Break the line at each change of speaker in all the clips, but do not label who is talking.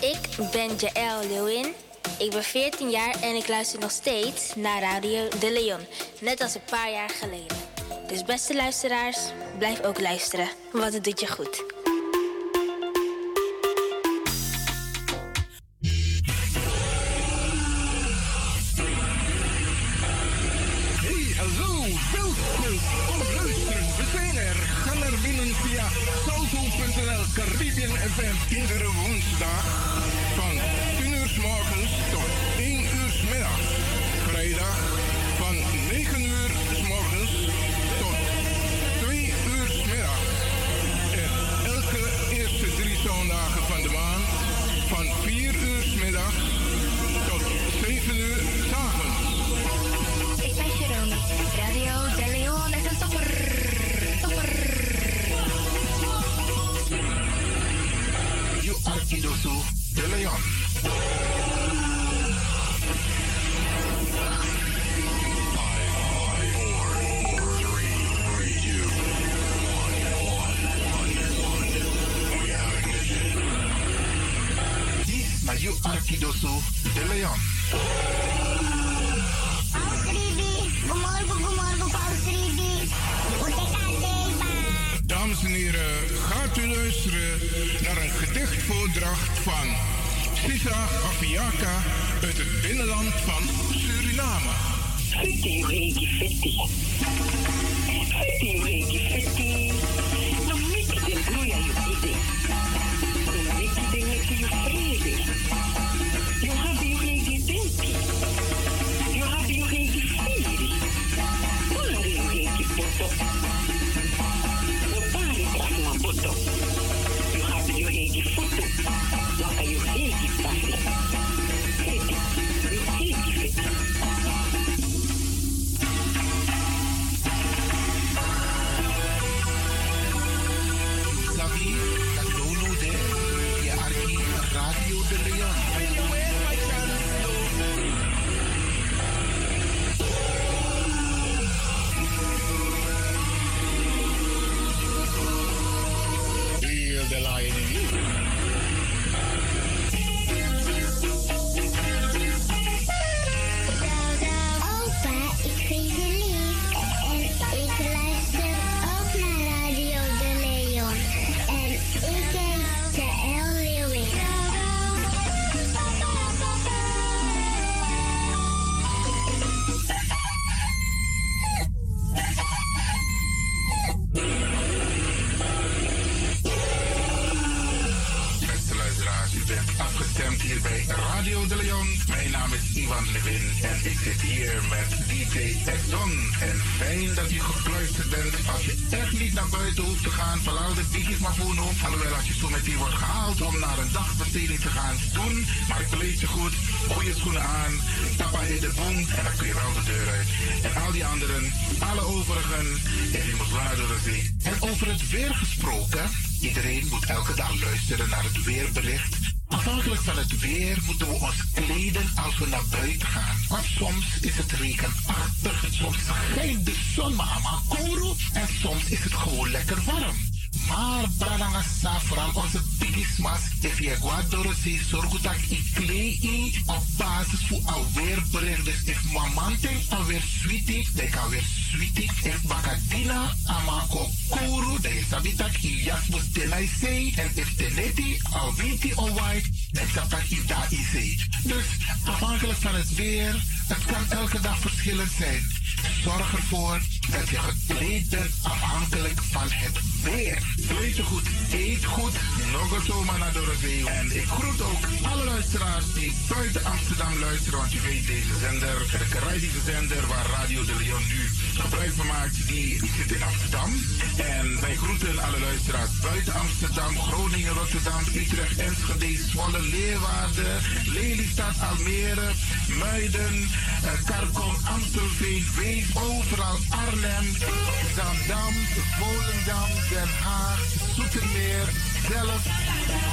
Ik ben Jaël Leeuwin. Ik ben 14 jaar en ik luister nog steeds naar Radio De Leon. Net als een paar jaar geleden. Dus beste luisteraars, blijf ook luisteren, want het doet je goed.
Hey, hallo, welkom. Kom luisteren, we zijn er. Ga naar binnen via salto.nl Caribbean FM. Iedere woensdag van 10 uur 's morgens tot 1 uur 's middags. Vrijdag van 9 uur 's morgens tot 2 uur 's middags. En elke eerste drie zondagen van de maand van 4 uur 's middags tot 7 uur 's avonds.
Ik ben Jerome. Radio De Leon is een topper. Topper.
You are Kidosu de Leon. You are Kidosu de Leon.
Paus Ribi, goedemorgen, goedemorgen, Paus Ribi. Hoe de kadeva.
Dames en heren, gaat u luisteren naar een gedichtvoordracht van Sisa Afiaka uit het binnenland van Suriname.
Fitty, Reggie, Fitty. Fitty, Reggie, Fitty. No make it in blue, you idiot. No make it in make you crazy. You have your Reggie Dinky. You have your Reggie Fairy. Where are you, Reggie Boto? No party, Kwasma Boto. You have your Reggie Foto. What are you, Reggie Party? Fitty, you Reggie Fitty.
Sabi, dat dono de, je arki Radio de Leon. Feel the lion in you.
Opa, ik vind je lief. En ik luister ook naar Radio De Leon. En ik heet Jaël Leeuwin.
Beste luisteraars, u bent afgestemd hier bij Radio de Leon. Mijn naam is Ivan Levin en ik zit hier met DJ Exxon. En fijn dat u gekluisterd bent. Als je echt niet naar buiten hoeft te gaan, verlaat de biggies maar gewoon op. Alhoewel, als je zo meteen wordt gehaald om naar een dagbesteding te gaan, doen. Maar kleed je goed, goede schoenen aan, tappa in de boom en dan kun je wel de deur uit. En al die anderen, alle overigen, en je moet waar door de zee. En over het weer gesproken. Iedereen moet elke dag luisteren naar het weerbericht. Afhankelijk van het weer moeten we ons kleden als we naar buiten gaan. Want soms is het regenachtig, soms schijnt de zon maar maar kouro en soms is het gewoon lekker warm. Maar Branagasa, vooral onze bigismas, if je gaat door het zee, zorg dat ik klei in op basis voor alweer brengt. Dus if mamante alweer sweetie, dan kan weer sweetie. If bakadina, amako kuru, dan is dat niet dat ik jas moet tenai zee. En if teneti, alwinti of white, dan is dat dat ik daar is zee. Dus afhankelijk van het weer, het kan elke dag verschillend zijn. Zorg ervoor dat je gekleed bent afhankelijk van het weer. Kleed je goed, eet goed, nog een zomaar naar Dorothy. En ik groet ook alle luisteraars die buiten Amsterdam luisteren, want je weet deze zender, de Caribische zender waar Radio de Leon nu gebruik van maakt, die zit in Amsterdam. En wij groeten alle luisteraars buiten Amsterdam, Groningen, Rotterdam, Utrecht, Enschede, Zwolle, Leeuwarden, Lelystad, Almere, Muiden, eh, Karkom, Amstelveen, Wees, overal Arnhem, Zandam, Volendam, Den Haag, Zoetermeer, Delft,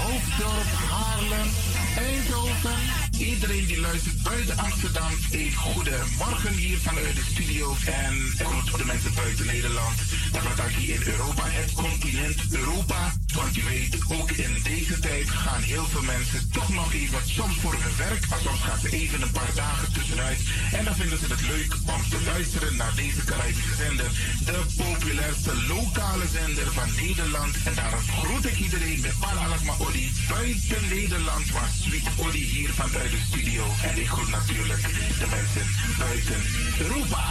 Hoofddorp, Haarlem, Eindhoven. Iedereen die luistert buiten Amsterdam, een goede morgen hier vanuit de studio. En groet de mensen buiten Nederland. En wat dan hier in Europa, het continent Europa. Want je weet, ook in deze tijd gaan heel veel mensen toch nog even, soms voor hun werk, maar soms gaan ze even een paar dagen tussenuit. En dan vinden ze het leuk om te luisteren naar deze Caribische zender. De populairste lokale zender van Nederland. En daarom groet ik iedereen met Paralasma Olly buiten Nederland. Maar Sweet Olly hier vanuit de studio. En ik groet natuurlijk de mensen buiten Europa.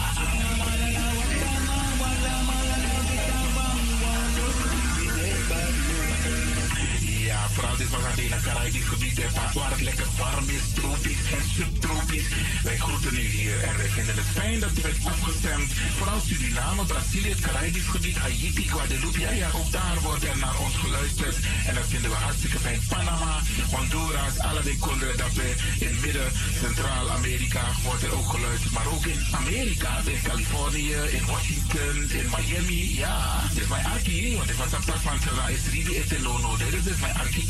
Ja, vooral dit was alleen een Caribisch gebied, hè, pa, waar het lekker warm is, tropisch en subtropisch. Wij groeten u hier en wij vinden het fijn dat u bent afgestemd. Vooral Suriname, Brazilië, het Caribisch gebied, Haiti, Guadeloupe, ja, ja, ook daar wordt er naar ons geluisterd. En dat vinden we hartstikke fijn. Panama, Honduras, allerlei konden dat we in midden, Centraal-Amerika wordt er ook geluisterd. Maar ook in Amerika, in Californië, in Washington, in Miami, ja. Dit is mijn archie, want dit was een tak van Terra is Ribi et Lono. Dit is dus mijn archipel,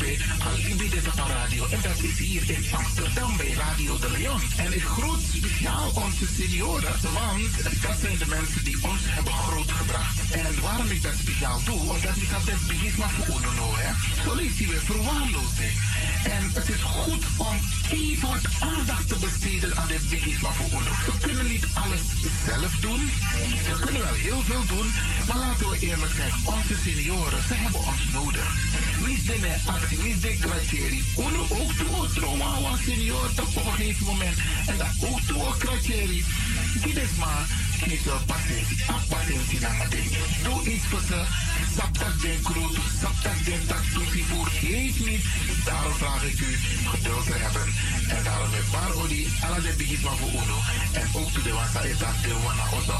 Alibi de Tapa Radio. En dat is hier in Amsterdam bij Radio de Leon. En ik groet speciaal onze senioren, want dat zijn de mensen die ons hebben grootgebracht. En waarom ik dat speciaal doe, omdat ik altijd begin maar voor Unono, hè. Zo leest hij weer verwaarloosding. En het is goed om even wat aandacht te besteden aan dit bigisma voor Uno. We kunnen niet alles zelf doen. We kunnen wel heel veel doen. Maar laten we eerlijk zijn, onze senioren, ze hebben ons nodig. Wie zijn er actie, wie zijn kratjeri? Uno ook toe, trauma, was senior, dat op een gegeven moment. En dat ook toe, kratjeri. Dit is maar niet zo patiëntie, patiëntie naar mijn ding. Doe iets voor ze, stap dat den kroot, stap dat den tak, doe die voor, geef niet. Daarom vraag ik u geduld te hebben. En daarom met Barodi, alle de bigisma voor Uno. En ook toe de wasa is dat de wana ozo.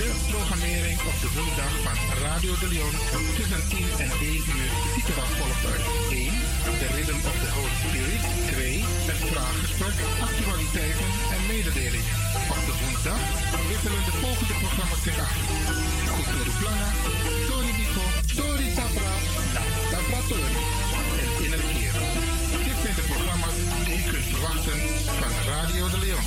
De programmering op de woensdag van Radio de Leon tussen 10 en 1 uur ziet er als volgt uit. 1. De Rhythm of the Holy Spirit. 2. Het vraaggesprek, actualiteiten en mededelingen. Op de woensdag wisselen de volgende programma's zich af. Cultura Plana, Tori Nico, Tori Tapra, Na Tapra Tori en Inner Keer. Dit zijn de programma's die u kunt verwachten van Radio de Leon.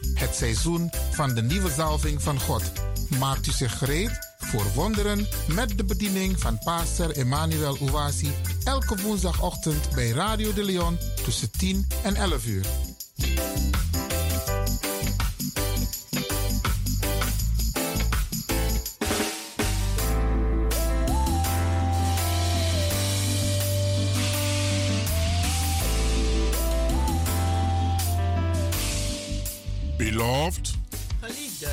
Het seizoen van de nieuwe zalving van God. Maakt u zich gereed voor wonderen met de bediening van pastor Emmanuel Ouasi elke woensdagochtend bij Radio de Leon tussen 10 en 11 uur.
Beloved,
Geliefde,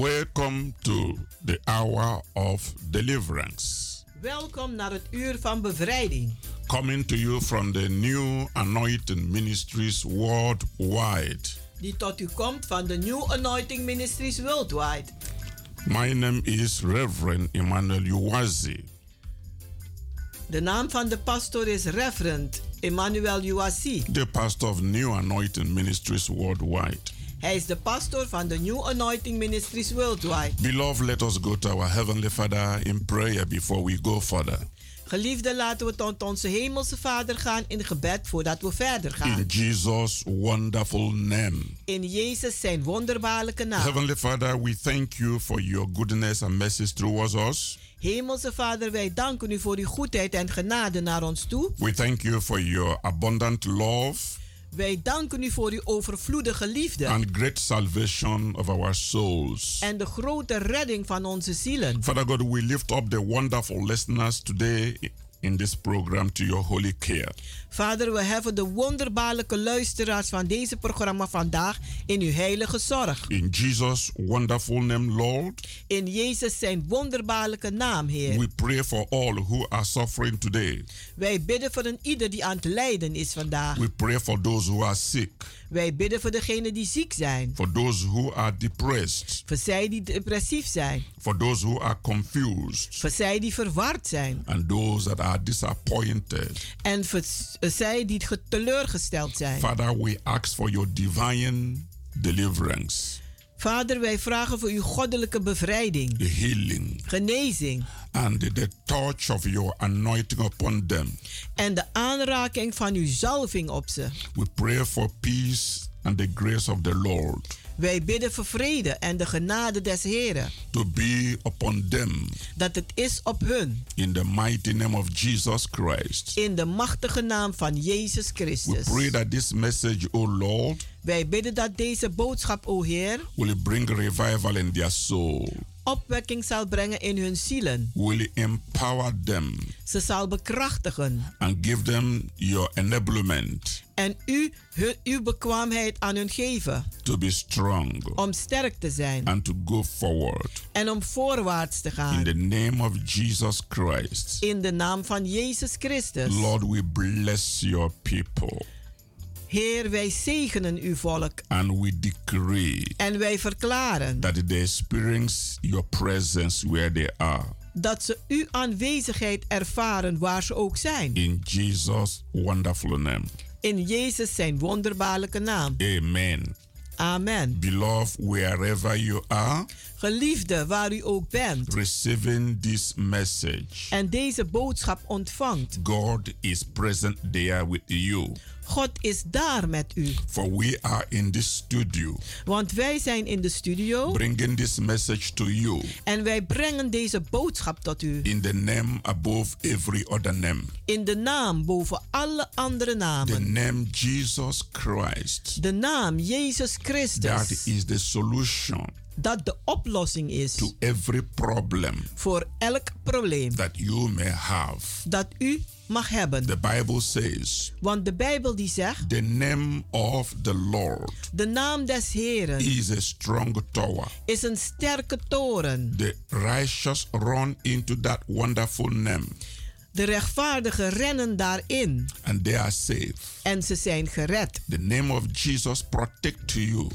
welcome to the hour of deliverance.
welkom naar het uur van bevrijding.
Coming to you from the new anointing ministries worldwide.
Die tot u komt van de New Anointing Ministries Worldwide.
My name is Reverend Emmanuel Uwazi.
De naam van de pastor is Reverend Emmanuel Uwasi.
the pastor of New Anointing Ministries worldwide.
Hij is de pastor van de New Anointing Ministries Worldwide.
Beloved, let us go to our Heavenly Father in prayer before we go further.
Geliefde, laten we tot onze hemelse Vader gaan in gebed voordat we verder gaan.
In Jesus' wonderful name.
In Jezus zijn wonderbaarlijke naam.
Heavenly Father, we thank you for your goodness and mercies towards us.
Hemelse Vader, wij danken u voor uw goedheid en genade naar ons toe.
We thank you for your abundant love
Wij danken u voor uw overvloedige liefde
and great salvation of our souls.
en de grote redding van onze zielen.
Father God, we lift up the wonderful listeners today in this program to your holy care.
Vader, we hebben de wonderbaarlijke luisteraars van deze programma vandaag in uw heilige zorg.
In Jesus' wonderful name, Lord,
In Jezus zijn wonderbaarlijke naam, Heer.
we pray for all who are suffering today.
Wij bidden voor een ieder die aan het lijden is vandaag.
We pray for those who are sick,
Wij bidden voor degenen die ziek zijn,
for those who are depressed,
voor zij die depressief zijn,
for those who are confused,
voor zij die verward zijn
and those that are disappointed.
en voor s- zij die ge- teleurgesteld zijn.
Father, we ask for your divine deliverance,
Vader, wij vragen voor uw goddelijke bevrijding,
the healing,
genezing
and the touch of your anointing upon them.
en de aanraking van uw zalving op ze.
We pray for peace and the grace of the Lord
Wij bidden voor vrede en de genade des Heren,
to be upon them
dat het is op hun,
in the mighty name of Jesus Christ.
in de machtige naam van Jezus
We
Christus.
pray that this message, O Lord,
Wij bidden dat deze boodschap, o Heer,
will bring revival in their soul,
opwekking zal brengen in hun zielen.
will empower them
Ze zal bekrachtigen
and give them your enablement
en u hun, uw bekwaamheid aan hun geven
to be strong
om sterk te zijn
and to go forward.
en om voorwaarts te
In
gaan.
the name of Jesus Christ,
In de naam van Jezus Christus.
Lord, we bless your people
Heer, wij zegenen uw volk
and we decree
en wij verklaren
that they experience your presence where they are.
dat ze uw aanwezigheid ervaren waar ze ook zijn.
In Jesus' wonderful name.
In Jezus zijn wonderbaarlijke naam.
Amen.
Amen.
Beloved, wherever you are
Geliefde, waar u ook bent
receiving this message,
en deze boodschap ontvangt,
God is present there with you.
God is daar met u.
For we are in this studio
Want wij zijn in de studio
bringing this message to you
en wij brengen deze boodschap tot u.
in the name above every other name.
In de naam boven alle andere
The
namen.
name Jesus Christ.
De naam Jezus
That
Christus.
is the solution
Dat de oplossing
to
is
every problem
voor elk probleem
that you may have.
dat u mag hebben.
The Bible says,
Want de Bijbel die zegt,
The name of the Lord
de naam des Heren
is a strong tower.
is een sterke toren.
The righteous run into that wonderful name
De rechtvaardigen rennen daarin
and they are safe.
en ze zijn gered.
The name of Jesus protect you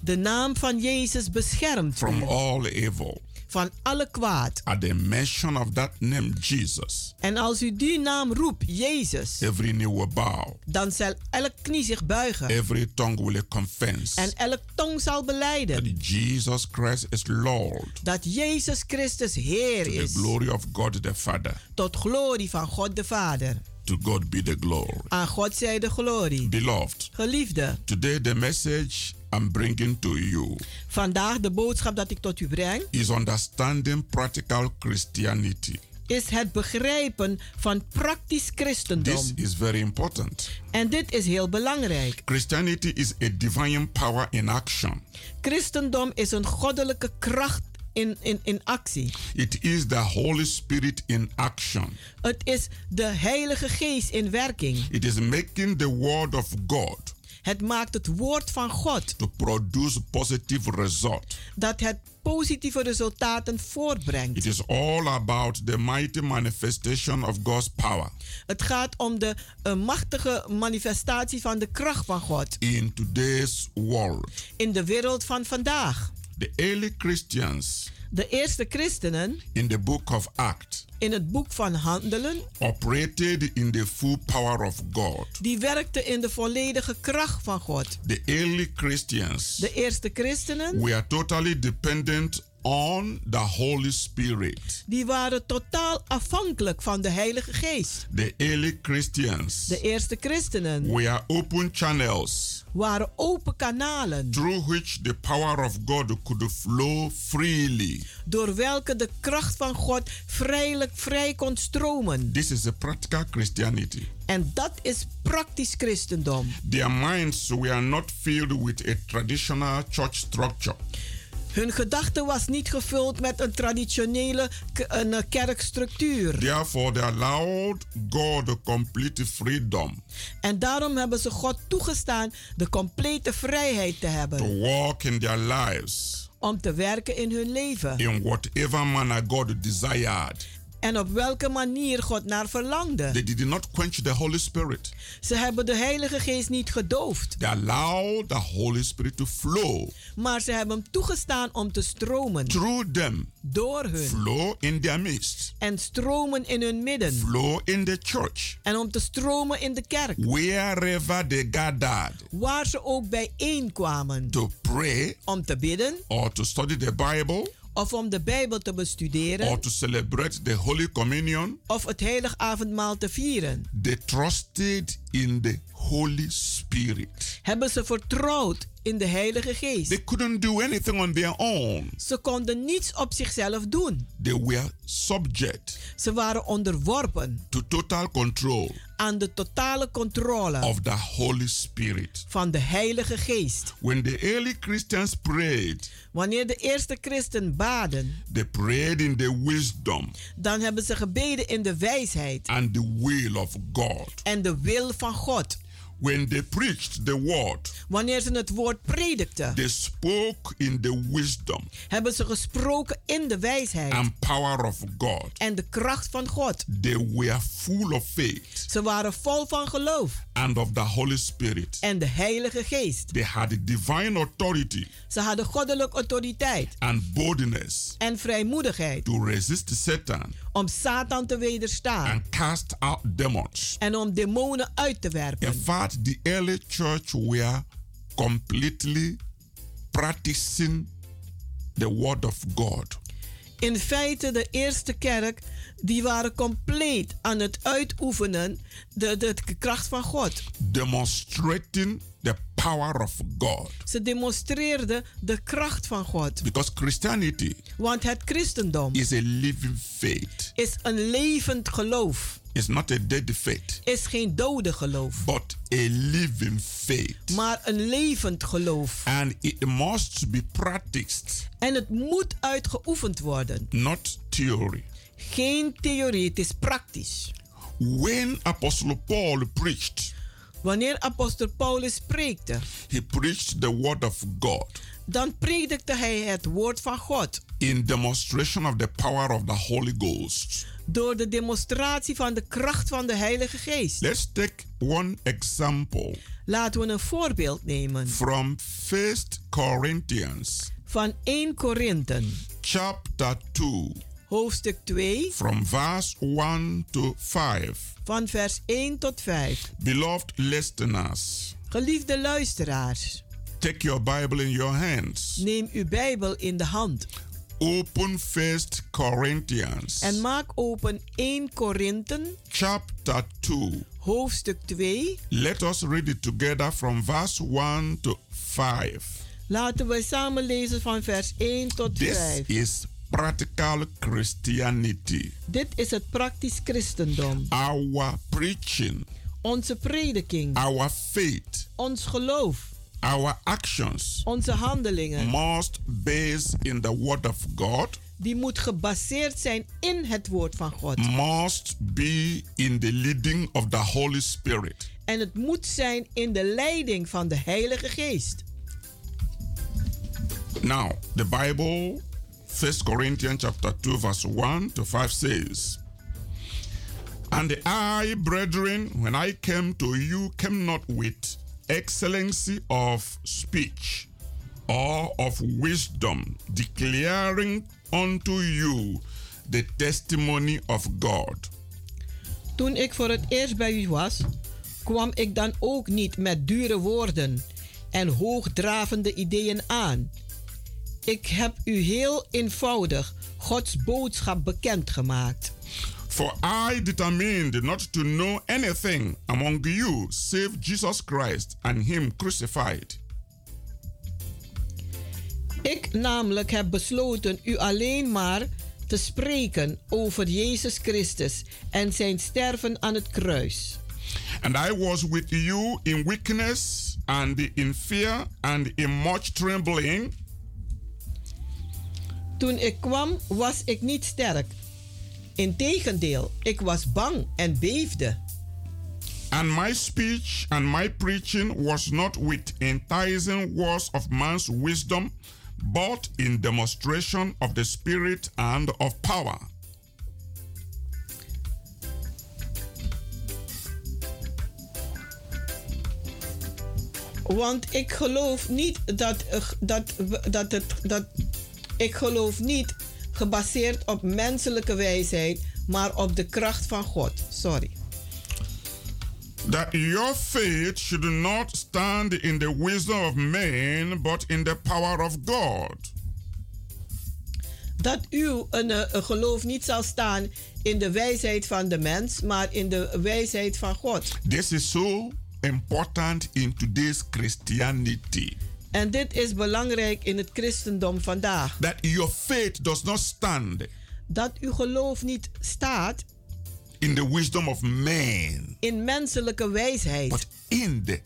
De naam van Jezus beschermt
from
u
all evil.
van alle kwaad.
At the mention of that name, Jesus,
En als u die naam roept, Jezus,
every knee will bow,
dan zal elk knie zich buigen
every tongue will confess
en elk tong zal belijden
that Jesus Christ is Lord
dat Jezus Christus Heer
to the
is.
glory of God the Father.
Tot glorie van God de Vader.
To God be the glory.
Aan God zij de glorie.
Beloved,
Geliefde,
today the message I'm bringing to you
vandaag de boodschap dat ik tot u breng
is understanding practical Christianity.
is het begrijpen van praktisch
This
christendom.
is very important.
En dit is heel belangrijk.
Christianity is a divine power in action.
Christendom is een goddelijke kracht in, in, in actie.
It is the Holy Spirit in action.
Het is de Heilige Geest in werking.
It is making the word of God
Het maakt het woord van God
to produce positive result.
dat het positieve resultaten voortbrengt.
It is all about the mighty manifestation of God's power
Het gaat om de eh, machtige manifestatie van de kracht van God
in today's world.
in de wereld van vandaag.
The early Christians
De De eerste christenen
in the book of Acts
in het boek van Handelen,
operated in the full power of God.
die werkten in de volledige kracht van God.
The early Christians
De eerste christenen,
were totally dependent on the Holy Spirit.
die waren totaal afhankelijk van de Heilige Geest.
The early Christians
De eerste christenen
were open channels
waren open kanalen
through which the power of God could flow freely.
door welke de kracht van God vrijelijk vrij kon stromen.
This is a practical Christianity.
En dat is praktisch christendom.
Their minds were not filled with a traditional church structure.
Hun gedachte was niet gevuld met een traditionele k- een eh, kerkstructuur.
Therefore, they allowed God complete freedom
En daarom hebben ze God toegestaan de complete vrijheid te
to
hebben
walk in their lives
om te werken in hun leven.
in whatever manner God desired.
En op welke manier God naar verlangde.
They did not quench the Holy Spirit.
Ze hebben de Heilige Geest niet gedoofd,
They allowed the Holy Spirit to flow
maar ze hebben hem toegestaan om te stromen
through them,
door hun
flow in their midst,
en stromen in hun midden
flow in the church,
en om te stromen in de kerk,
wherever they gathered
waar ze ook bijeenkwamen
to pray
om te bidden
or to study the Bible
of om de Bijbel te
or
bestuderen
to celebrate the Holy Communion.
of het heilig avondmaal te vieren.
They trusted in the Holy Spirit.
Hebben ze vertrouwd in de Heilige
They
Geest.
couldn't do anything on their own.
Ze konden niets op zichzelf doen.
They were subject
Ze waren onderworpen
to total control
aan de totale controle
of the Holy Spirit.
van de Heilige Geest.
When the early Christians prayed,
Wanneer de eerste christen baden,
they prayed in the wisdom
dan hebben ze gebeden in de wijsheid
and the will of God.
en de wil van God.
When they preached the word,
Wanneer ze het woord predikten,
they spoke in the wisdom
hebben ze gesproken in de wijsheid
and power of God.
en de kracht van God.
They were full of faith
Ze waren vol van geloof
and of the Holy Spirit.
en de Heilige Geest.
They had divine authority
Ze hadden goddelijke autoriteit
and boldness
en vrijmoedigheid
to resist Satan
om Satan te wederstaan
and cast out demons.
en om demonen uit te
In
werpen.
fact, the early church were completely practicing the word of God.
In feite, de eerste kerk, die waren compleet aan het uitoefenen de, de, de kracht van God.
demonstrating the power of God.
Ze demonstreerden de kracht van God.
Because Christianity
Want het christendom
is a living faith,
is een levend geloof.
it's not a dead faith,
Is geen dode geloof,
but a living faith.
maar een levend geloof.
And it must be practiced,
En het moet uitgeoefend worden.
not theory.
Geen theorie, het is praktisch.
When Apostle Paul preached,
Wanneer apostel Paulus preekte,
he preached the word of God
dan predikte hij het woord van God
in demonstration of the power of the Holy Ghost.
door de demonstratie van de kracht van de Heilige Geest.
Let's take one example
Laten we een voorbeeld nemen
from 1 Corinthians
van 1 Korinthe,
chapter 2
hoofdstuk 2,
from verse 1 to 5.
van vers 1 tot 5.
Beloved listeners,
Geliefde luisteraars,
take your Bible in your hands.
neem uw Bijbel in de hand
Open First Corinthians
en maak open 1 Korinthe,
chapter 2.
hoofdstuk 2.
Let us read it together from verse 1 to 5.
Laten we samen lezen van vers 1 tot
This
5.
is practical Christianity.
Dit is het praktisch christendom.
Our preaching,
Onze prediking,
our faith,
ons geloof,
our actions
onze handelingen.
must base in the word of God.
die moet gebaseerd zijn in het woord van God.
must be in the leading of the Holy Spirit.
En het moet zijn in de leiding van de Heilige Geest.
Now, the Bible, 1 Corinthians chapter 2, verse 1 to 5 says, And I, brethren, when I came to you, came not with excellency of speech or of wisdom, declaring unto you the testimony of God.
Toen ik voor het eerst bij u was, kwam ik dan ook niet met dure woorden en hoogdravende ideeën aan. Ik heb u heel eenvoudig Gods boodschap bekendgemaakt.
For I determined not to know anything among you save Jesus Christ and Him crucified.
Ik namelijk heb besloten u alleen maar te spreken over Jezus Christus en zijn sterven aan het kruis.
And I was with you in weakness and in fear and in much trembling.
Toen ik kwam, was ik niet sterk. Integendeel, ik was bang en beefde.
And my speech and my preaching was not with enticing words of man's wisdom, but in demonstration of the Spirit and of power.
Want ik geloof niet dat, eh, dat, dat, het, dat ik geloof niet gebaseerd op menselijke wijsheid, maar op de kracht van God. Sorry.
That your faith should not stand in the wisdom of man, but in the power of God.
Dat uw een, eh, een geloof niet zal staan in de wijsheid van de mens, maar in de wijsheid van God.
This is so important in today's Christianity.
En dit is belangrijk in het christendom vandaag.
That your faith does not stand
Dat uw geloof niet staat
in the wisdom of man,
in menselijke wijsheid,
but in the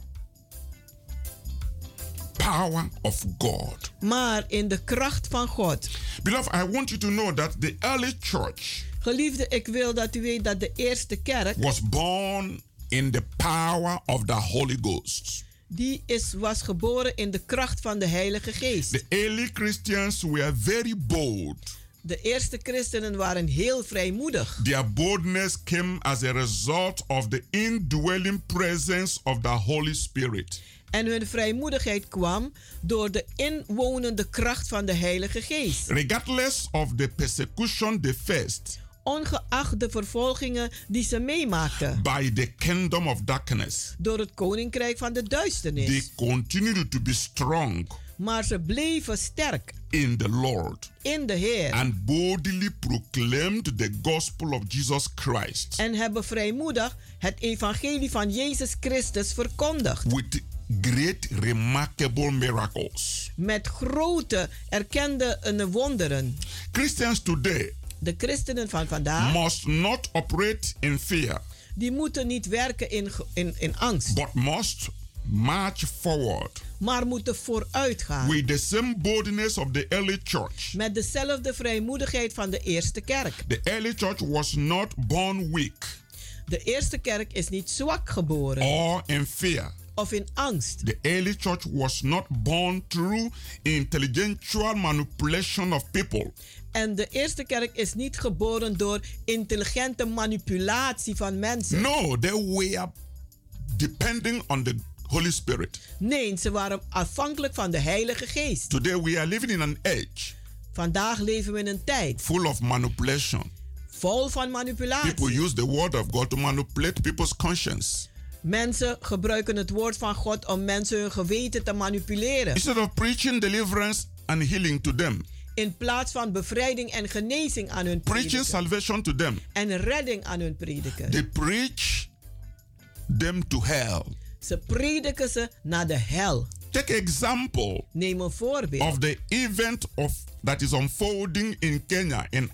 power of God.
maar in de kracht van God.
Beloved, I want you to know that the early church
Geliefde, ik wil dat u weet dat de eerste kerk,
was born in the power of the Holy Ghost.
die is, was geboren in de kracht van de Heilige Geest.
The early Christians were very bold.
De eerste christenen waren heel vrijmoedig.
Their boldness came as a result of the indwelling presence of the Holy Spirit.
En hun vrijmoedigheid kwam door de inwonende kracht van de Heilige Geest.
Regardless of the persecution they faced
Ongeacht de vervolgingen die ze meemaakten
by the kingdom of darkness,
door het koninkrijk van de
they
duisternis.
continued to be strong
Maar ze bleven sterk
in the Lord
in de Heer
and boldly proclaimed the gospel of Jesus Christ
en hebben vrijmoedig het evangelie van Jezus Christus verkondigd.
with great, remarkable miracles.
Met grote erkende eh, wonderen.
Christians today
De christenen van vandaag,
must not operate in fear,
die moeten niet werken in, ge- in, in angst,
but must march forward
maar moeten vooruit gaan.
with the same boldness of the early church.
Met dezelfde vrijmoedigheid van de eerste kerk.
The early church was not born weak
De eerste kerk is niet zwak geboren
or in fear.
of in angst.
The early church was not born through intellectual manipulation of people.
En de eerste kerk is niet geboren door intelligente manipulatie van mensen.
No, they were depending on the Holy Spirit.
Nee, ze waren afhankelijk van de Heilige Geest.
Today we are living in an age
Vandaag leven we in een tijd
full of manipulation.
vol van
People
manipulatie.
use the word of God to manipulate people's conscience.
Mensen gebruiken het woord van God om mensen hun geweten te manipuleren.
Instead of preaching deliverance and healing to them,
In plaats van bevrijding en genezing aan hun
preaching
prediken.
salvation to them,
En redding aan hun prediken.
they preach them to hell.
Ze prediken ze naar de hel.
Take example
Neem een voorbeeld.
of the event of that is unfolding in Kenya in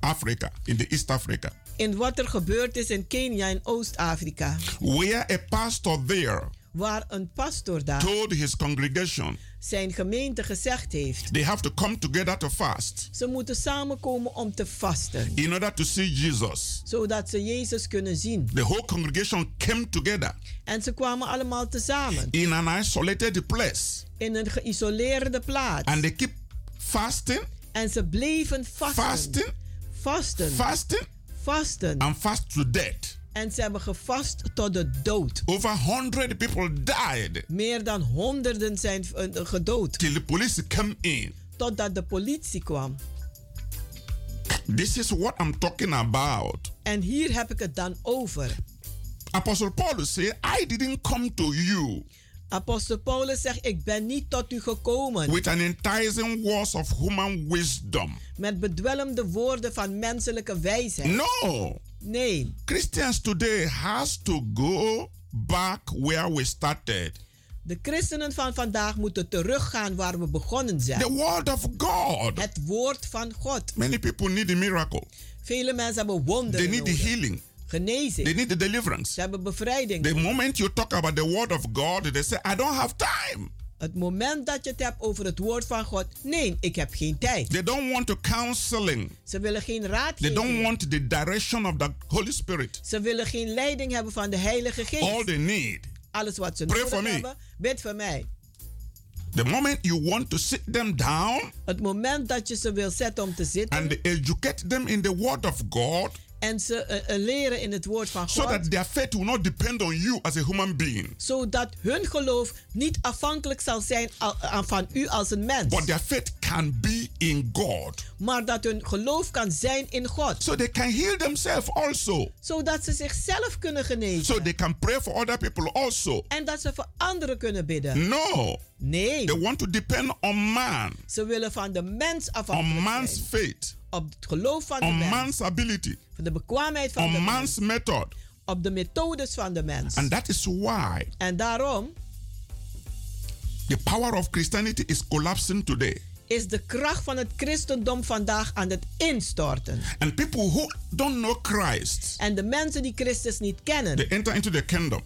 Africa, in the East Africa,
in wat er gebeurd is in Kenia en Oost-Afrika.
where a pastor there
Waar een pastoor daar
told his congregation
zijn gemeente gezegd heeft.
they have to come together to fast
Ze moeten samenkomen om te vasten.
in order to see Jesus.
Zodat ze Jezus kunnen zien.
The whole congregation came together
En ze kwamen allemaal tezamen.
in an isolated place
In een geïsoleerde plaats.
and they keep fasting,
En ze bleven vasten.
fasting,
Vasten.
fasting,
Vasten.
and fast to death.
En ze hebben gevast tot de dood.
Over 100 people died
Meer dan honderden zijn eh, gedood.
till the police came in
Totdat de politie kwam.
This is what I'm talking about.
En hier heb ik het dan over.
Apostle Paulus said, I didn't come to you
Apostel Paulus zegt, ik ben niet tot u gekomen
with an enticing words of human wisdom.
met bedwelmde woorden van menselijke wijsheid.
No.
Nee,
Christians today has to go back where we started.
de christenen van vandaag moeten teruggaan waar we begonnen
The
zijn.
word of God.
Het woord van God.
Many people need a miracle.
Vele mensen hebben
They
wonderen
need the
nodig.
healing. They
Genezing.
need the deliverance.
Ze hebben bevrijding.
The moment you talk about the word of God, they say, I don't have time.
Het moment dat je het hebt over het woord van God. Nee, ik heb geen tijd.
They don't want the counseling.
Ze willen geen
They don't
raadgeving.
want the direction of the Holy Spirit.
Ze willen geen leiding hebben van de Heilige
All
Geest.
they need.
Alles wat ze
Pray for
nodig
me.
hebben, bid voor mij.
The moment you want to sit them down
Het moment dat je ze wil zetten om te zitten
and educate them in the word of God
en ze eh, eh, leren in het woord van
so
God,
that their faith will not depend on you as a human being,
zodat hun geloof niet afhankelijk zal zijn al- aan- van u als een mens,
but their faith can be in God.
maar dat hun geloof kan zijn in God,
So they can heal themselves also.
zodat ze zichzelf kunnen genezen
So they can pray for other people also.
en dat ze voor anderen kunnen bidden.
No,
Nee,
they want to depend on man,
ze willen van de mens
on
afhankelijk
man's
zijn,
faith,
op het geloof van de
on
mens,
man's ability,
van de bekwaamheid van de
on
mens,
man's method.
op de methodes van de mens.
And that is why
En daarom
the power of Christianity is collapsing today.
is de kracht van het christendom vandaag aan het instorten.
And people who don't know Christ,
En de mensen die Christus niet kennen,
they enter into the kingdom.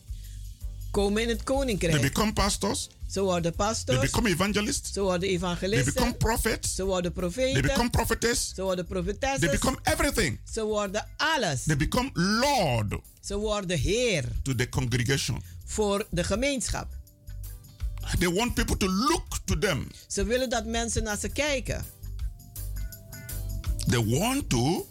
komen in het
They
koninkrijk.
become pastors,
Ze worden
they
pastors,
become evangelists,
ze worden
they become
evangelisten,
prophets,
ze worden
they become
profeten,
prophetess,
ze worden
they
profetessen,
become everything.
ze worden alles.
They become Lord
Ze worden heer
to the congregation.
voor de gemeenschap.
They want people to look to them.
Ze willen dat mensen naar ze kijken.
They want to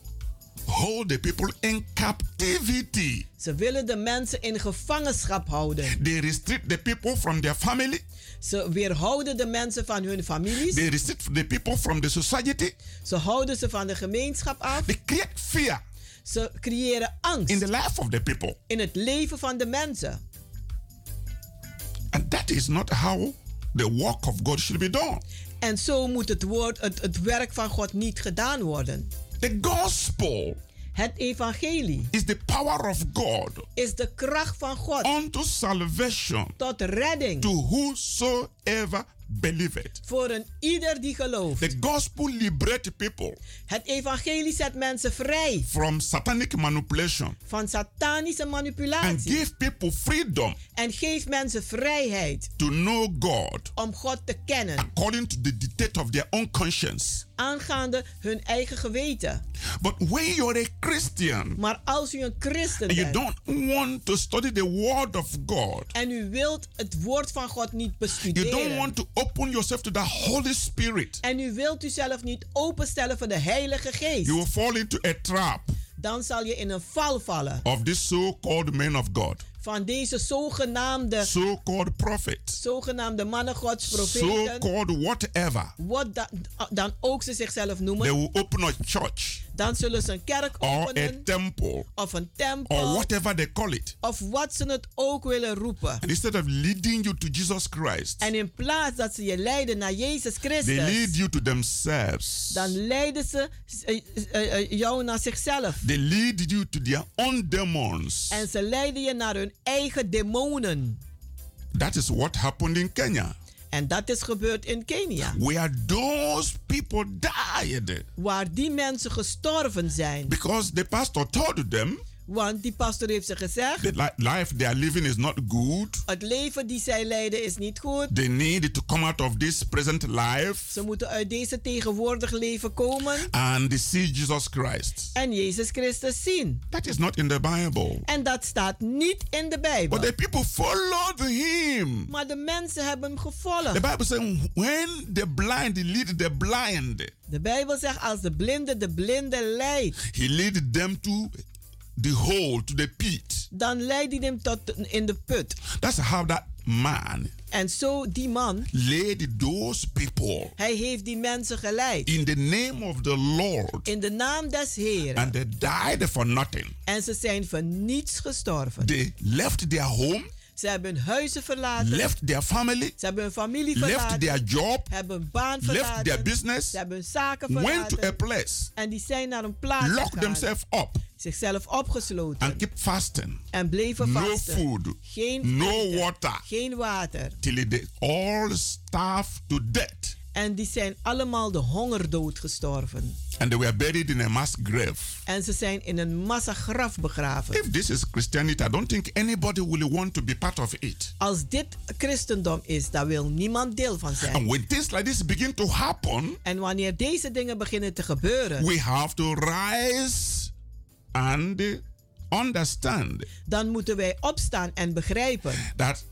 hold the people in captivity.
Ze willen de mensen in gevangenschap houden.
They restrict the people from their family.
Ze weerhouden de mensen van hun families.
They restrict the people from the society.
Ze houden ze van de gemeenschap af.
They create fear
Ze creëren
in
angst
the life of the people.
in het leven van de mensen.
And that is not how the work of God should be done.
En zo moet het, woord, het, het werk van God niet gedaan worden.
The gospel
Het evangelie
is the power of God
is de kracht van God
unto salvation
tot redding
to whosoever believeth.
voor een ieder die gelooft.
The gospel liberates people
Het evangelie zet mensen vrij
from satanic manipulation
van satanische
and
manipulatie
give people freedom
en geeft mensen vrijheid
to know God
om God te kennen,
according to the dictate of their own conscience.
aangaande hun eigen geweten.
But when you're a Christian
Maar als u een christen
and you
bent
don't want to study the word of God,
en u wilt het woord van God niet
you don't
bestuderen
want to open yourself to the Holy Spirit,
en u wilt uzelf niet openstellen voor de Heilige
you will
Geest,
fall into a trap
dan zal je in een val vallen
of this so-called men of God,
van deze zogenaamde
so-called prophets,
zogenaamde mannen gods, profeten,
so-called whatever.
wat da- dan ook ze zichzelf
They
noemen,
will open a church
dan zullen ze een kerk
or a
openen
temple
of een
or
tempel
whatever they call it.
of wat ze het ook willen roepen.
And instead of leading you to Jesus Christ,
En in plaats dat ze je leiden naar Jezus
they lead
Christus,
you to themselves.
dan leiden ze eh, eh, eh, jou naar zichzelf.
They lead you to their own demons.
En ze leiden je naar hun eigen demonen.
That is what happened in Kenya,
En dat is gebeurd in Kenia,
where those people died
waar die mensen gestorven zijn.
because the pastor told them
Want die pastor heeft ze gezegd,
the li- life they are living is not good.
het leven die zij leiden is niet goed.
They need to come out of this present life
Ze moeten uit deze tegenwoordig leven komen
and see Jesus Christ.
en Jezus Christus zien.
That is not in the Bible.
En dat staat niet in de
But
Bijbel.
the people followed him.
Maar de mensen hebben hem
The
gevolgd.
Bible says, when the blind lead the blind,
De Bijbel zegt als de blinde de blinde leidt,
he lead them to the hole, to the pit.
dan leidt hij hem tot in de put.
That's how that man
En zo die man,
led those people
hij heeft die mensen geleid.
in the name of the Lord
In de naam des Heeren.
and they died for nothing.
En ze zijn voor niets gestorven.
They left their home,
Ze hebben hun huizen verlaten.
left their family,
Ze hebben hun familie
left
verlaten.
their job,
Hebben hun baan
left their
verlaten.
business,
Ze hebben hun zaken
went to a
verlaten.
place,
En die zijn naar een plaats
locked
gegaan.
themselves up,
Zichzelf opgesloten.
and keep fasting.
En bleven
No
vasten.
food,
Geen
no
eten,
water,
Geen water.
till they all starved to death.
En die zijn allemaal de hongerdood gestorven.
And they were buried in a mass grave.
En ze zijn in een massagraf begraven.
If this is Christianity, I don't think anybody will want to be part of it.
Als dit christendom is, daar wil niemand deel van zijn.
And when things like this begin to happen,
En wanneer deze dingen beginnen te gebeuren,
we have to rise and understand
dan moeten wij opstaan en begrijpen
that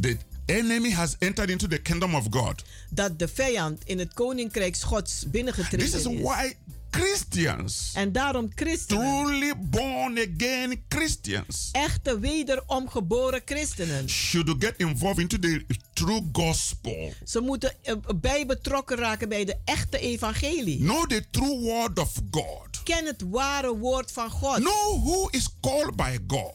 the enemy has entered into the kingdom of God.
dat de vijand in het koninkrijk Gods
This is
binnengetreden is.
why Christians,
En daarom christenen,
truly born again Christians,
echte wederom geboren christenen,
should get involved into the true gospel.
ze moeten eh, bij betrokken raken bij de echte evangelie.
Know the true word of God.
Ken het ware woord van God.
Know who is called by God.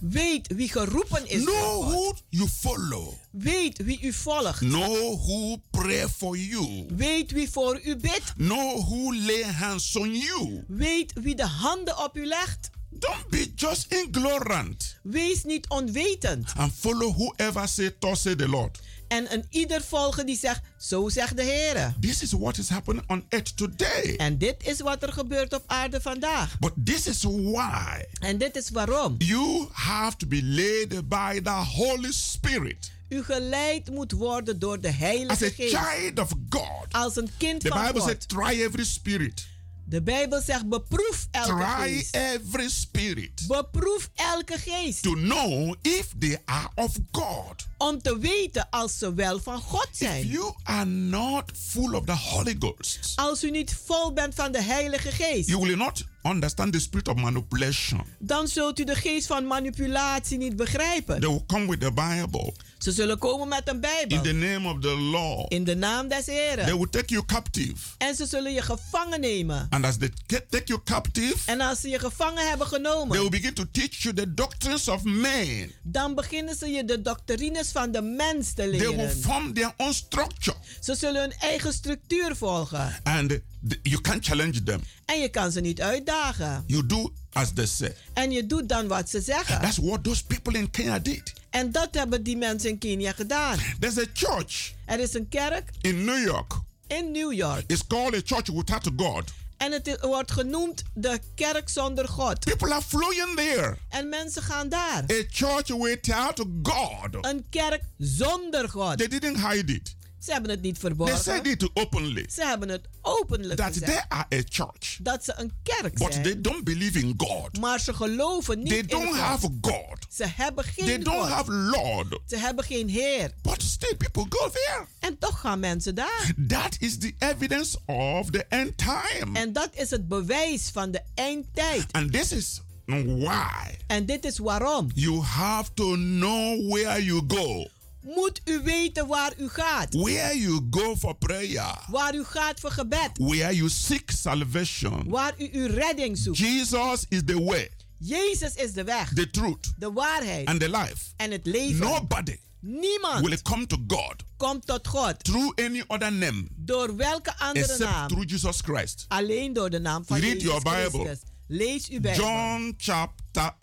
Weet wie geroepen is door
Know
God.
who you follow.
Weet wie u volgt.
Know who pray for you.
Weet wie voor u bidt.
Know who lay hands on you.
Weet wie de handen op u legt.
Don't be just ignorant
Wees niet onwetend.
and follow whoever say thus say the Lord.
En een ieder volgen die zegt, zo zegt de Heer.
This is what is happening on earth today.
En dit is wat er gebeurt op aarde vandaag.
But this is why
En dit is waarom.
you have to be led by the Holy Spirit.
U geleid moet worden door de
As a
Heilige Geest.
child of God,
Als een kind
the
van
Bible
God.
said, try every spirit.
De Bijbel zegt, beproef elke
Try
geest.
every spirit
Beproef elke geest.
to know if they are of God.
Om te weten als ze wel van God
If
zijn.
you are not full of the Holy Ghost,
Als u niet vol bent van de Heilige Geest.
you will not understand the spirit of manipulation.
Dan zult u de geest van manipulatie niet
They
begrijpen.
will come with the Bible
Ze zullen komen met een
in the
Bijbel.
name of the law.
In de naam des
They
Heren.
will take you captive.
En ze zullen je gevangen nemen.
And as they ca- take you captive,
En als ze je gevangen hebben
they will
genomen,
begin to teach you the doctrines of men.
dan beginnen ze je de doctrines van de mens te
They will
leren.
form their own structure.
Ze zullen hun eigen structuur volgen.
And th- you can't challenge them.
En je kan ze niet uitdagen.
You do as they say.
En je doet dan wat ze zeggen.
That's what those people in Kenya did.
En dat hebben die mensen in Kenia gedaan.
There's a church
Er is een kerk
in New York.
in New York.
It's called a church without God.
En het i- wordt genoemd de kerk zonder God.
People are flowing there.
En mensen gaan daar.
A church without God.
Een kerk zonder God.
They didn't hide it.
Ze hebben het niet
They said
verborgen.
it openly
Ze hebben het openlijk
that they
gezegd.
are a church,
Dat ze een kerk
but they
zijn.
don't believe in God.
Maar ze geloven niet
They
in
don't
God.
have God.
Ze hebben
They
geen
don't
God.
have Lord.
Ze hebben geen Heer.
But still, people go there.
En toch gaan mensen daar.
That is the evidence of the end time.
En dat is het bewijs van de eindtijd.
And this is why
En dit is waarom.
you have to know where you go,
Moet u weten waar u gaat.
where you go for prayer,
Waar u gaat voor gebed.
where you seek salvation.
Waar u uw redding zoekt.
Mm. Jesus is the way,
Jezus is de weg.
the truth,
De waarheid.
and the life.
En het leven.
Nobody will
Niemand
come to God
komt tot God.
through any other name
Door welke andere
except
naam.
through Jesus Christ.
Alleen door de naam van
Read
Jezus
your Bible.
Christus. Lees uw Bijbel.
John chapter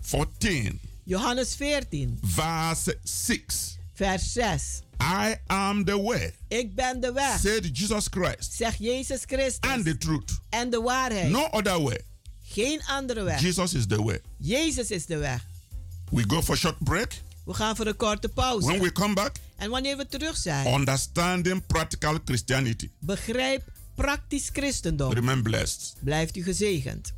14,
Johannes 14,
verse 6.
vers 6.
I am the way,
Ik ben de weg,
said Jesus Christ,
zegt Jezus Christus.
and the truth.
en de waarheid.
No other way.
Geen andere weg.
Jesus is the way.
Jezus is de weg.
We go for short break.
We gaan voor een korte pauze.
When we come back,
en wanneer we terug zijn,
understanding practical Christianity.
begrijp praktisch christendom.
Remain blessed.
Blijft u gezegend.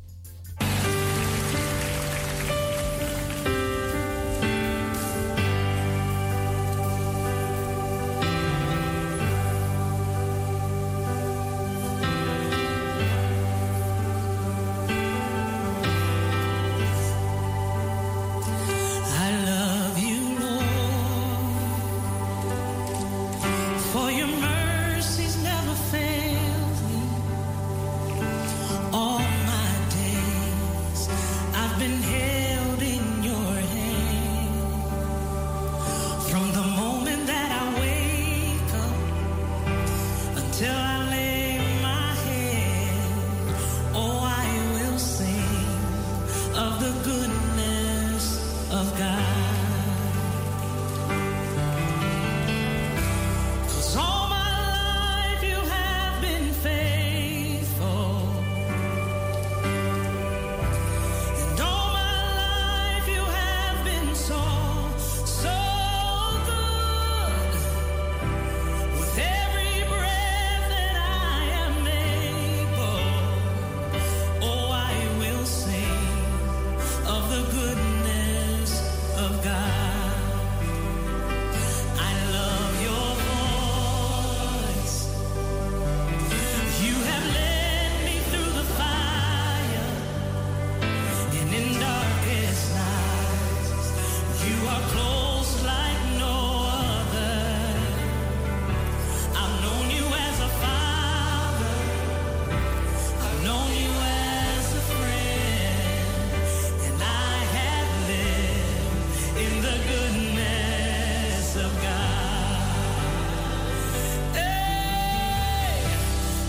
I love you, Lord. oh, of God. 'Cause all my life you have been faithful. And all my life you have been so, so good. With every breath that I am able, oh, I will sing of the goodness of God. I love your voice. You have led me through the fire and in darkest nights. You are close like no other. I've known you as a father. I've known you as a friend. And I have lived in the goodness of God. Hey,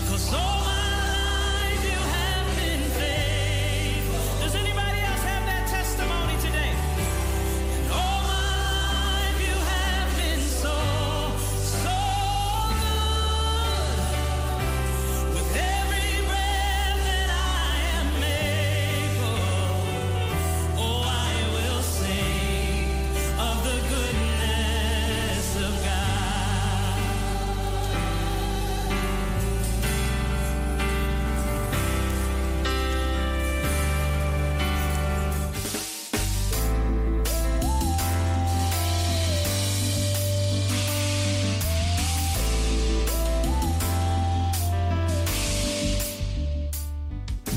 'cause all my life you have been faithful. Does anybody else have that testimony today? And all my life you have been so, so good. With every breath that I am able, oh, I will sing of the goodness of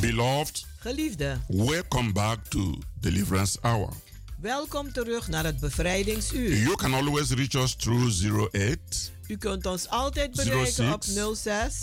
Beloved,
Geliefde,
welcome back to Deliverance Hour.
welkom terug naar het bevrijdingsuur.
You can always reach us through 08
U kunt ons altijd bereiken op
06
06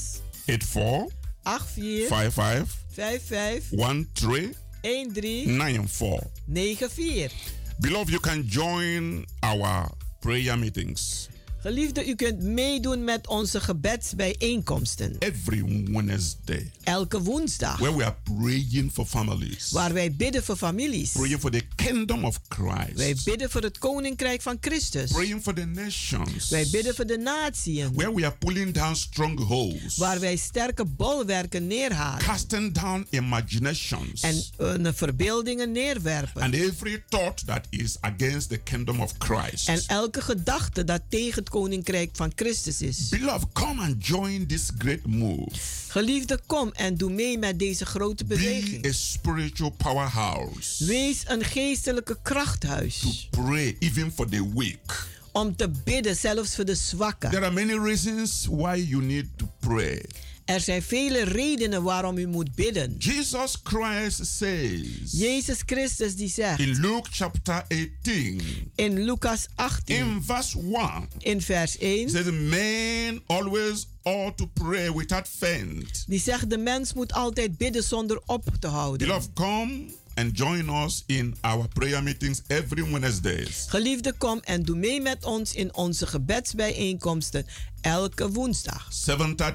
84
84
55
55
13
13
94.
94.
Beloved, you can join Mm. our prayer meetings
Geliefde, u kunt meedoen met onze gebedsbijeenkomsten.
every Wednesday
Elke woensdag,
where we are praying for families,
waar wij bidden voor families.
praying for the kingdom of
Wij
Christ,
bidden voor het koninkrijk van Christus.
praying for the nations,
Wij bidden voor de natieën,
where we are pulling down strongholds,
waar wij sterke bolwerken neerhalen
casting down imaginations,
en eh, verbeeldingen neerwerpen.
and every thought that is against the kingdom of Christ.
En elke gedachte dat tegen het koninkrijk van Christus is.
Beloved, come and join this great move.
Geliefde, kom en doe mee met deze grote
Be
beweging.
a spiritual powerhouse.
Wees een geestelijke krachthuis
Pray even for the weak.
om te bidden, zelfs voor de zwakken.
There are many reasons why you need to pray.
Er zijn vele redenen waarom u moet bidden.
Jesus Christ says
Jezus Christus die zegt
in Luke chapter 18,
in Lucas 18
in verse 1,
in vers
he
1,
says, Men always ought to pray without faint.
die zegt de mens moet altijd bidden zonder op te houden.
Beloved, come and join us in our prayer meetings every Wednesdays.
Geliefde, kom en doe mee met ons in onze gebedsbijeenkomsten elke woensdag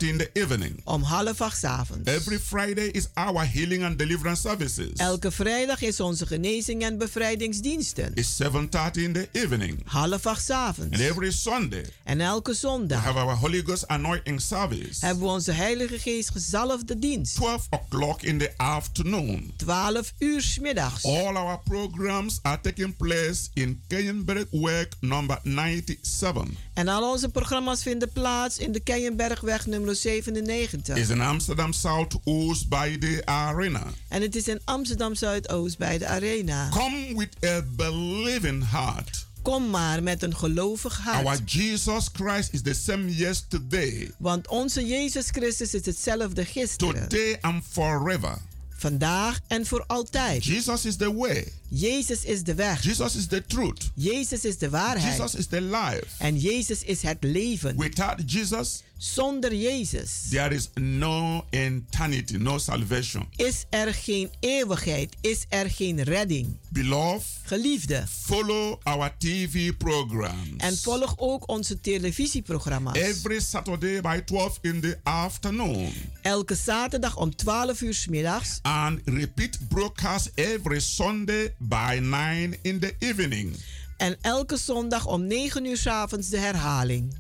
7.30 in the evening.
om half acht 's avonds.
Every Friday is our healing and deliverance services.
Elke vrijdag is onze genezing en bevrijdingsdiensten.
It's 7.30 in the evening.
Half acht 's
And
avonds.
every Sunday,
En elke zondag
have our Holy Ghost anointing service.
hebben we onze Heilige Geest gezalfde dienst.
12 o'clock in the afternoon. Oh.
12 uur 's middags.
All our programs are taking place in Kenyenberg Work number 97.
En al onze programma's vinden plaats in de Keienbergweg nummer 97.
It's in Amsterdam South Oost by the arena.
En het is in Amsterdam Zuidoost bij de Arena.
Come with a believing heart.
Kom maar met een gelovig
Our
hart.
Jesus Christ is the same yesterday,
Want onze Jezus Christus is hetzelfde gisteren,
today and forever.
vandaag en voor altijd.
Jesus is the way.
Jezus is de weg.
Jesus is the truth.
Jezus is de waarheid.
Jesus is the life.
En Jezus is het leven.
Without Jesus,
Zonder Jezus
there is no eternity, no salvation.
is er geen eeuwigheid, is er geen redding.
Beloved,
Geliefde,
Follow our TV programs.
en volg ook onze televisieprogramma's.
Every Saturday by 12 in the afternoon.
Elke zaterdag om 12 uur 's middags
and repeat broadcast every Sunday by 9 in the evening.
En elke zondag om 9 uur 's avonds de herhaling.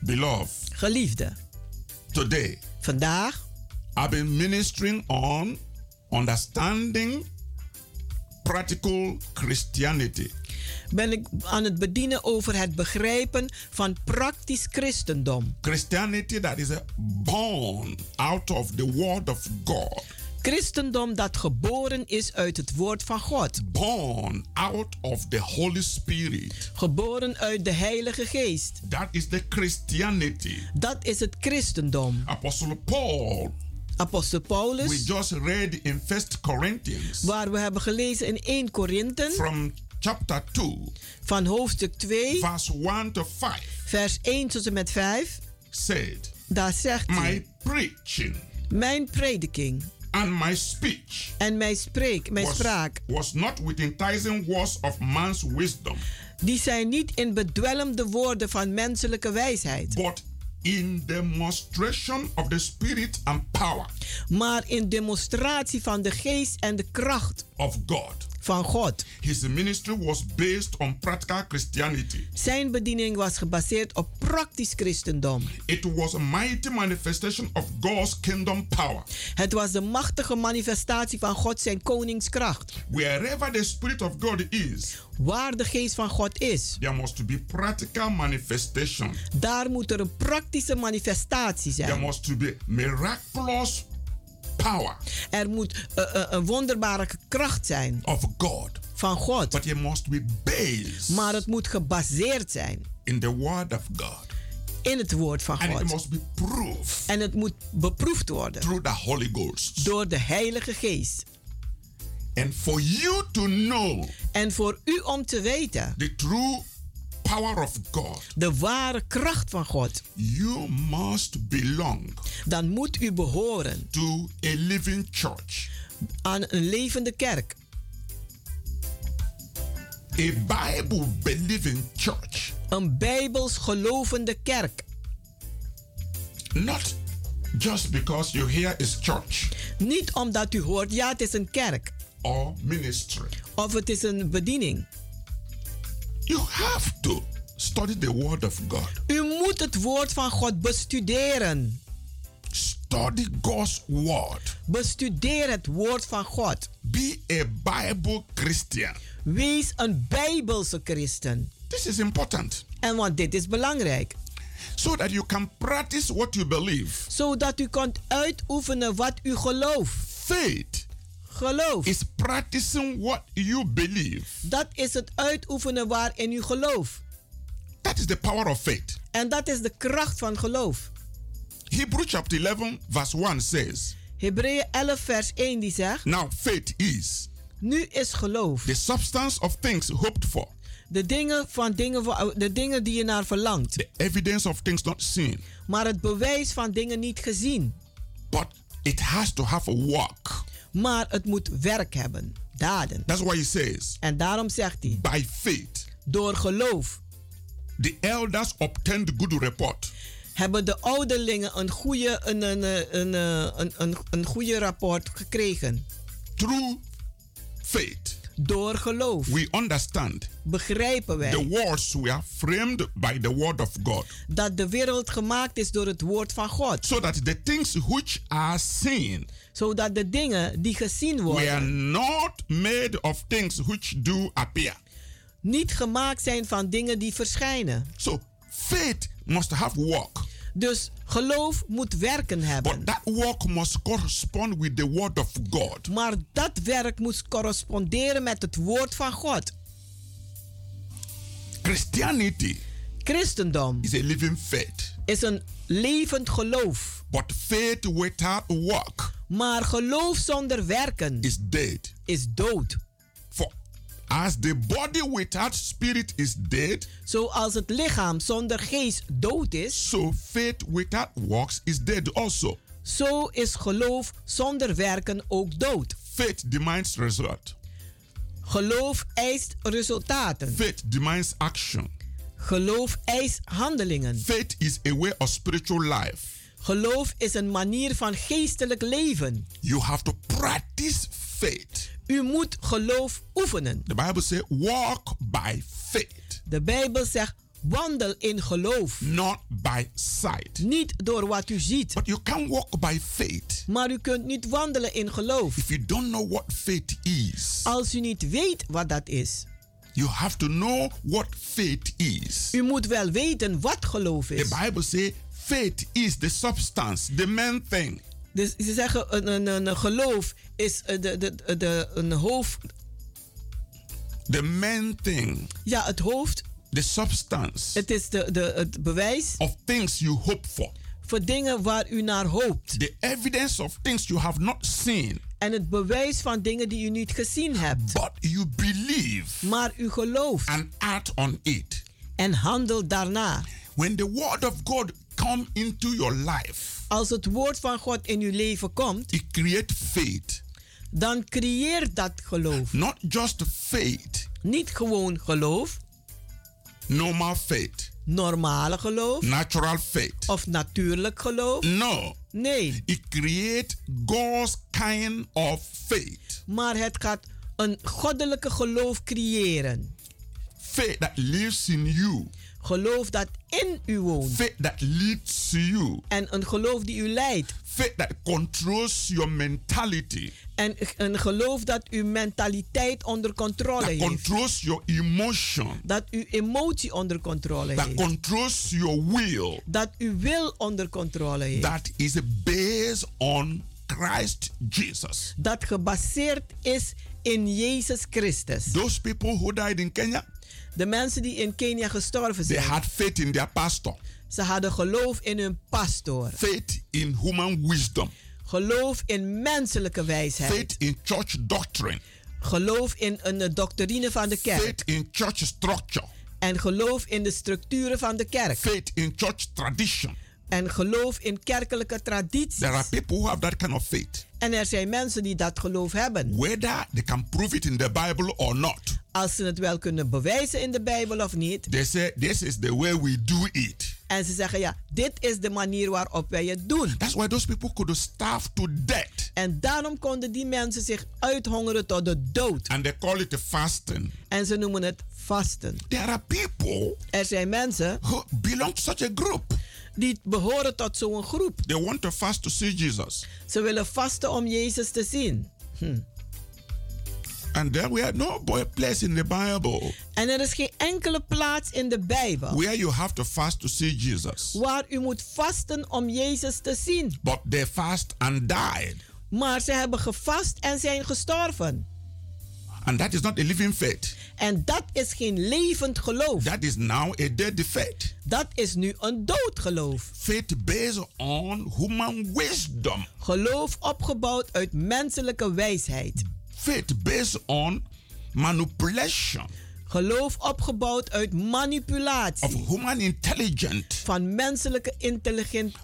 Beloved,
Geliefde,
today
vandaag
I've been ministering on understanding practical Christianity.
ben ik aan het bedienen over het begrijpen van praktisch christendom.
Christianity that is uh, born out of the Word of God,
Christendom dat geboren is uit het woord van God.
born out of the Holy Spirit.
Geboren uit de Heilige Geest.
That is the Christianity.
Dat is het christendom.
Apostle Paul,
Apostel
we
Paulus,
just read in First Corinthians
waar we hebben gelezen in 1 Korinthe
from chapter 2,
van hoofdstuk 2,
verse 1 to 5,
vers 1 tot en met 5,
said,
daar zegt
My
hij,
preaching
mijn prediking
and my speech
en mijn spreek, mijn
was,
spraak,
was not with enticing words of man's wisdom,
die zijn niet in bedwelmde woorden van menselijke wijsheid,
but in demonstration of the Spirit and power
maar in demonstratie van de geest en de kracht
of God.
van God.
His ministry was based on practical Christianity.
Zijn bediening was gebaseerd op praktisch christendom.
It was a mighty manifestation of God's kingdom power.
Het was de machtige manifestatie van God zijn koningskracht.
Wherever the Spirit of God is,
Waar de geest van God is,
there must be practical manifestation.
daar moet er een praktische manifestatie
There
zijn.
must be miraculous power
Er moet eh, eh, een wonderbare kracht zijn
of God.
van God.
But it must be based
Maar het moet gebaseerd zijn
in the Word of God.
in het woord van
And it
God.
must be proof
En het moet beproefd worden
through the Holy Ghost.
door de Heilige Geest.
And for you to know
En voor u om te weten
the true power of God,
de ware kracht van God,
you must belong
dan moet u behoren
to a living church,
aan een levende kerk.
a Bible believing church,
Een bijbels gelovende kerk.
not just because you hear is church
Niet omdat u hoort, ja, het is een kerk
or ministry.
of het is een bediening.
You have to study the Word of God,
U moet het woord van God bestuderen.
study God's Word,
Bestudeer het woord van God.
be a Bible Christian.
Wees een bijbelse christen.
This is important
En want dit is belangrijk.
so that you can practice what you believe.
Zodat u kunt uitoefenen wat u gelooft.
Faith
Geloof.
is practicing what you believe.
Dat is het uitoefenen waarin u gelooft.
That is the power of faith.
En dat is de kracht van geloof.
Hebrew chapter 11, verse 1 says,
Hebreeën 11 vers 1 die zegt.
Now faith is
Nu is geloof.
the substance of things hoped for,
De dingen, van dingen, wa- de dingen die je naar verlangt.
the evidence of things not seen.
Maar het bewijs van dingen niet gezien.
But it has to have a work.
Maar het moet werk hebben. Daden.
That's why he says,
En daarom zegt hij,
By faith,
door geloof
the elders obtained good report.
hebben de ouderlingen een goede, een, een, een, een, een, een, een goede rapport gekregen.
Through faith,
Door geloof
we understand
begrijpen
the
wij
words we are framed by the word of God,
dat de wereld gemaakt is door het woord van God.
so that the things which are seen
Zodat de dingen die gezien
were
worden
not made of things which do appear.
niet gemaakt zijn van dingen die verschijnen.
So faith must have work,
Dus geloof moet werken hebben.
but that work must correspond with the word of God.
Maar dat werk moet corresponderen met het woord van God.
Christianity
Christendom
is a living faith,
is een levend geloof.
but faith without work
Maar geloof zonder werken
is dead.
is dood.
For as the body without spirit is dead,
Zoals het lichaam zonder geest dood is,
so faith without works is dead also.
zo is geloof zonder werken ook dood.
Faith demands result.
Geloof eist resultaten.
Faith demands action.
Geloof eist handelingen.
Faith is a way of spiritual life.
Geloof is een manier van geestelijk leven.
You have to practice faith.
U moet geloof oefenen.
The Bible says, walk by faith,
De Bijbel zegt, wandel in geloof.
not by sight.
Niet door wat u ziet.
But you can't walk by faith
Maar u kunt niet wandelen in geloof.
if you don't know what faith is.
Als u niet weet wat dat is.
You have to know what faith is.
U moet wel weten wat geloof
The
is.
Bible says, faith is the substance, the main thing.
Dus ze zeggen, een, een, een geloof is eh, de, de, de, de- een hoofd,
The main thing,
ja, het hoofd.
the substance
Het is de, de, het bewijs
of things you hope for,
voor dingen waar u naar hoopt.
the evidence of things you have not seen,
En het bewijs van dingen die u niet gezien hebt.
but you believe
Maar u gelooft
and act on it.
en handelt daarna.
When the word of God come into your life,
Als het woord van God in uw leven komt,
it create faith,
dan creëert dat geloof.
not just faith,
Niet gewoon geloof,
normal faith,
normale geloof
natural faith.
of natuurlijk geloof.
No,
Nee,
it create God's kind of faith,
maar het gaat een goddelijke geloof creëren.
faith that lives in you,
Geloof dat in u woont.
faith that leads you,
En een geloof die u leidt.
faith that controls your mentality,
En een geloof dat uw mentaliteit onder controle
that
heeft.
controls your emotion,
Dat uw emotie onder controle
that
heeft.
controls your will.
Dat uw wil onder controle heeft.
That is based on Christ Jesus.
Dat gebaseerd is in Jezus Christus.
Those people who died in Kenya,
De mensen die in Kenia gestorven
they
zijn,
had faith in their pastor,
ze hadden geloof in hun pastoor.
faith in human wisdom,
Geloof in menselijke wijsheid.
faith in church doctrine,
Geloof in een eh, doctrine van de kerk.
faith in church structure,
En geloof in de structuren van de kerk.
faith in church tradition.
En geloof in kerkelijke
There are
tradities.
people who have that kind of faith,
En er zijn mensen die dat geloof hebben.
whether they can prove it in the Bible or not.
Als ze het wel kunnen bewijzen in de Bijbel of niet.
They say, This is the way we do it.
En ze zeggen ja, dit is de manier waarop wij het doen.
That's why those people could starve to death.
En daarom konden die mensen zich uithongeren tot de dood.
And they call it fasting.
En ze noemen het vasten.
There are people
Er zijn mensen
who belong to such a group.
die behoren tot zo'n groep.
They want to fast to see Jesus.
Ze willen vasten om Jezus te zien.
And there we are no boy place in the Bible
En er is geen enkele plaats in de Bijbel
where you have to fast to see Jesus.
waar u moet vasten om Jezus te zien.
But they fast and died.
Maar ze hebben gevast en zijn gestorven.
And that is not a living faith.
En dat is geen levend geloof.
That is now a dead faith.
Dat is nu een dood geloof.
Faith based on human wisdom.
Geloof opgebouwd uit menselijke wijsheid.
Faith based on manipulation
Geloof opgebouwd uit
of
manipulatie
human intelligence.
van menselijke intelligentie.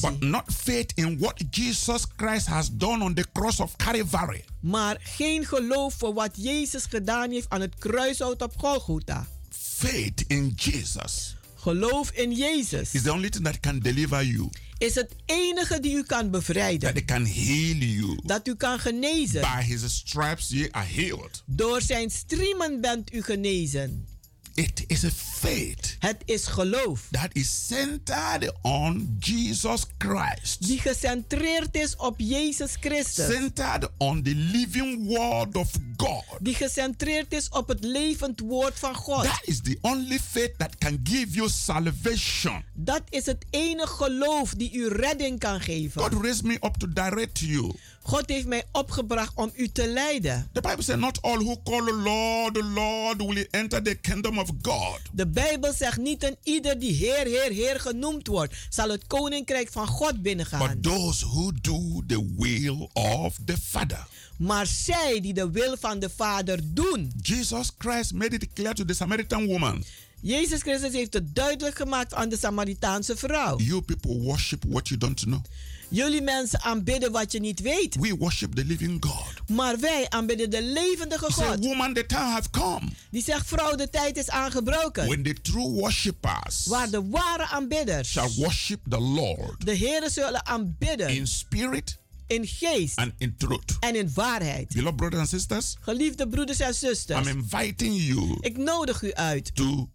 But not faith in what Jesus Christ has done on the cross of Calvary.
Maar geen geloof voor wat Jezus gedaan heeft aan het kruishout op Golgotha.
Faith in Jesus
Geloof in Jezus
is the only thing that can deliver you,
is het enige die u kan bevrijden.
that it can heal you.
Dat u kan genezen.
By his stripes ye are healed.
Door zijn striemen bent u genezen.
It is a faith
Het is geloof
that is centered on Jesus Christ,
die gecentreerd is op Jezus Christus.
centered on the living word of God.
Die gecentreerd is op het levend woord van God.
That is the only faith that can give you salvation.
Dat is het enige geloof die u redding kan
God
geven.
raised me up to direct you.
God heeft mij opgebracht om u te leiden.
The Bible says, Not all who call Lord, Lord will enter the kingdom of God.
De Bijbel zegt niet een ieder die Heer, Heer, Heer genoemd wordt, zal het koninkrijk van God binnengaan.
But those who do the will of the Father.
Maar zij die de wil van de Vader doen.
Jesus Christ made it clear to the Samaritan woman
Jezus Christus heeft het duidelijk gemaakt aan de Samaritaanse vrouw.
You people worship what you don't know.
Jullie mensen aanbidden wat je niet weet,
We worship the living God.
maar wij aanbidden de levendige
He said,
God.
Woman, the time have come
Die zegt, vrouw, de tijd is aangebroken.
when the true worshippers
Waar de ware aanbidders
shall worship the Lord
de Heeren zullen
in
aanbidden
spirit
in geest
and in truth.
en in waarheid.
Beloved brothers and sisters,
Geliefde broeders en zusters,
I'm inviting you
ik nodig u uit
to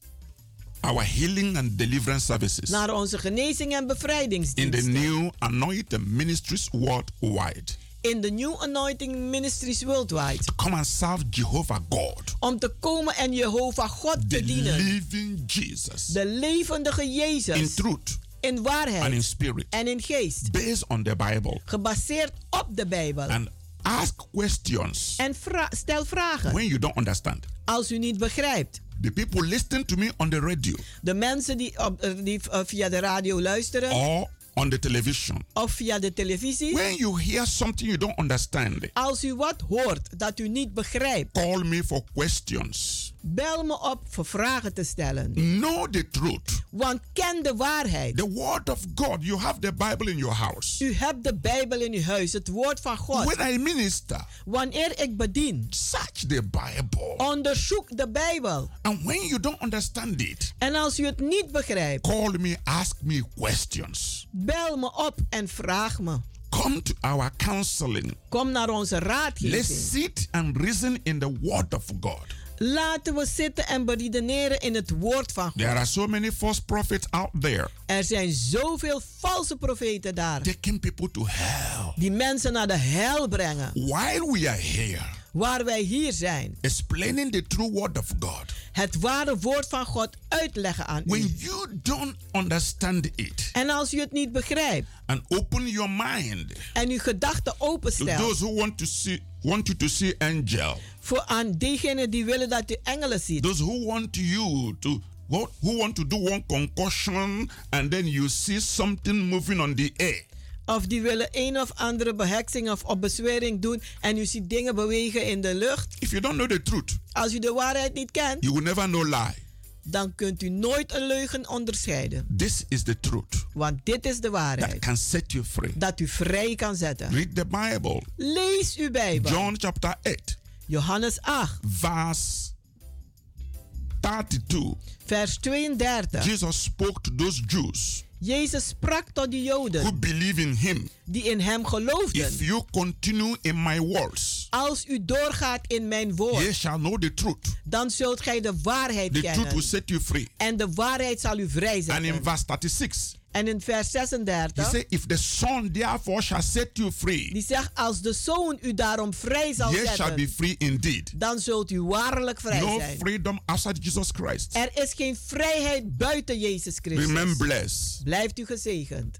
our healing and deliverance services
naar onze genezing en
in the
bevrijdingsdienst
new anointed ministries worldwide.
in de New Anointing Ministries Worldwide.
Come and serve Jehovah God,
Om te komen en Jehovah God
the
te dienen.
living Jesus,
De levendige
in
Jezus.
truth
In
and in
waarheid
spirit,
en in geest.
based on the Bible,
Gebaseerd op de Bijbel.
and ask questions
En vra- stel vragen
when you don't understand.
als u niet begrijpt.
The people listening to me on the radio
De mensen die, op, eh, die eh, via de radio luisteren
or on the television,
of via de televisie.
when you hear something you don't understand,
Als u wat hoort dat u niet begrijpt,
call me for questions.
bel me op voor vragen te stellen.
Know the truth.
Want ken de waarheid.
The word of God. You have the Bible in your house.
U hebt de Bijbel in uw huis, het woord van
When
God.
I minister,
Wanneer ik bedien,
search the Bible.
onderzoek de Bijbel.
And when you don't understand it,
En als u het niet begrijpt,
call me, ask me questions.
bel me op en vraag me.
Come to our counseling.
Kom naar onze
Let's
raadgeving.
sit and reason in the word of God.
Laten we zitten en beredeneren in het woord van God.
There are so many false prophets out there
Er zijn zoveel valse profeten daar.
taking people to hell.
die mensen naar de hel brengen.
While we are here
Waar wij hier zijn.
explaining the true word of God,
Het ware woord van God uitleggen aan
when
u.
you don't understand it
En als u het niet begrijpt
and open your mind
en uw gedachten
to
openstelt
those who want to see want you to see angel
voor aan diegenen die willen dat u engelen ziet.
those who want you to what who want to do one concussion and then you see something moving on the air
Of die willen een of andere beheksing of opbezwering doen en u ziet dingen bewegen in de lucht.
if you don't know the truth
Als u de waarheid niet kent,
you will never know lie
dan kunt u nooit een leugen onderscheiden.
this is the truth
Want dit is de
that
waarheid.
can set you free
Dat u vrij kan zetten.
read the bible
Lees uw Bijbel.
john chapter 8
Johannes 8,
verse 32
vers 32.
jesus spoke to those jews
Jezus sprak tot de
who
Joden
believe in him
die in hem
if
geloofden.
you continue in my words
Als u doorgaat in mijn woord,
Ye shall know the truth.
dan zult gij de waarheid
The truth will
kennen.
set you free.
En de waarheid zal u
And in
vrijzetten.
verse 36,
En in vers
he
36,
said, If the Son therefore shall set you free,
die zegt, als de zoon u daarom vrij zal
ye shall be
zetten,
free indeed.
dan zult u waarlijk vrij
No
zijn.
freedom outside Jesus Christ.
Er is geen vrijheid buiten Jezus
Remain
Christus.
blessed.
Blijft u gezegend.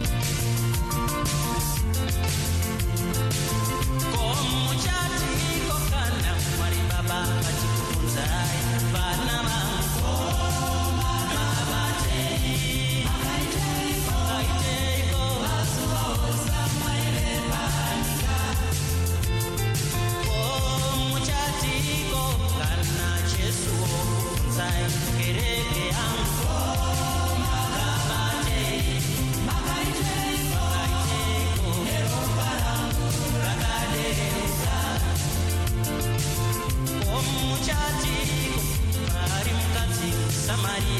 Baba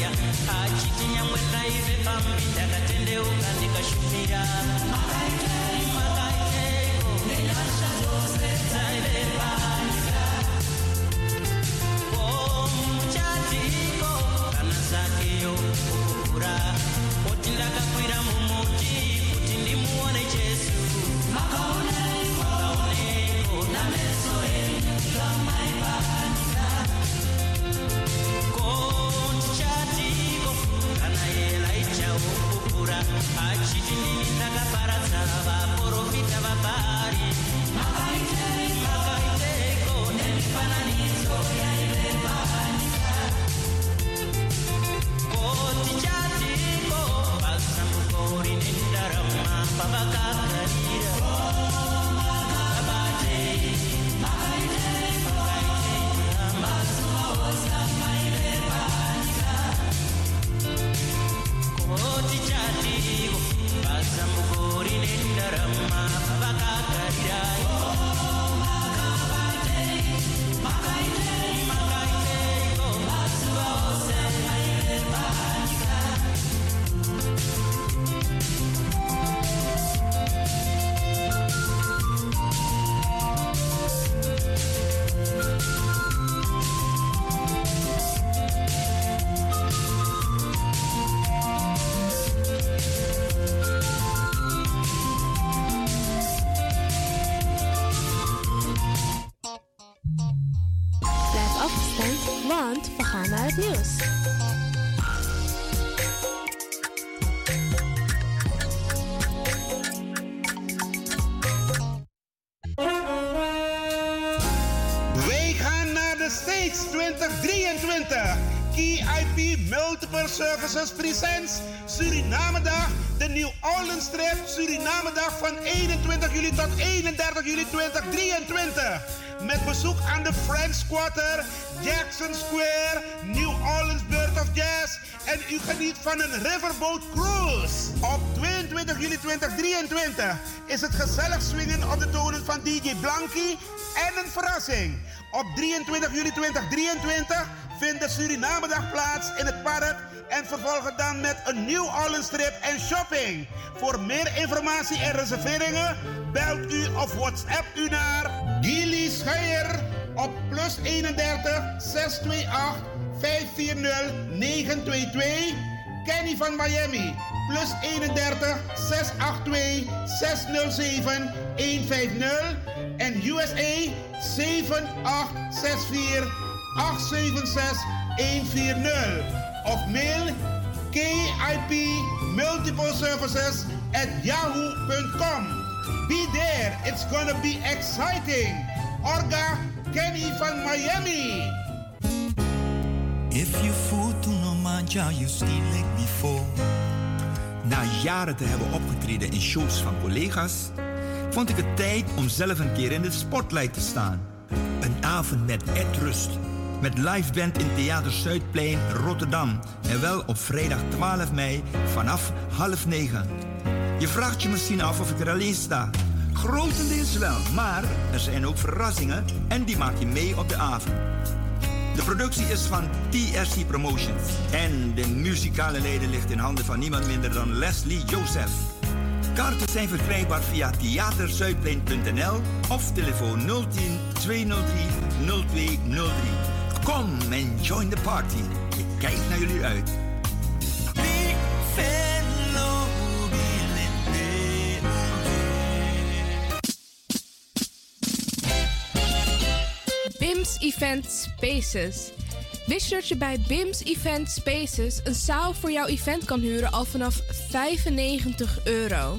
ya achitinya mwekaive pambi takatendeuka ndikashumira makaiteko nenasha zose zaivepanja omchatiko kana zakeyo kukura oti ndakakwira mumuti kuti ndimuone jesu makaoneko nameso enyu zvamaivanja kotichatiko kana yela ichaokukura achitinini takaparadza vaprofita vabhari makaiteko nemifananidzo yaivembanika kotichatiko vasamukori nendarama pavakakarira vabatei
Blijf afgestemd, want we gaan naar het nieuws.
Wij gaan naar de States 2023. KIP Multiple Services Presents Surinamedag. De New Orleans Trip Surinamedag van 21 juli tot 31 juli 2023. Met bezoek aan de French Quarter, Jackson Square, New Orleans Bird of Jazz. En u geniet van een Riverboat Cruise. Op 22 juli 2023 is het gezellig swingen op de tonen van DJ Blankie en een verrassing. Op 23 juli 2023 vindt de Surinamedag plaats in het park. En vervolgens dan met een New Orleans trip en shopping. Voor meer informatie en reserveringen belt u of WhatsApp u naar Gilly Scheier op plus 31 628 540 922. Kenny van Miami plus 31 682 607 150 en USA 7864 876 140 of mail KIP Multiple Services at yahoo.com. Be there, it's gonna be exciting. Orga Kenny van Miami.
If you voelt toen al manja, you still like before. Na jaren te hebben opgetreden in shows van collega's, vond ik het tijd om zelf een keer in de spotlight te staan. Een avond met Ed Rust. Met live band in Theater Zuidplein, Rotterdam. En wel op vrijdag 12 mei vanaf half negen. Je vraagt je misschien af of ik er alleen sta. Grotendeels wel, maar er zijn ook verrassingen en die maak je mee op de avond. De productie is van TSC Promotions. En de muzikale leden ligt in handen van niemand minder dan Leslie Joseph. Kaarten zijn verkrijgbaar via theaterzuidplein.nl of telefoon 010 203 0203. Kom en join the party. Ik kijk naar jullie uit.
BIMS Event Spaces. Wist je dat je bij BIMS Event Spaces een zaal voor jouw event kan huren al vanaf 95 euro?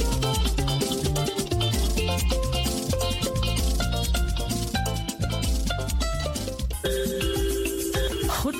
Goed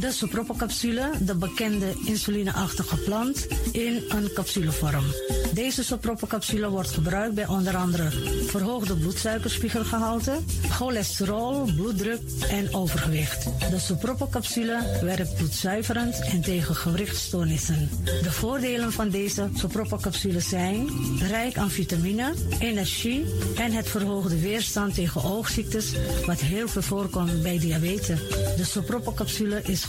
De soproppencapsule, de bekende insulineachtige plant, in een capsulevorm. Deze soproppencapsule wordt gebruikt bij onder andere verhoogde bloedsuikerspiegelgehalte, cholesterol, bloeddruk en overgewicht. De soproppencapsule werkt bloedzuiverend en tegen gewrichtstoornissen. De voordelen van deze soproppencapsules zijn rijk aan vitamine, energie en het verhoogde weerstand tegen oogziektes, wat heel veel voorkomt bij diabetes. De soproppencapsule is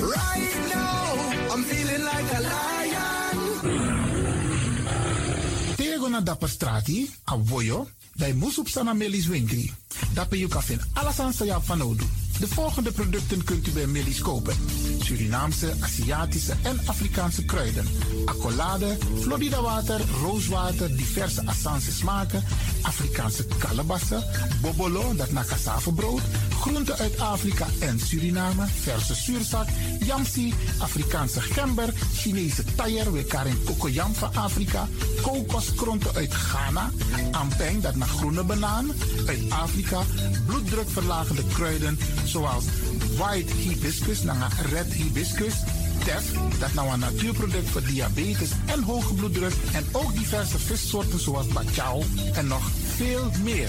Right now, I'm feeling like a lion.
Tego na dapper strati, a voyo, bij moesop sana Melis Winkri. Dapper you kan vinden alles aan sa van Odu. De volgende producten kunt u bij Melis kopen. Surinaamse, Aziatische en Afrikaanse kruiden. Accolade, Florida water, rooswater, diverse Assange smaken. Afrikaanse kalebassen, bobolo, dat na cassavebrood. Groenten uit Afrika en Suriname, verse zuurzak, yamsi, Afrikaanse gember, Chinese taier, we karen kokoyam van Afrika, kokoskronten uit Ghana, ampeng, dat naar groene banaan, uit Afrika, bloeddrukverlagende kruiden, zoals white hibiscus, naar red hibiscus, tef, dat nou een natuurproduct voor diabetes en hoge bloeddruk, en ook diverse vissoorten zoals bachao en nog veel meer.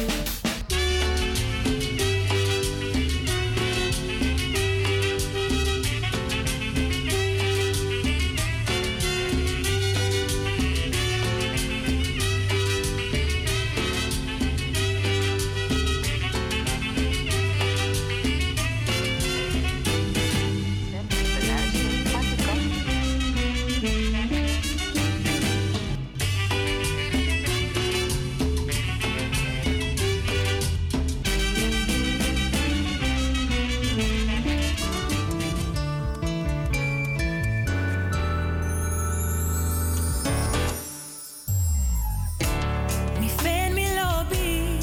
Mi fen mi lobby,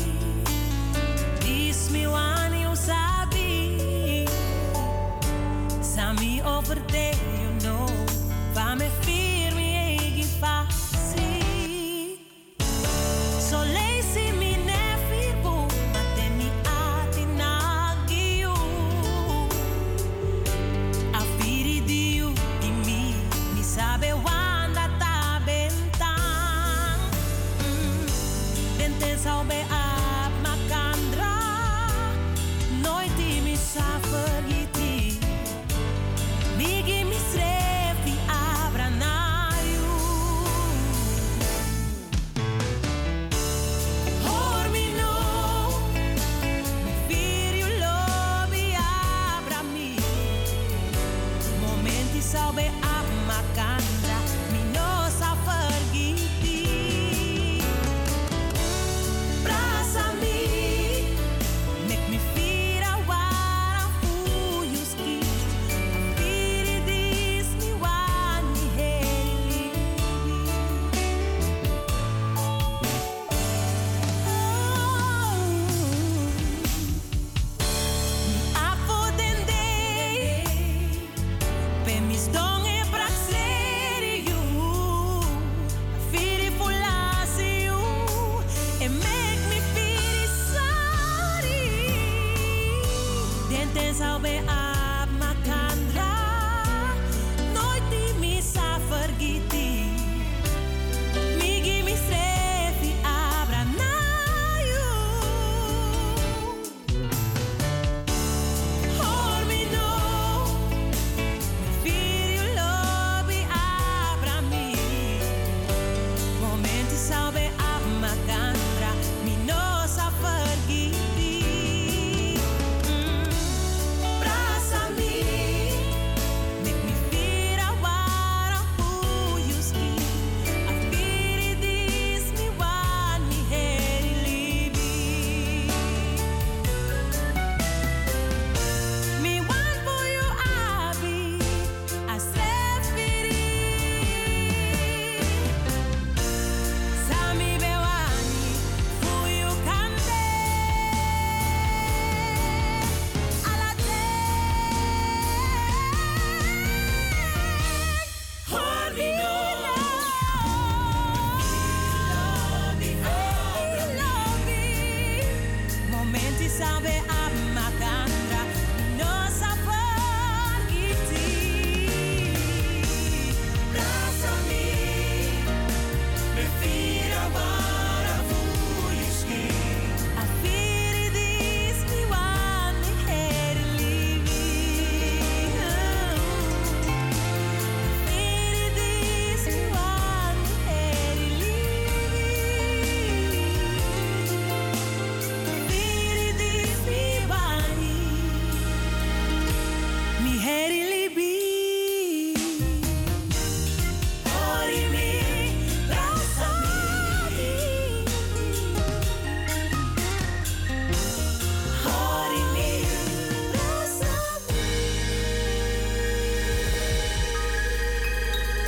dis mi wani usabi. Sami over te, you know, va me firmi e fasi. So lazy mi ne firbu, ma te mi ati nagiu. Afiri diu, di mi, mi sabe wanda ta bentang. Dente salbe ap makandra Nooit die misaffer hiti Migi misrefi abranayu Hoor me no Viriu lobi abra mi Momenti salbe ap makandra Mi no saffer hiti Oh, e Mm,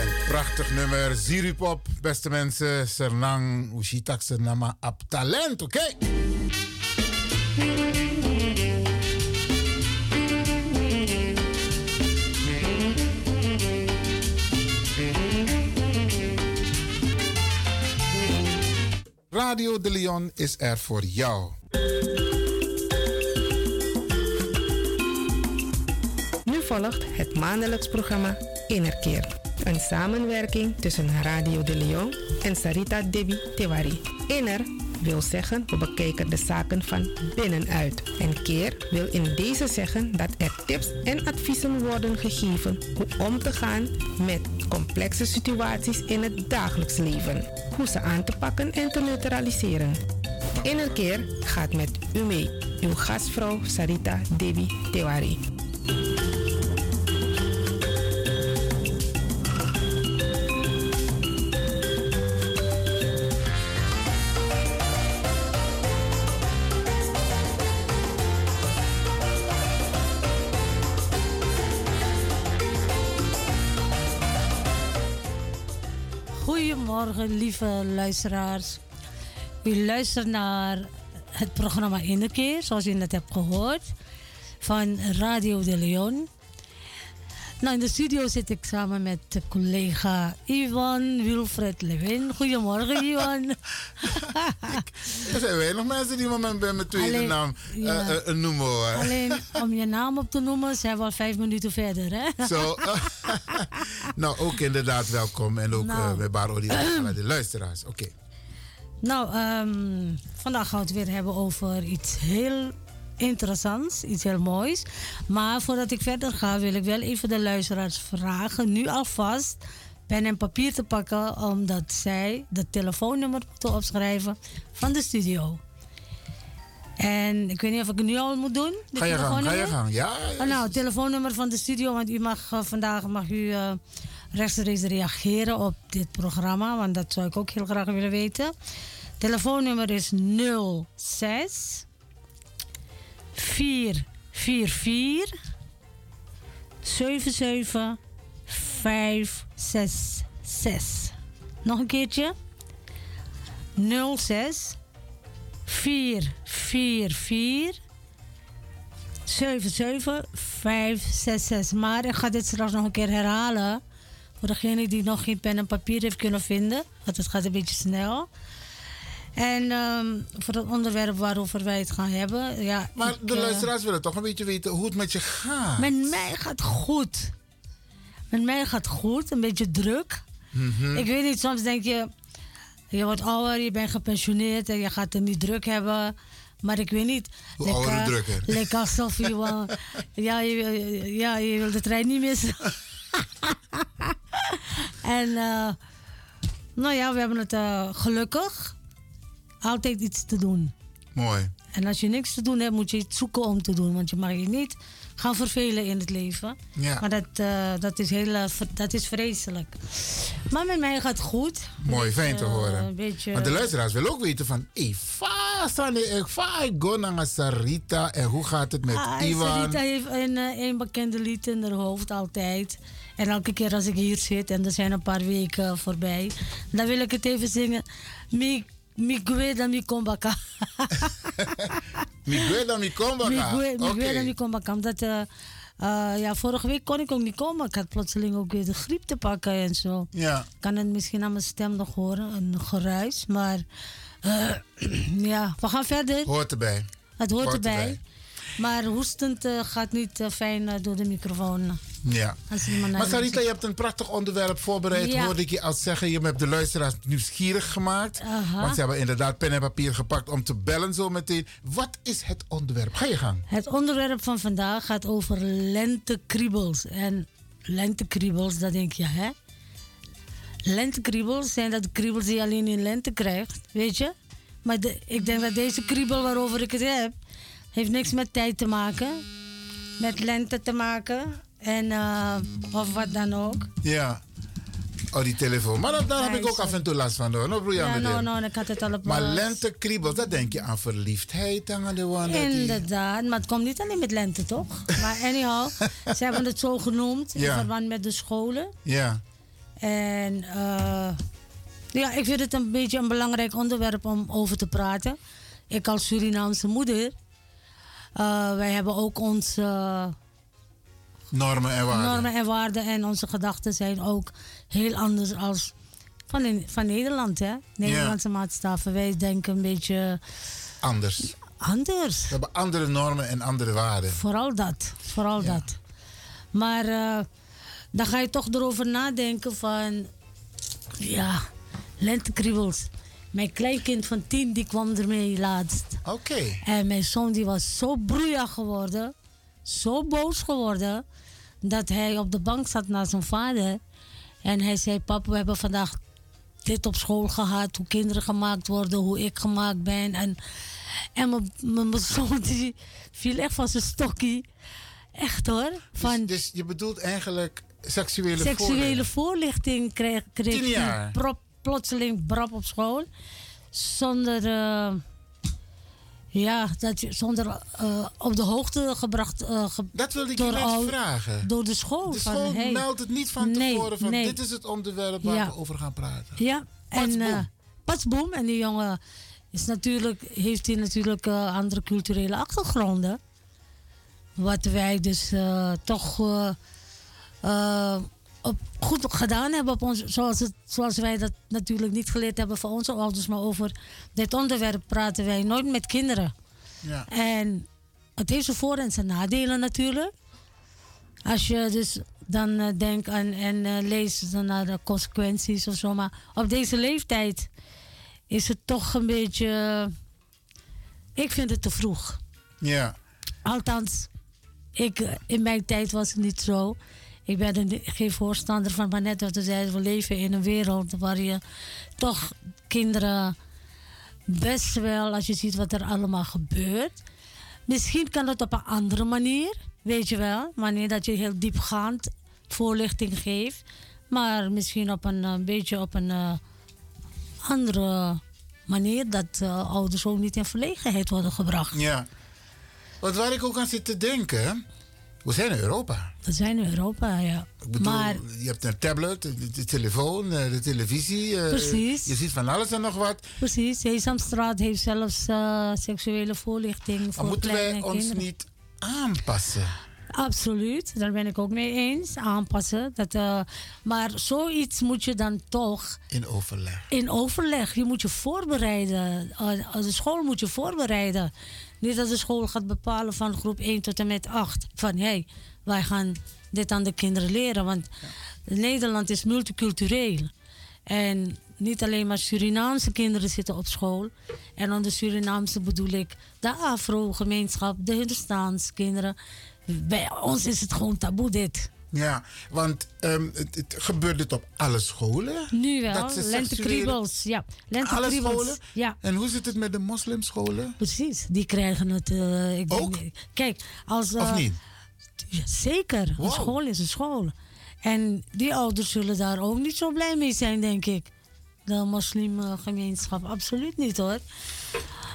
Een prachtig nummer. Ziripop, beste mensen. Sernang, Ushitak Sernama, Ab Talent, oké? Radio de Leon is er voor jou.
Nu volgt het maandelijks programma Innerkeer. Een samenwerking tussen Radio de Leon en Sarita Debi Tewari. Inner wil zeggen we bekijken de zaken van binnenuit. En keer wil in deze zeggen dat er tips en adviezen worden gegeven hoe om te gaan met complexe situaties in het dagelijks leven. Hoe ze aan te pakken en te neutraliseren. Innerkeer gaat met u mee. Uw gastvrouw Sarita Debi Tewari.
Goedemorgen, lieve luisteraars. U luistert naar het programma Innerkeer, zoals u net hebt gehoord, van Radio de Leon. Nou, in de studio zit ik samen met de collega Ivan Wilfred Lewin. Goedemorgen, Ivan.
Er zijn weinig mensen die me met mijn tweede
Alleen-
naam eh,
ja.
eh, noemen hoor.
Alleen om je naam op te noemen, zijn we al vijf minuten verder, hè?
Zo. eh, nou, ook inderdaad welkom. En ook
Nou.
eh, bij Baro die aan de luisteraars. Oké.
Nou, ehm, vandaag gaan we het weer hebben over iets heel interessants, iets heel moois. Maar voordat ik verder ga, wil ik wel even de luisteraars vragen, nu alvast pen en papier te pakken, omdat zij de telefoonnummer moeten opschrijven van de studio. En ik weet niet of ik het nu al moet doen. de
Ga je gang,
telefoonnummer?
ga je gang. Ja, ja,
Oh, nou, het telefoonnummer van de studio, want u mag eh, vandaag mag u eh, rechtstreeks reageren op dit programma, want dat zou ik ook heel graag willen weten. Telefoonnummer is 06 444 77 566. Nog een keertje. 06 444 77566. Maar ik ga dit straks nog een keer herhalen. Voor degene die nog geen pen en papier heeft kunnen vinden. Want het gaat een beetje snel. En ehm, voor het onderwerp waarover wij het gaan hebben. Ja,
Maar
ik,
de
eh,
luisteraars willen toch een beetje weten hoe het met je gaat.
Met mij gaat goed. Met mij gaat goed. Een beetje druk.
Mhm.
Ik weet niet, soms denk je, je wordt ouder, je bent gepensioneerd en je gaat het niet druk hebben. Maar ik weet niet.
Hoe ouder, hoe drukker.
Lekker alsof je wel. ja, je, wil- ja, je wil de trein niet missen. en, eh, nou ja, we hebben het eh, gelukkig altijd iets te doen.
Mooi.
En als je niks te doen hebt, moet je iets zoeken om te doen. Want je mag je niet gaan vervelen in het leven.
Ja.
Maar dat, eh, dat, is heel, eh, ver- dat is vreselijk. Maar met mij gaat het goed.
Mooi, fijn te
Eh,
horen.
Een beetje...
Want de luisteraars willen ook weten van... Hey, fa, Sani, eh, fa, ik go naar Sarita. En hoe gaat het met
Ah,
Iwan?
Sarita heeft een, eh, een bekende lied in haar hoofd altijd. En elke keer als ik hier zit, en er zijn een paar weken voorbij... dan wil ik het even zingen. Mi, mi gueda mi combaka.
Miguel dan mi komba
Mi
ga.
gue- mi
Oké.
gueda mi combaka. Omdat, eh, eh, ja, vorige week kon ik ook niet komen. Ik had plotseling ook weer de griep te pakken en zo.
Ja.
kan het misschien aan mijn stem nog horen, een geruis. Maar eh, ja, we gaan verder.
Hoort erbij.
Het hoort,
hoort
erbij.
erbij.
Maar hoestend eh, gaat niet eh, fijn eh, door de microfoon.
Ja.
Als iemand naar
Maar
de
Sarita,
muziek-
je hebt een prachtig onderwerp voorbereid.
Ja.
Hoorde ik je al zeggen. Je hebt de luisteraars nieuwsgierig gemaakt.
Aha.
Want ze hebben inderdaad pen en papier gepakt om te bellen zo meteen. Wat is het onderwerp? Ga je gang.
Het onderwerp van vandaag gaat over lentekriebels. En lentekriebels, dat denk je, hè? Lentekriebels zijn dat de kriebels die je alleen in lente krijgt, weet je? Maar de- ik denk dat deze kriebel waarover ik het heb, heeft niks met tijd te maken. Met lente te maken. En, eh, of wat dan ook.
Ja. Oh, die telefoon. Maar dat, daar heb ik ook af en toe last van hoor. No, broer,
Ja,
Jan,
nou,
meneer.
nou, dan kan het al op
Maar
eh,
lentekriebels, dat denk je aan verliefdheid. aan de one dat die-
Inderdaad, maar het komt niet alleen met lente, toch? Maar anyhow, ze hebben het zo genoemd in
Ja.
verband met de scholen.
Ja.
En eh, ja, ik vind het een beetje een belangrijk onderwerp om over te praten. Ik als Surinaamse moeder, eh, wij hebben ook onze
Normen en waarden.
normen en waarden en onze gedachten zijn ook heel anders als van, in, van Nederland, hè? Nederlandse maatstaven. Wij denken een beetje
Anders.
Anders. We
hebben andere normen en andere waarden.
Vooral dat, vooral dat. Maar eh, dan ga je toch erover nadenken van... Ja, lentekriebels. Mijn kleinkind van tien, die kwam ermee laatst.
Oké.
En mijn zoon die was zo broeiig geworden. Zo boos geworden. Dat hij op de bank zat naast zijn vader. En hij zei, papa, we hebben vandaag dit op school gehad. Hoe kinderen gemaakt worden, hoe ik gemaakt ben. En, en mijn- mijn mijn zoon die viel echt van zijn stokkie. Echt hoor. Van
Dus, dus je bedoelt eigenlijk seksuele,
seksuele
voordelen.
voorlichting kreeg, kreeg
Tien
die
jaar.
prop, plotseling brap op school. Zonder, eh, ja, dat, je- zonder eh, op de hoogte gebracht eh ge-
Dat wilde ik je
door
net
al-
vragen.
Door de school.
De
Oh, van,
school
hey.
meldt het niet van
Nee,
tevoren van
nee.
dit is het onderwerp waar
Ja.
we over gaan praten.
Ja, en eh pas boem. En die jongen is natuurlijk, heeft hij natuurlijk eh, andere culturele achtergronden. Wat wij dus eh, toch eh, eh, op, goed gedaan hebben op ons, zoals, het, zoals wij dat natuurlijk niet geleerd hebben van onze ouders. Maar over dit onderwerp praten wij nooit met kinderen.
Ja.
En het heeft zijn voor- en zijn nadelen natuurlijk. Als je dus dan eh, denkt aan, en eh, leest dan naar de consequenties of zo. Maar op deze leeftijd is het toch een beetje... eh, ik vind het te vroeg.
Ja.
Althans, ik, eh, in mijn tijd was het niet zo. Ik ben er ni- geen voorstander van, maar net wat we zeiden, we leven in een wereld waar je toch kinderen best wel, als je ziet wat er allemaal gebeurt. Misschien kan het op een andere manier, weet je wel, wanneer dat je heel diepgaand voorlichting geeft, maar misschien op een, eh, beetje op een eh, andere manier dat eh, ouders ook niet in verlegenheid worden gebracht.
Ja. Want waar ik ook aan zit te denken, we zijn in Europa.
We zijn in Europa, ja.
Ik bedoel, eh,
maar
je hebt een tablet, de, de telefoon, eh, de televisie. eh,
Precies.
Je ziet van alles en nog wat.
precies, Sesamstraat heeft zelfs eh, seksuele voorlichting
Maar
voor
moeten
kleine
wij ons
kinderen.
niet aanpassen?
Absoluut, daar ben ik ook mee eens. Aanpassen. Dat, eh, maar zoiets moet je dan toch
In overleg.
in overleg. Je moet je voorbereiden. Eh, De school moet je voorbereiden. Niet dat de school gaat bepalen van groep 1 tot en met 8. Van hé, hey, wij gaan dit aan de kinderen leren. Want Nederland is multicultureel. En niet alleen maar Surinaamse kinderen zitten op school. En onder Surinaamse bedoel ik de Afro-gemeenschap, de Hindustaanse kinderen. Bij ons is het gewoon taboe dit.
Ja, want ehm, het, het gebeurt dit op alle scholen.
Nu wel,
Dat ze
lentekriebels. Ja, lentekriebels.
Alle scholen?
Ja.
En hoe zit het met de moslimscholen?
Precies, die krijgen het. eh, ik denk- kijk, als. eh,
Of niet?
ja, zeker, een school is een school. En die ouders zullen daar ook niet zo blij mee zijn, denk ik. De moslimgemeenschap, absoluut niet hoor.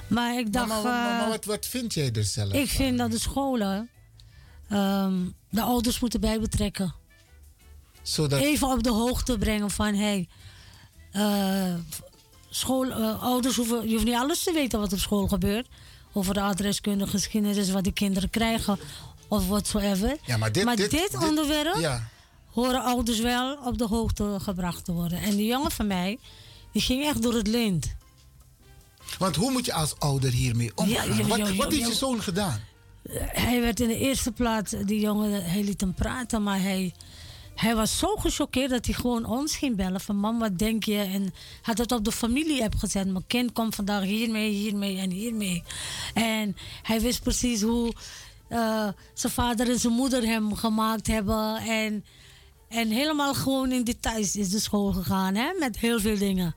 Maar ik dacht.
maar, maar- maar- maar
eh,
wat, wat vind jij er zelf?
ik vind dat de scholen ehm, de ouders moeten bij betrekken.
Zodat,
Even op de hoogte brengen van hey, eh, school, eh, ouders hoeven, je hoeft niet alles te weten wat op school gebeurt. Over de adreskunde, geschiedenis, wat de kinderen krijgen of whatsoever.
ja, maar dit, dit,
onderwerp
Ja,
horen ouders wel op de hoogte gebracht te worden. En die jongen van mij, die ging echt door het lint.
want hoe moet je als ouder hiermee omgaan?
ja,
wat
ja, ja,
wat heeft
ja.
je zoon gedaan?
hij werd in de eerste plaats, die jongen, hij liet hem praten, maar hij, hij was zo gechoqueerd dat hij gewoon ons ging bellen. Van mam, wat denk je? En had het op de familie-app gezet. Mijn kind komt vandaag hiermee, hiermee en hiermee. En hij wist precies hoe eh, zijn vader en zijn moeder hem gemaakt hebben. En, en helemaal gewoon in details is de school gegaan, hè? met heel veel dingen.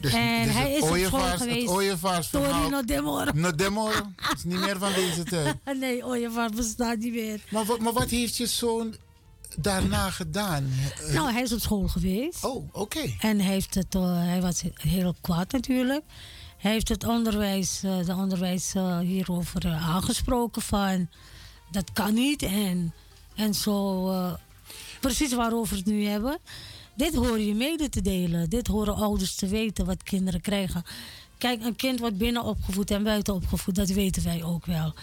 Dus,
En
dus
hij is
het
op school
ooievaars-
geweest.
Het ooievaarsverhaal.
Tori Nodemoro.
Nodemoro. is niet meer van deze tijd.
nee, oh, je bestaat niet meer.
eh, Maar, wat- maar wat heeft je zoon daarna gedaan? Eh,
Nou, hij is op school geweest.
Oh, oké.
En hij, heeft het, eh, hij was heel kwaad natuurlijk. Hij heeft het onderwijs, eh, de onderwijs eh, hierover eh, aangesproken van... dat kan niet en, en zo... eh, precies waarover we het nu hebben. Dit hoor je mede te delen. Dit horen ouders te weten wat kinderen krijgen. Kijk, een kind wordt binnen opgevoed en buiten opgevoed. Dat weten wij ook wel.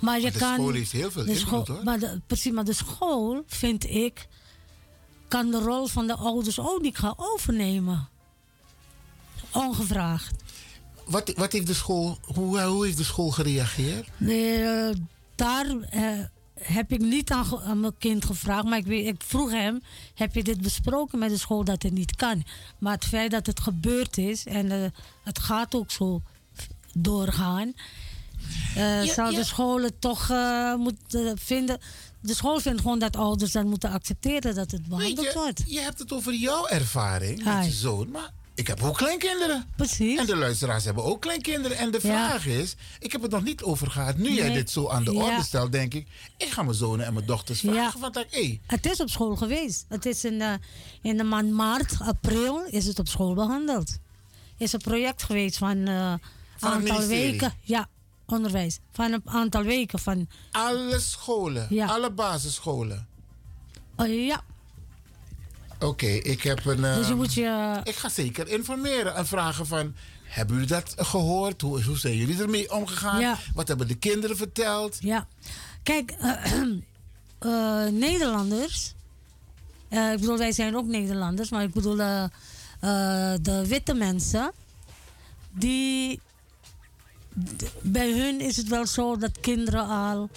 Maar je
Maar de
kan,
school heeft heel veel
de
invloed,
school-
hoor.
Maar de, precies, maar de school, vind ik, kan de rol van de ouders ook niet gaan overnemen. Ongevraagd.
Wat, wat heeft de school, hoe, eh, hoe heeft de school gereageerd?
Nee, eh, daar eh, heb ik niet aan, ge- aan mijn kind gevraagd. Maar ik, weet- ik vroeg hem, heb je dit besproken met de school dat het niet kan? Maar het feit dat het gebeurd is en eh, het gaat ook zo doorgaan... eh,
Ja,
zou
ja.
de scholen toch eh, moeten vinden... De school vindt gewoon dat ouders dan moeten accepteren dat het behandeld wordt.
Je hebt het over jouw ervaring met je zoon, maar ik heb ook kleinkinderen.
Precies.
En de luisteraars hebben ook kleinkinderen. En de
Ja.
vraag is, ik heb het nog niet over gehad. Nu jij
Nee.
dit zo aan de
Ja.
orde stelt, denk ik, ik ga mijn zonen en mijn dochters vragen. Wat ik, hey,
Het is op school geweest. Het is in, eh, in de maand maart, april is het op school behandeld. is een project geweest van een
Van
aantal
het ministerie?
weken. Ja, onderwijs. Van een aantal weken. Van,
alle scholen,
Ja.
alle basisscholen.
eh, ja,
Oké, ik heb een...
dus je
eh,
moet je...
Ik ga zeker informeren en vragen van... Hebben jullie dat gehoord? Hoe, hoe zijn jullie ermee omgegaan?
Ja.
Wat hebben de kinderen verteld?
Ja. Kijk, eh, Nederlanders. eh, ik bedoel, wij zijn ook Nederlanders, maar ik bedoel eh, eh, de witte mensen. Die. d- Bij hun is het wel zo dat kinderen al.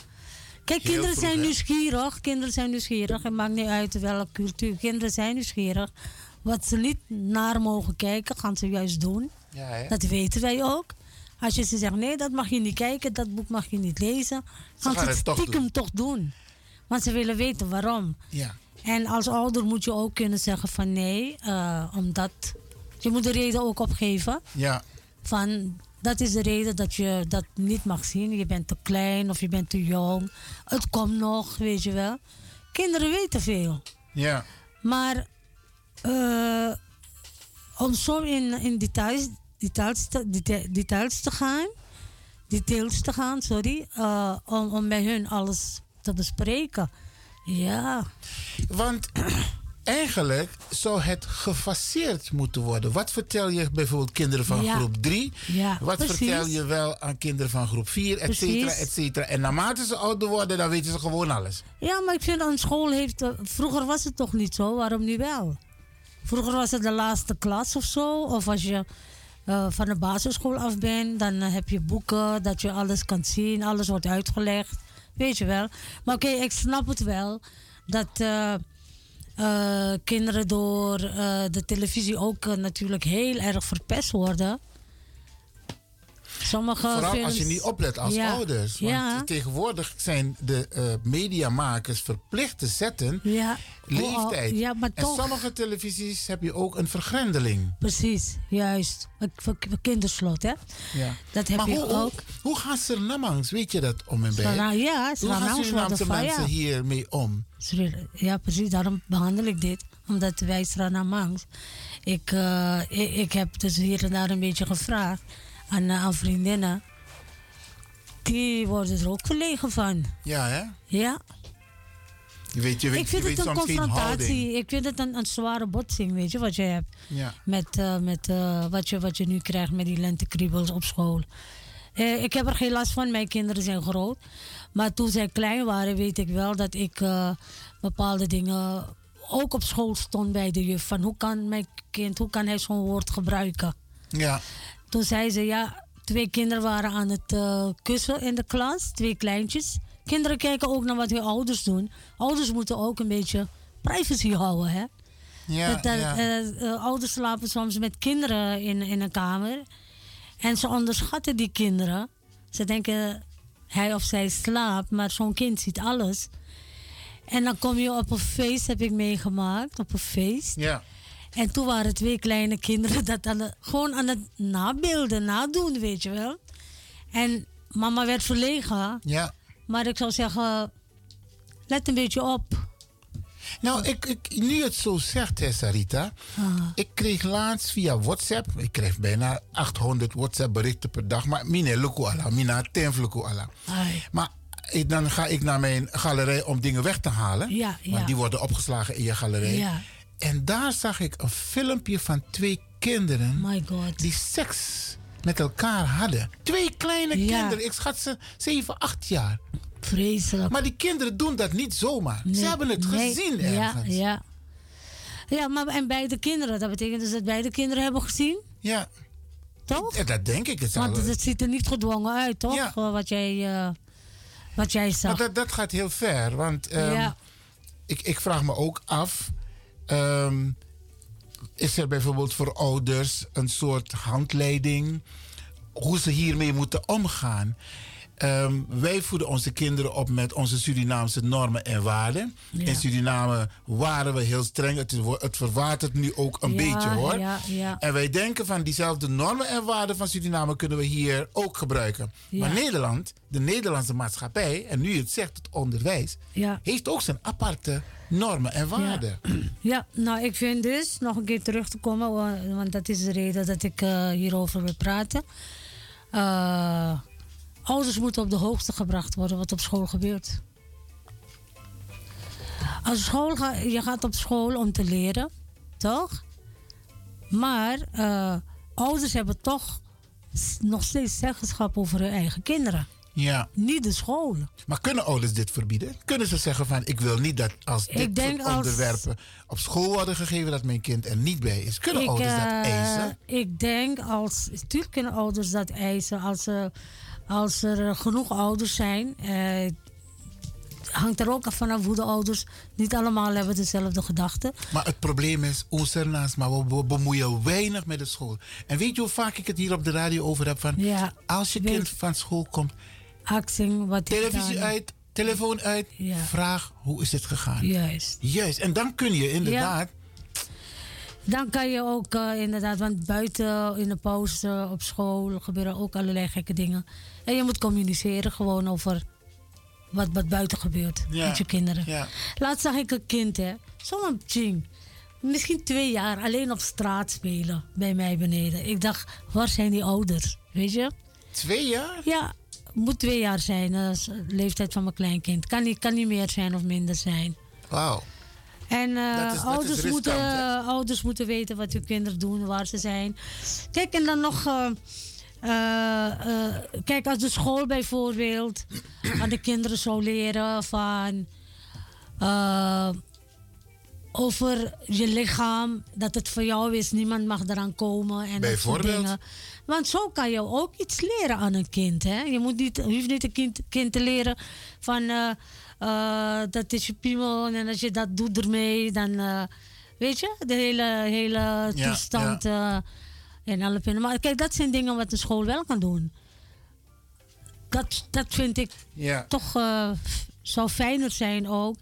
Kijk,
Heel
kinderen
vroeg,
zijn
hè?
nieuwsgierig. Kinderen zijn nieuwsgierig. Het maakt niet uit welke cultuur. Kinderen zijn nieuwsgierig. Wat ze niet naar mogen kijken, gaan ze juist doen.
Ja, hè?
Dat weten wij ook. Als je ze zegt, nee, dat mag je niet kijken, dat boek mag je niet lezen. Gaan ze
gaan
het
het toch
stiekem toch doen. Want ze willen weten waarom.
Ja.
En als ouder moet je ook kunnen zeggen van nee, eh, omdat... Je moet de reden ook opgeven
Ja.
van dat is de reden dat je dat niet mag zien. Je bent te klein of je bent te jong. Het komt nog, weet je wel. Kinderen weten veel.
Ja.
Maar eh, om zo in, in details, details, te, deta- details te gaan, details te gaan, sorry, eh, om, om bij hun alles te bespreken. Ja.
Want eigenlijk zou het gefaseerd moeten worden. Wat vertel je bijvoorbeeld kinderen van
Ja.
groep 3?
Ja,
Wat
precies.
vertel je wel aan kinderen van groep 4, et cetera,
Precies.
et cetera. En naarmate ze ouder worden, dan weten ze gewoon alles.
Ja, maar ik vind een school heeft. eh, vroeger was het toch niet zo, waarom nu wel? Vroeger was het de laatste klas of zo. Of als je eh, van de basisschool af bent, dan eh, heb je boeken, dat je alles kan zien, alles wordt uitgelegd. Weet je wel. Maar oké, ik snap het wel dat eh, eh, kinderen door eh, de televisie ook eh, natuurlijk heel erg verpest worden. Sommige
Vooral als je
films-
niet oplet als
Ja.
ouders. Want
ja.
tegenwoordig zijn de eh, mediamakers verplicht te zetten
Ja.
leeftijd.
Oh, ja, maar
en
toch.
sommige televisies heb je ook een vergrendeling.
Precies, juist. Een- Voor voor kinderslot, hè?
Ja.
Dat heb
maar
je
hoe, hoe-
ook.
Hoe gaan Surinamangs, weet je dat om en bij?
Surina- ja,
hoe
Surinamers
gaan
worden
Surinaamse
van,
mensen
ja.
hiermee om?
Sorry, Ja, precies. Daarom behandel ik dit. Omdat wij Stranamangs. Ik, eh, ik, ik heb dus hier en daar een beetje gevraagd aan, eh, aan vriendinnen. Die worden er ook verlegen van.
Ja, hè?
Ja.
Je weet, je weet,
ik vind
je
het
weet
een
soms geen houding.
confrontatie. Ik vind het een, een zware botsing, weet je, wat je hebt.
Ja.
Met, eh, met eh, wat, je, wat je nu krijgt met die lentekriebels op school. Eh, ik heb er geen last van, mijn kinderen zijn groot. Maar toen zij klein waren, weet ik wel dat ik eh, bepaalde dingen ook op school stond bij de juf. Van hoe kan mijn kind, hoe kan hij zo'n woord gebruiken?
Ja.
Toen zei ze, ja, twee kinderen waren aan het eh, kussen in de klas, twee kleintjes. Kinderen kijken ook naar wat hun ouders doen. Ouders moeten ook een beetje privacy houden, hè?
Ja,
Dat- dat,
ja.
eh, eh, ouders slapen soms met kinderen in, in een kamer. En ze onderschatten die kinderen. Ze denken, hij of zij slaapt, maar zo'n kind ziet alles. En dan kom je op een feest, heb ik meegemaakt, op een feest.
Ja.
En toen waren twee kleine kinderen dat aan de- gewoon aan het nabeelden, nadoen, weet je wel. En mama werd verlegen.
Ja.
Maar ik zou zeggen, let een beetje op.
Nou, ik, ik, nu je het zo zegt, hè, Sarita.
Ah.
Ik kreeg laatst via WhatsApp, ik kreeg bijna 800 WhatsApp berichten per dag. Maar mine luku ala, mina ten vluku ala. Maar ik- dan ga ik naar mijn galerij om dingen weg te halen.
Ja, ja.
Want die worden opgeslagen in je galerij.
Ja.
En daar zag ik een filmpje van twee kinderen die seks met elkaar hadden. Twee kleine kinderen, ik schat ze 7, 8 jaar.
Vreselijk.
Maar die kinderen doen dat niet zomaar.
Nee,
Ze hebben het
nee,
gezien
ja,
ergens.
Ja, ja maar en beide kinderen. Dat betekent dus dat beide kinderen hebben gezien?
Ja.
Toch?
Ja, dat denk ik. Het zal-
Want het, het ziet er niet gedwongen uit, toch? Gewoon Wat jij, eh, wat jij zag.
Maar dat, dat gaat heel ver. Want ehm,
Ja.
ik, ik vraag me ook af. ehm, is er bijvoorbeeld voor ouders een soort handleiding hoe ze hiermee moeten omgaan? Ehm, wij voeden onze kinderen op met onze Surinaamse normen en waarden.
Ja.
In Suriname waren we heel streng. Het, wo- het verwatert nu ook een
Ja,
beetje hoor.
Ja, ja.
En wij denken van diezelfde normen en waarden van Suriname kunnen we hier ook gebruiken.
Ja.
Maar Nederland, de Nederlandse maatschappij, en nu je het zegt, het onderwijs,
Ja.
heeft ook zijn aparte normen en waarden.
Ja, nou ik vind dus, nog een keer terug te komen, wa- want dat is de reden dat ik eh, hierover wil praten. Eh, ouders moeten op de hoogte gebracht worden wat op school gebeurt. Als school ga, je gaat op school om te leren, toch? Maar eh, ouders hebben toch s- nog steeds zeggenschap over hun eigen kinderen.
Ja.
Niet de scholen.
Maar kunnen ouders dit verbieden? Kunnen ze zeggen van ik wil niet dat als
Ik
dit
denk
soort
als-
onderwerpen op school worden gegeven dat mijn kind er niet bij is? Kunnen ouders dat
eh,
eisen?
Ik denk als. Natuurlijk kunnen ouders dat eisen. Als, eh, als er genoeg ouders zijn. eh, hangt er ook af vanaf hoe de ouders. Niet allemaal hebben dezelfde gedachten.
Maar het probleem is, ons ernaast, maar we, we bemoeien weinig met de school. En weet je hoe vaak ik het hier op de radio over heb van als je kind van school komt,
Acting, wat is
televisie
daar?
uit, telefoon uit, vraag hoe is het gegaan?
Juist.
Juist. En dan kun je inderdaad
Dan kan je ook eh, inderdaad, want buiten in de pauze eh, op school gebeuren ook allerlei gekke dingen. En je moet communiceren gewoon over wat, wat buiten gebeurt
Ja,
met je kinderen.
ja.
Laatst zag ik een kind, hè, zo'n ching. Misschien twee jaar alleen op straat spelen bij mij beneden. Ik dacht, waar zijn die ouders? Weet je?
Twee jaar?
Ja, moet twee jaar zijn. Dat is de leeftijd van mijn kleinkind. Kan niet, kan niet meer zijn of minder zijn.
Wauw.
En eh,
Dat is- dat
ouders,
is riskant,
moeten, eh,
hè?
ouders moeten weten wat hun kinderen doen, waar ze zijn. Kijk, en dan nog. eh, eh, eh, kijk, als de school bijvoorbeeld aan de kinderen zou leren van. eh, over je lichaam, dat het voor jou is, niemand mag eraan komen. En dat soort
Bijvoorbeeld?
dingen. Want zo kan je ook iets leren aan een kind. Hè? Je, moet niet, je hoeft niet een kind, kind te leren van eh, eh, dat is je piemel en als je dat doet ermee, dan eh, weet je, de hele, hele
Ja,
toestand eh, en alle pinnen. Maar kijk, dat zijn dingen wat de school wel kan doen. Dat, dat vind ik
Ja.
toch eh, f- zou fijner zijn ook.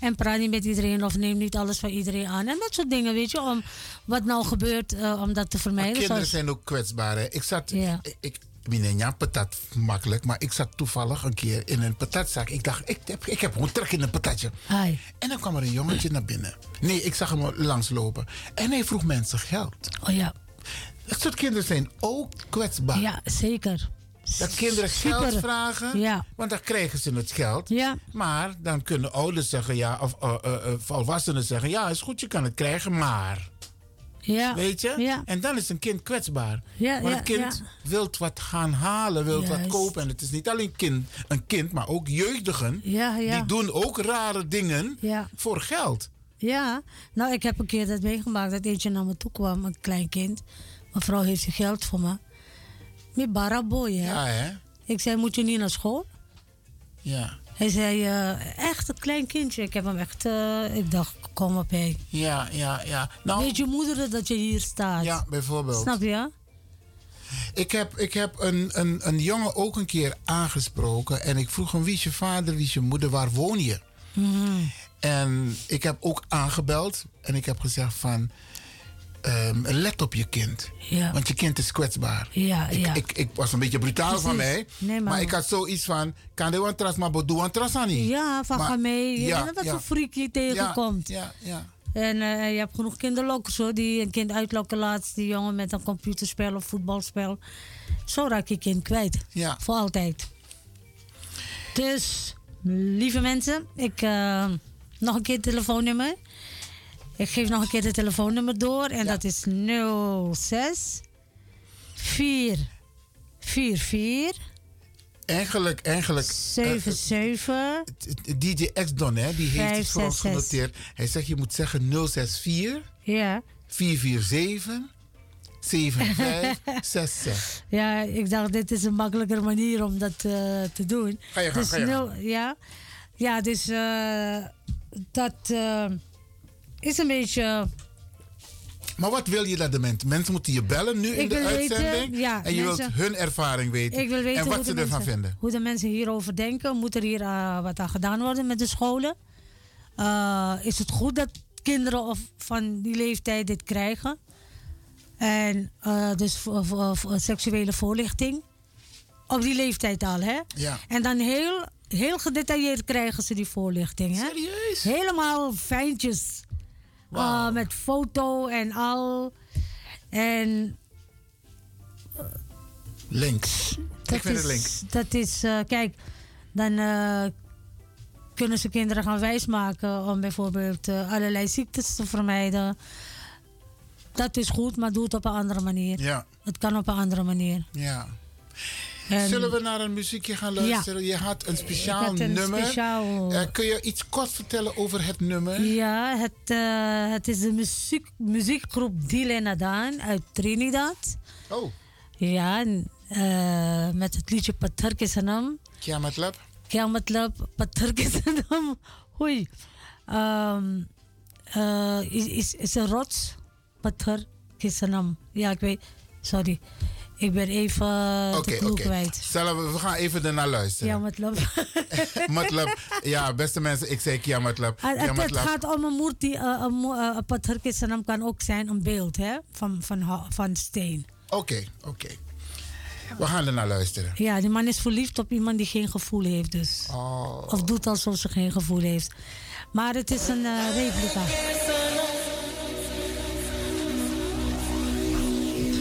En praat niet met iedereen of neem niet alles van iedereen aan. En dat soort dingen, weet je, om wat nou gebeurt, eh, om dat te vermijden.
Kinderen
Zoals-
zijn ook kwetsbaar. hè. Ik zat,
Ja.
ik, ik meneer, ja, patat makkelijk, maar ik zat toevallig een keer in een patatzaak. Ik dacht, ik heb, ik heb gewoon trek in een patatje.
Ai.
En dan kwam er een jongetje naar binnen. Nee, ik zag hem langslopen. En hij vroeg mensen geld.
Oh ja.
Dat soort kinderen zijn ook kwetsbaar.
Ja, zeker.
Dat kinderen
Super.
geld vragen,
Ja.
want dan krijgen ze het geld.
Ja.
Maar dan kunnen ouders zeggen, ja, of eh, eh, eh, volwassenen zeggen, ja, is goed, je kan het krijgen, maar.
Ja.
Weet je? En dan is een kind kwetsbaar.
Ja,
Want
ja,
een kind
ja.
wilt wat gaan halen, wilt wat
Juist.
kopen. En het is niet alleen kind, een kind, maar ook jeugdigen.
Ja, ja.
Die doen ook rare dingen
Ja.
voor geld.
Ja, nou ik heb een keer dat meegemaakt dat eentje naar me toe kwam, een klein kind. Mevrouw heeft je geld voor me. Met baraboy, hè?
Ja, hè?
Ik zei, moet je niet naar school?
Ja.
Hij zei, eh, echt een klein kindje. Ik heb hem echt, eh, ik dacht, kom op hé.
Ja, ja, ja.
Weet je moeder dat je hier staat?
Ja, bijvoorbeeld.
Snap je?
Ik heb, ik heb een, een, een jongen ook een keer aangesproken. En ik vroeg hem, wie is je vader, wie is je moeder, waar woon je? En ik heb ook aangebeld. En ik heb gezegd van, ehm, let op je kind.
Ja.
Want je kind is kwetsbaar.
Ja,
ik,
ja.
Ik, ik was een beetje brutaal van
Precies.
mij.
Nee, maar-
maar ik had zoiets van, kan de wan tras, maar doe wan tras aan niet.
Ja, van
Maar-
ga mee. Je
ja,
weet wat
ja.
voor freak je tegenkomt.
Ja, ja.
En eh, je hebt genoeg kinderlokkers hoor, die een kind uitlokken laatst. Die jongen met een computerspel of voetbalspel. Zo raak je kind kwijt.
Ja.
Voor altijd. Dus, lieve mensen, ik eh, nog een keer het telefoonnummer. Ik geef nog een keer het telefoonnummer door en dat is 06 4 44
Eigenlijk, eigenlijk. eh,
77
DJ X Don, hè, die heeft het voor
566.
ons genoteerd. Hij zegt je moet zeggen 064
ja.
447 7566.
Ja, ik dacht, dit is een makkelijker manier om dat eh, te doen.
Ga je gang,
dus
ga je
nul- ja. ja, dus eh, dat eh, is een beetje...
Maar wat wil je dat de mensen? Mensen moeten je bellen nu in
Ik
de
wil weten,
uitzending.
ja,
en je
mensen-
wilt hun ervaring weten.
Ik wil weten
en wat
hoe,
ze
de
ervan
mensen-
vinden.
hoe de mensen hierover denken. Moet er hier eh, wat aan gedaan worden met de scholen? Eh, is het goed dat kinderen of van die leeftijd dit krijgen? En eh, dus voor, voor- voor seksuele voorlichting. Op die leeftijd al, hè?
Ja.
En dan heel, heel gedetailleerd krijgen ze die voorlichting, hè?
Serieus?
Helemaal fijntjes. Eh, met foto en al. En
Links. Ik vind
is,
het links.
Dat is, eh, kijk, dan eh, kunnen ze kinderen gaan wijsmaken om bijvoorbeeld eh, allerlei ziektes te vermijden. Dat is goed, maar doe het op een andere manier.
Ja.
Het kan op een andere manier.
Ja.
En-
Zullen we naar een muziekje gaan luisteren? Je had een speciaal
Ehm, Ik had een
nummer.
speciaal-
Eh, kun je iets kort vertellen over het nummer?
Ja, het, eh, het is de muziek, muziekgroep Dilena Daan uit Trinidad.
Oh.
Ja, en, eh, met het liedje Patar Kisanam.
Kya matlab?
क्या मतलब पत्थर के सनम हुई अम, अ, इस- इस- इसे rots पत्थर के सनम ja ik weet sorry ik ben even
Oké,
de clue
oké.
kwijt
Zullen we, we gaan even ernaar luisteren.
ja मतलब
Matlab. Ja, beste mensen, ik zei Kia Matlab.
Ah, het,
Kia
het, het
Matlab.
gaat om een moerti eh, een mo- eh, een पत्थर के सनम kan ook zijn een beeld hè van van ho- van steen
Oké, oké. We gaan ernaar luisteren.
ja die man is verliefd op iemand die geen gevoel heeft dus
Oh.
of doet alsof ze geen gevoel heeft maar het is een eh, replica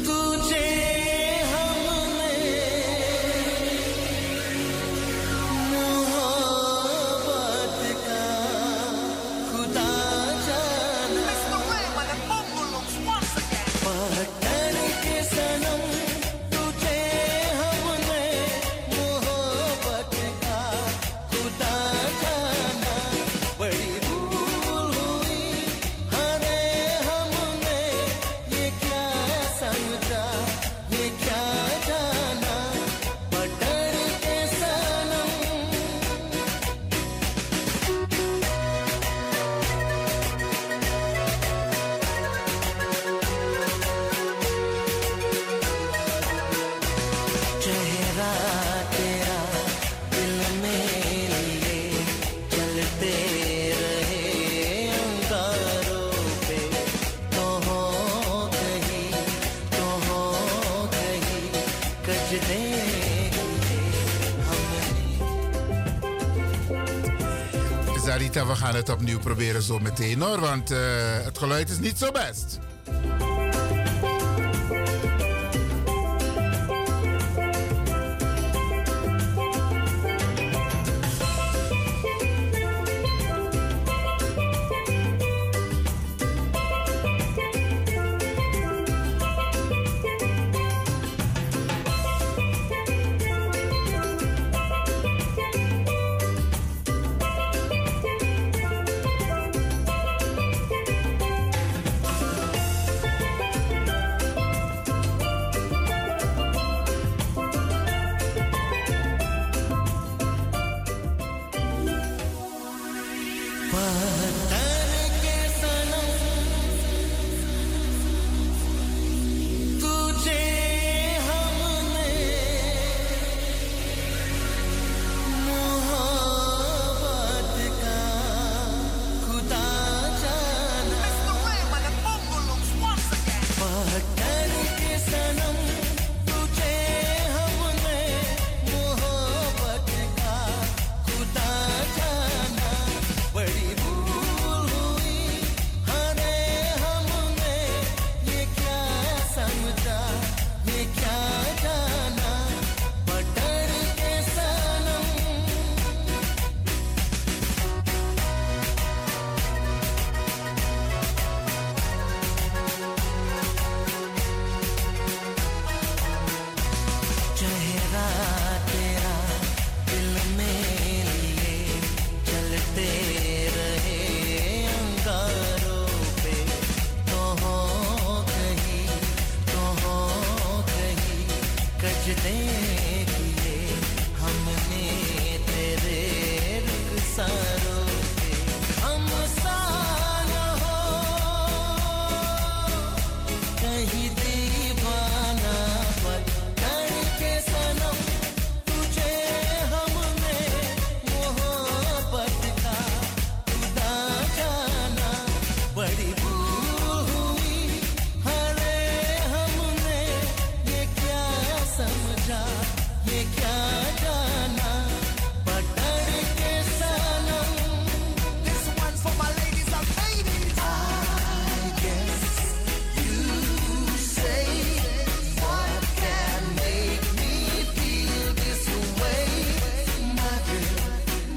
तुझे हमने मोहब्बत का खुदा जाने पठान के सनम तुझे हमने मोहब्बत का खुदा जाना बड़ी भूल हुई हरे हाँ हमने ये क्या समझा ये क्या जाना पठान के सनम चेहरा तेरा दिल में लिए चलते रहे अंगारों पे तो हो कहीं तो हो कहीं कज देंगे
Zarita, we gaan het opnieuw proberen zo meteen hoor, want eh, het geluid is niet zo best.
तो सजदे किए हमने तेरे रुखसारों के हम सा न हो कहीं दीवाना पकड़ के सनम तुझे हमने मोहब्बत का उदा जाना बड़ी भूल हुई हरे हमने ये क्या समझा ये क्या जाना पकड़ के सनम This one's for my ladies and ladies I guess you say what can make me feel this way My girl,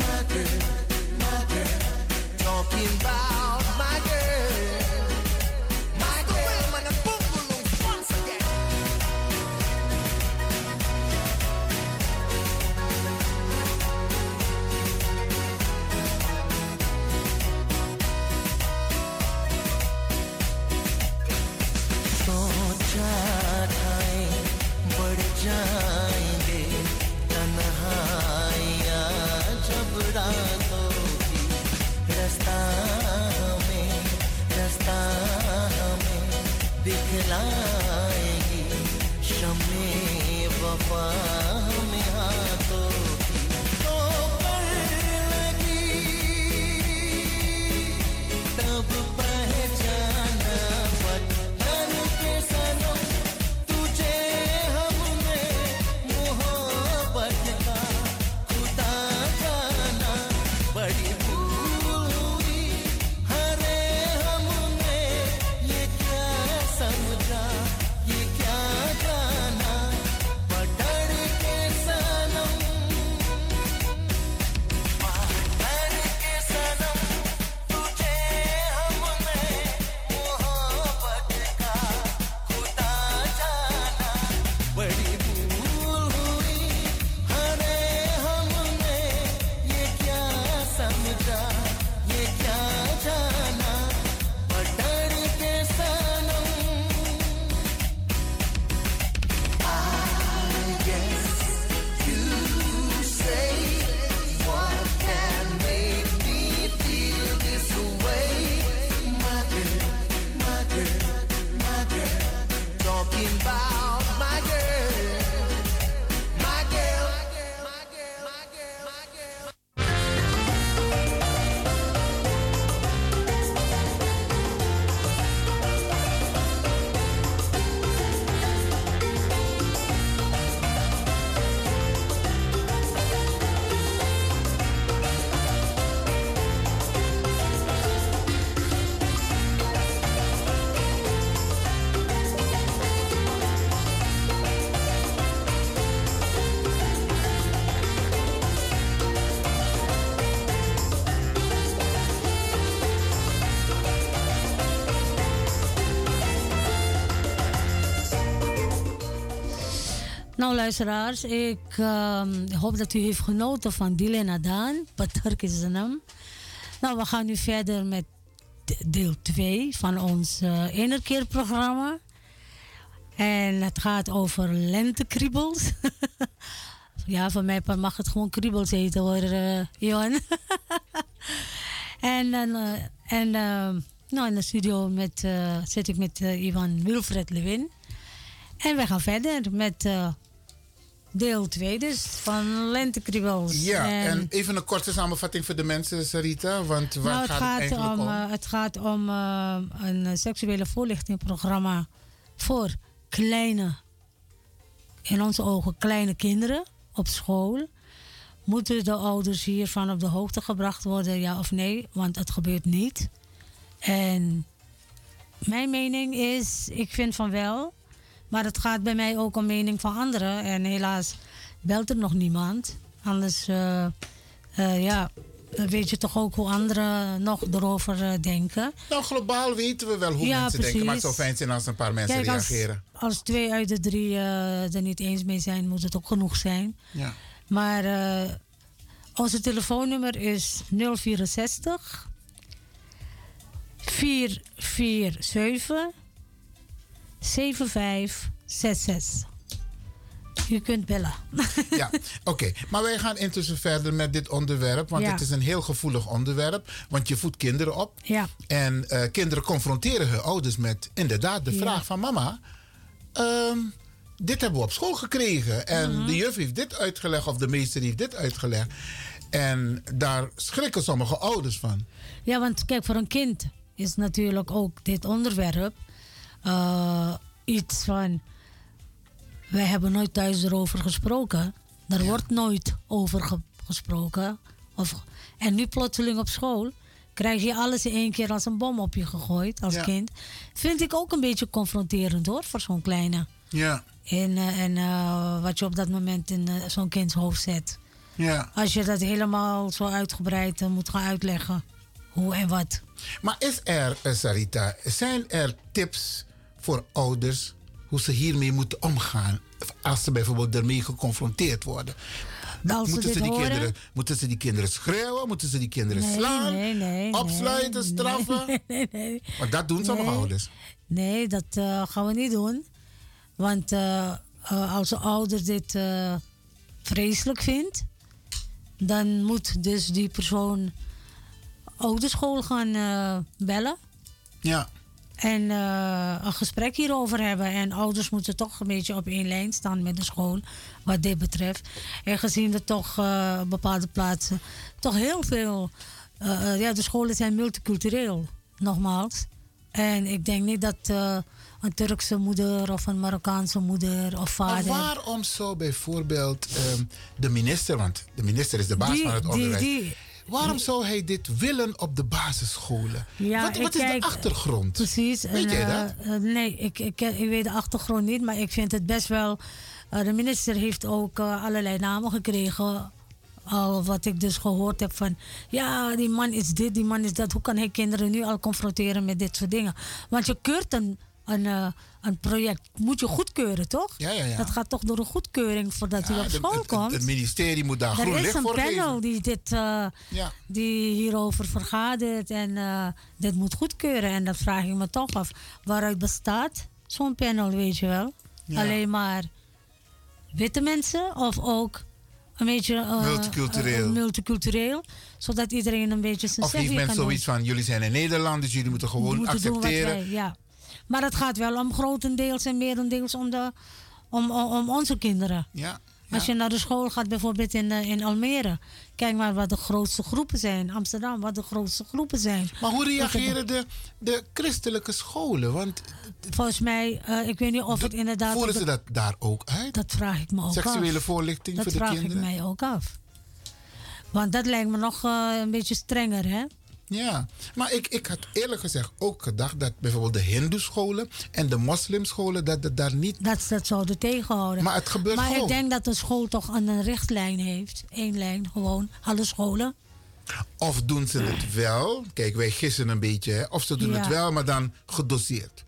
my girl, my girl Talking about my girl My girl, man, a bungalow once again सोचा था ये बढ़ जाएंगे तन्हाइयाँ जब रातों की रास्ता हमें रास्ता हमें दिखलाएगी शमे वफा हमें हाथों की तो पर लगी तब पहचाना वतन के सनम तुझे हमने मोहब्बत का खुदा जाना बड़ी भूल हुई हरे हमने ये क्या समझा ये क्या जाना बटर के सनम बटर के सनम तुझे हमने मोहब्बत का खुदा जाना बड़ी भूल हुई हरे हमने ये क्या समझा ये क्या जाना बटर के सनम I guess you say what can make me feel this way my girl my girl my girl talking about my girl my girl
Nou, luisteraars, ik ehm, hoop dat u heeft genoten van Dylan Adan, Patark is de naam. Nou, we gaan nu verder met de- deel 2 van ons eh innerkeerprogramma. En het gaat over lentekriebels. ja, van mij mag het gewoon kriebels eten hoor, eh Johan. en dan, eh, en, ehm, nou, in de studio met, eh, zit ik met eh, Ivan Wilfred Lewin. En we gaan verder met eh, deel 2 dus van Lentekriebels.
Ja, en even een korte samenvatting voor de mensen, Sarita. Want waar
nou, het
gaat, het
gaat,
eigenlijk
om,
om?
eh, het gaat om eh, een eh, seksuele voorlichtingprogramma voor kleine, in onze ogen kleine kinderen op school. Moeten de ouders hiervan op de hoogte gebracht worden, ja of nee? Want het gebeurt niet. En mijn mening is, ik vind van wel. Maar het gaat bij mij ook om mening van anderen. En helaas belt er nog niemand. Anders, eh, eh, ja, dan weet je toch ook hoe anderen nog erover eh, denken.
Nou, globaal weten we wel hoe
Ja,
mensen denken. Maar het zou
precies.
fijn zijn als een paar mensen
Kijk, als-
reageren.
Als, twee uit de drie eh, er niet eens mee zijn, moet het ook genoeg zijn.
Ja.
Maar eh, onze telefoonnummer is 064 447 7566. Je kunt bellen.
Ja, oké. Maar wij gaan intussen verder met dit onderwerp. Want
Ja.
het is een heel gevoelig onderwerp. Want je voedt kinderen op.
Ja.
En eh, kinderen confronteren hun ouders met inderdaad de
Ja.
vraag van mama. ehm, dit hebben we op school gekregen. En
Mhm.
de juf heeft dit uitgelegd of de meester heeft dit uitgelegd. En daar schrikken sommige ouders van.
Ja, want kijk, voor een kind is natuurlijk ook dit onderwerp eh, iets van. Wij hebben nooit thuis erover gesproken. Er wordt nooit over ge- gesproken. Of, en nu plotseling op school krijg je alles in één keer als een bom op je gegooid als
Ja.
kind. Vind ik ook een beetje confronterend hoor, voor zo'n kleine.
Ja,
En, eh, en eh, wat je op dat moment in eh, zo'n kinds hoofd zet.
ja.
Als je dat helemaal zo uitgebreid eh, moet gaan uitleggen. Hoe en wat.
Maar is er, eh, Sarita, zijn er tips voor ouders hoe ze hiermee moeten omgaan? Als ze bijvoorbeeld ermee geconfronteerd worden.
Nou, Als ze
moeten,
dit
ze die
horen?
kinderen, moeten ze die kinderen schreeuwen? Moeten ze die kinderen
Nee,
slaan?
nee, nee, nee,
opsluiten, straffen?
Nee, nee, nee.
Want dat doen sommige
Nee.
ouders.
Nee, dat eh, gaan we niet doen. Want eh, eh, als een ouder dit eh, vreselijk vindt, dan moet dus die persoon ouderschool gaan eh, bellen.
Ja.
En eh, een gesprek hierover hebben. En ouders moeten toch een beetje op één lijn staan met de school. Wat dit betreft. En gezien er toch eh, op bepaalde plaatsen. toch heel veel. eh, eh, ja, de scholen zijn multicultureel. Nogmaals. En ik denk niet dat eh, een Turkse moeder. of een Marokkaanse moeder. of
Maar
vader.
waarom zou bijvoorbeeld ehm, de minister, want de minister is de baas
Die-
van het
die-
onderwijs.
die-
waarom zou hij dit willen op de basisscholen?
Ja,
wat
ik
wat is
kijk-
de achtergrond?
Precies.
Weet jij dat?
eh, eh, nee, ik, ik, ken- ik weet de achtergrond niet, maar ik vind het best wel. eh, de minister heeft ook eh, allerlei namen gekregen. Al wat ik dus gehoord heb van. Ja, die man is dit, die man is dat. Hoe kan hij kinderen nu al confronteren met dit soort dingen? Want je keurt een, een, eh, een project. Moet je goedkeuren, toch?
Ja, ja, ja.
Dat gaat toch door een goedkeuring voordat u op
De-
school
het, het-
komt.
het ministerie moet daar groen
Er is
licht
een
voor geven.
panel die, dit, eh, die hierover vergadert en eh, dit moet goedkeuren. En dat vraag ik me toch af. Waaruit bestaat zo'n panel, weet je wel?
Ja.
Alleen maar witte mensen of ook een beetje eh,
Multicultureel.
eh, multicultureel, zodat iedereen een beetje zijn
Of heeft
zegje
men
kan doen.
zoiets van, jullie zijn in Nederland, dus jullie moeten gewoon
moeten doen wat
accepteren.
wij- ja. Maar het gaat wel om grotendeels en merendeels om, de, om, om, om onze kinderen.
Ja,
Als je naar de school gaat, bijvoorbeeld in, eh, in Almere. Kijk maar wat de grootste groepen zijn. Amsterdam, wat de grootste groepen zijn.
Maar hoe reageren de, de christelijke scholen? Want
Volgens mij, eh, ik weet niet of het inderdaad...
voeren
op
ze
de-
dat daar ook uit?
Dat vraag ik me ook
Seksuele
af.
voorlichting
dat
voor de
vraag
kinderen?
ik mij ook af. Want dat lijkt me nog eh, een beetje strenger, hè?
Ja, maar ik, ik had eerlijk gezegd ook gedacht dat bijvoorbeeld de hindoescholen en de moslimscholen, dat het daar niet...
Dat ze dat zouden tegenhouden.
Maar het gebeurt
maar
gewoon.
ik denk dat een school toch een een richtlijn heeft. Eén lijn, gewoon. Alle scholen.
Of doen ze het wel, kijk wij gissen een beetje, hè. of ze doen het
Ja.
wel, maar dan gedoseerd.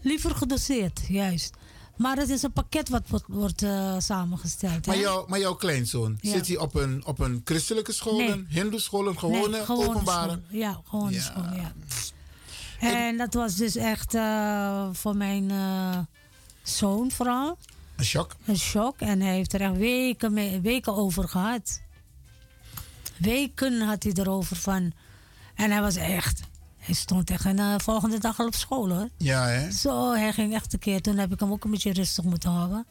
Liever gedoseerd, juist. Maar het is een pakket wat wordt, wordt, eh, samengesteld.
Maar,
hè?
jou, maar jouw kleinzoon,
Ja.
zit hij op een, op een christelijke school,
Nee.
een hindoeschool, een gewone,
Nee, gewone
openbare?
school. Ja, gewone school, ja. En dat was dus echt eh, voor mijn eh, zoon vooral
Een shock.
een shock. En hij heeft er echt weken, mee, weken over gehad. Weken had hij erover van. En hij was echt... Hij stond echt en de volgende dag al op school, hoor.
Ja, hè?
Zo, hij ging echt een keer. Toen heb ik hem ook een beetje rustig moeten houden.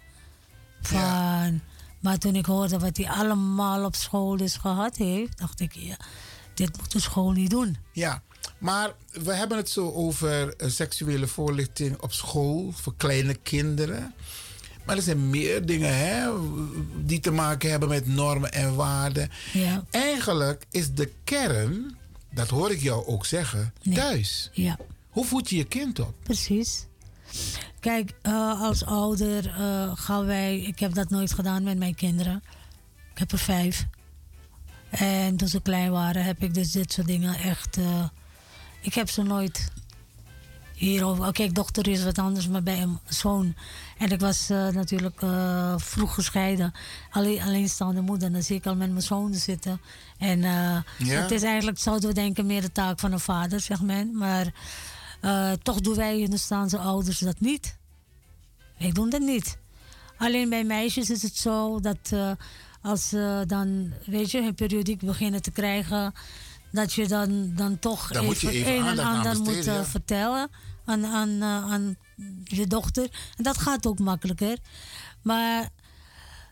Van, Maar toen ik hoorde wat hij allemaal op school dus gehad heeft, dacht ik, ja, dit moet de school niet doen.
Ja, maar we hebben het zo over eh, seksuele voorlichting op school voor kleine kinderen. Maar er zijn meer dingen hè, die te maken hebben met normen en waarden.
Ja.
Eigenlijk is de kern, dat hoor ik jou ook zeggen, thuis.
Ja.
Hoe voed je je kind op?
Precies. Kijk, eh, als ouder eh, gaan wij. Ik heb dat nooit gedaan met mijn kinderen. Ik heb er vijf. En toen ze klein waren, heb ik dus dit soort dingen echt. eh, ik heb ze nooit hierover. Oké, kijk, dochter is wat anders, maar bij een zoon. En ik was eh, natuurlijk eh, vroeg gescheiden. Alleen, alleenstaande moeder. Dan zie ik al met mijn zoon zitten. En eh,
Ja.
het is eigenlijk, zouden we denken, meer de taak van een vader, zeg men. Maar eh, toch doen wij Hindoestaanse ouders dat niet. Wij doen dat niet. Alleen bij meisjes is het zo dat eh, als ze dan, weet je, hun periodiek beginnen te krijgen, dat je dan, dan toch
Dan moet je even
een en
aandacht aan
ander moet
besteden,
eh,
ja.
vertellen aan, aan, eh, aan je dochter. En dat gaat ook makkelijker. Maar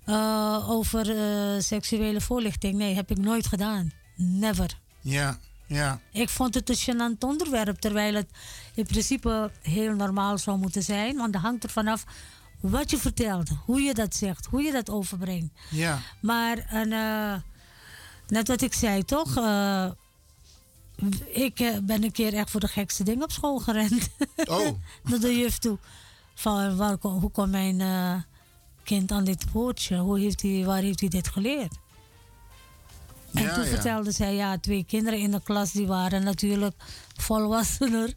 eh, over eh, seksuele voorlichting, nee, heb ik nooit gedaan. Never.
Ja, ja.
Ik vond het een gênant onderwerp, terwijl het in principe heel normaal zou moeten zijn. Want dat hangt er vanaf wat je vertelt, hoe je dat zegt, hoe je dat overbrengt.
Ja.
Maar en, eh, net wat ik zei, toch? eh, ik eh, ben een keer echt voor de gekste dingen op school gerend.
Oh.
Naar de juf toe. Van, waar, kom- hoe kwam mijn eh, kind aan dit woordje? Hoe heeft hij, waar heeft hij dit geleerd? En
Ja,
toen
ja.
vertelde zij, ja, twee kinderen in de klas, die waren natuurlijk volwassener.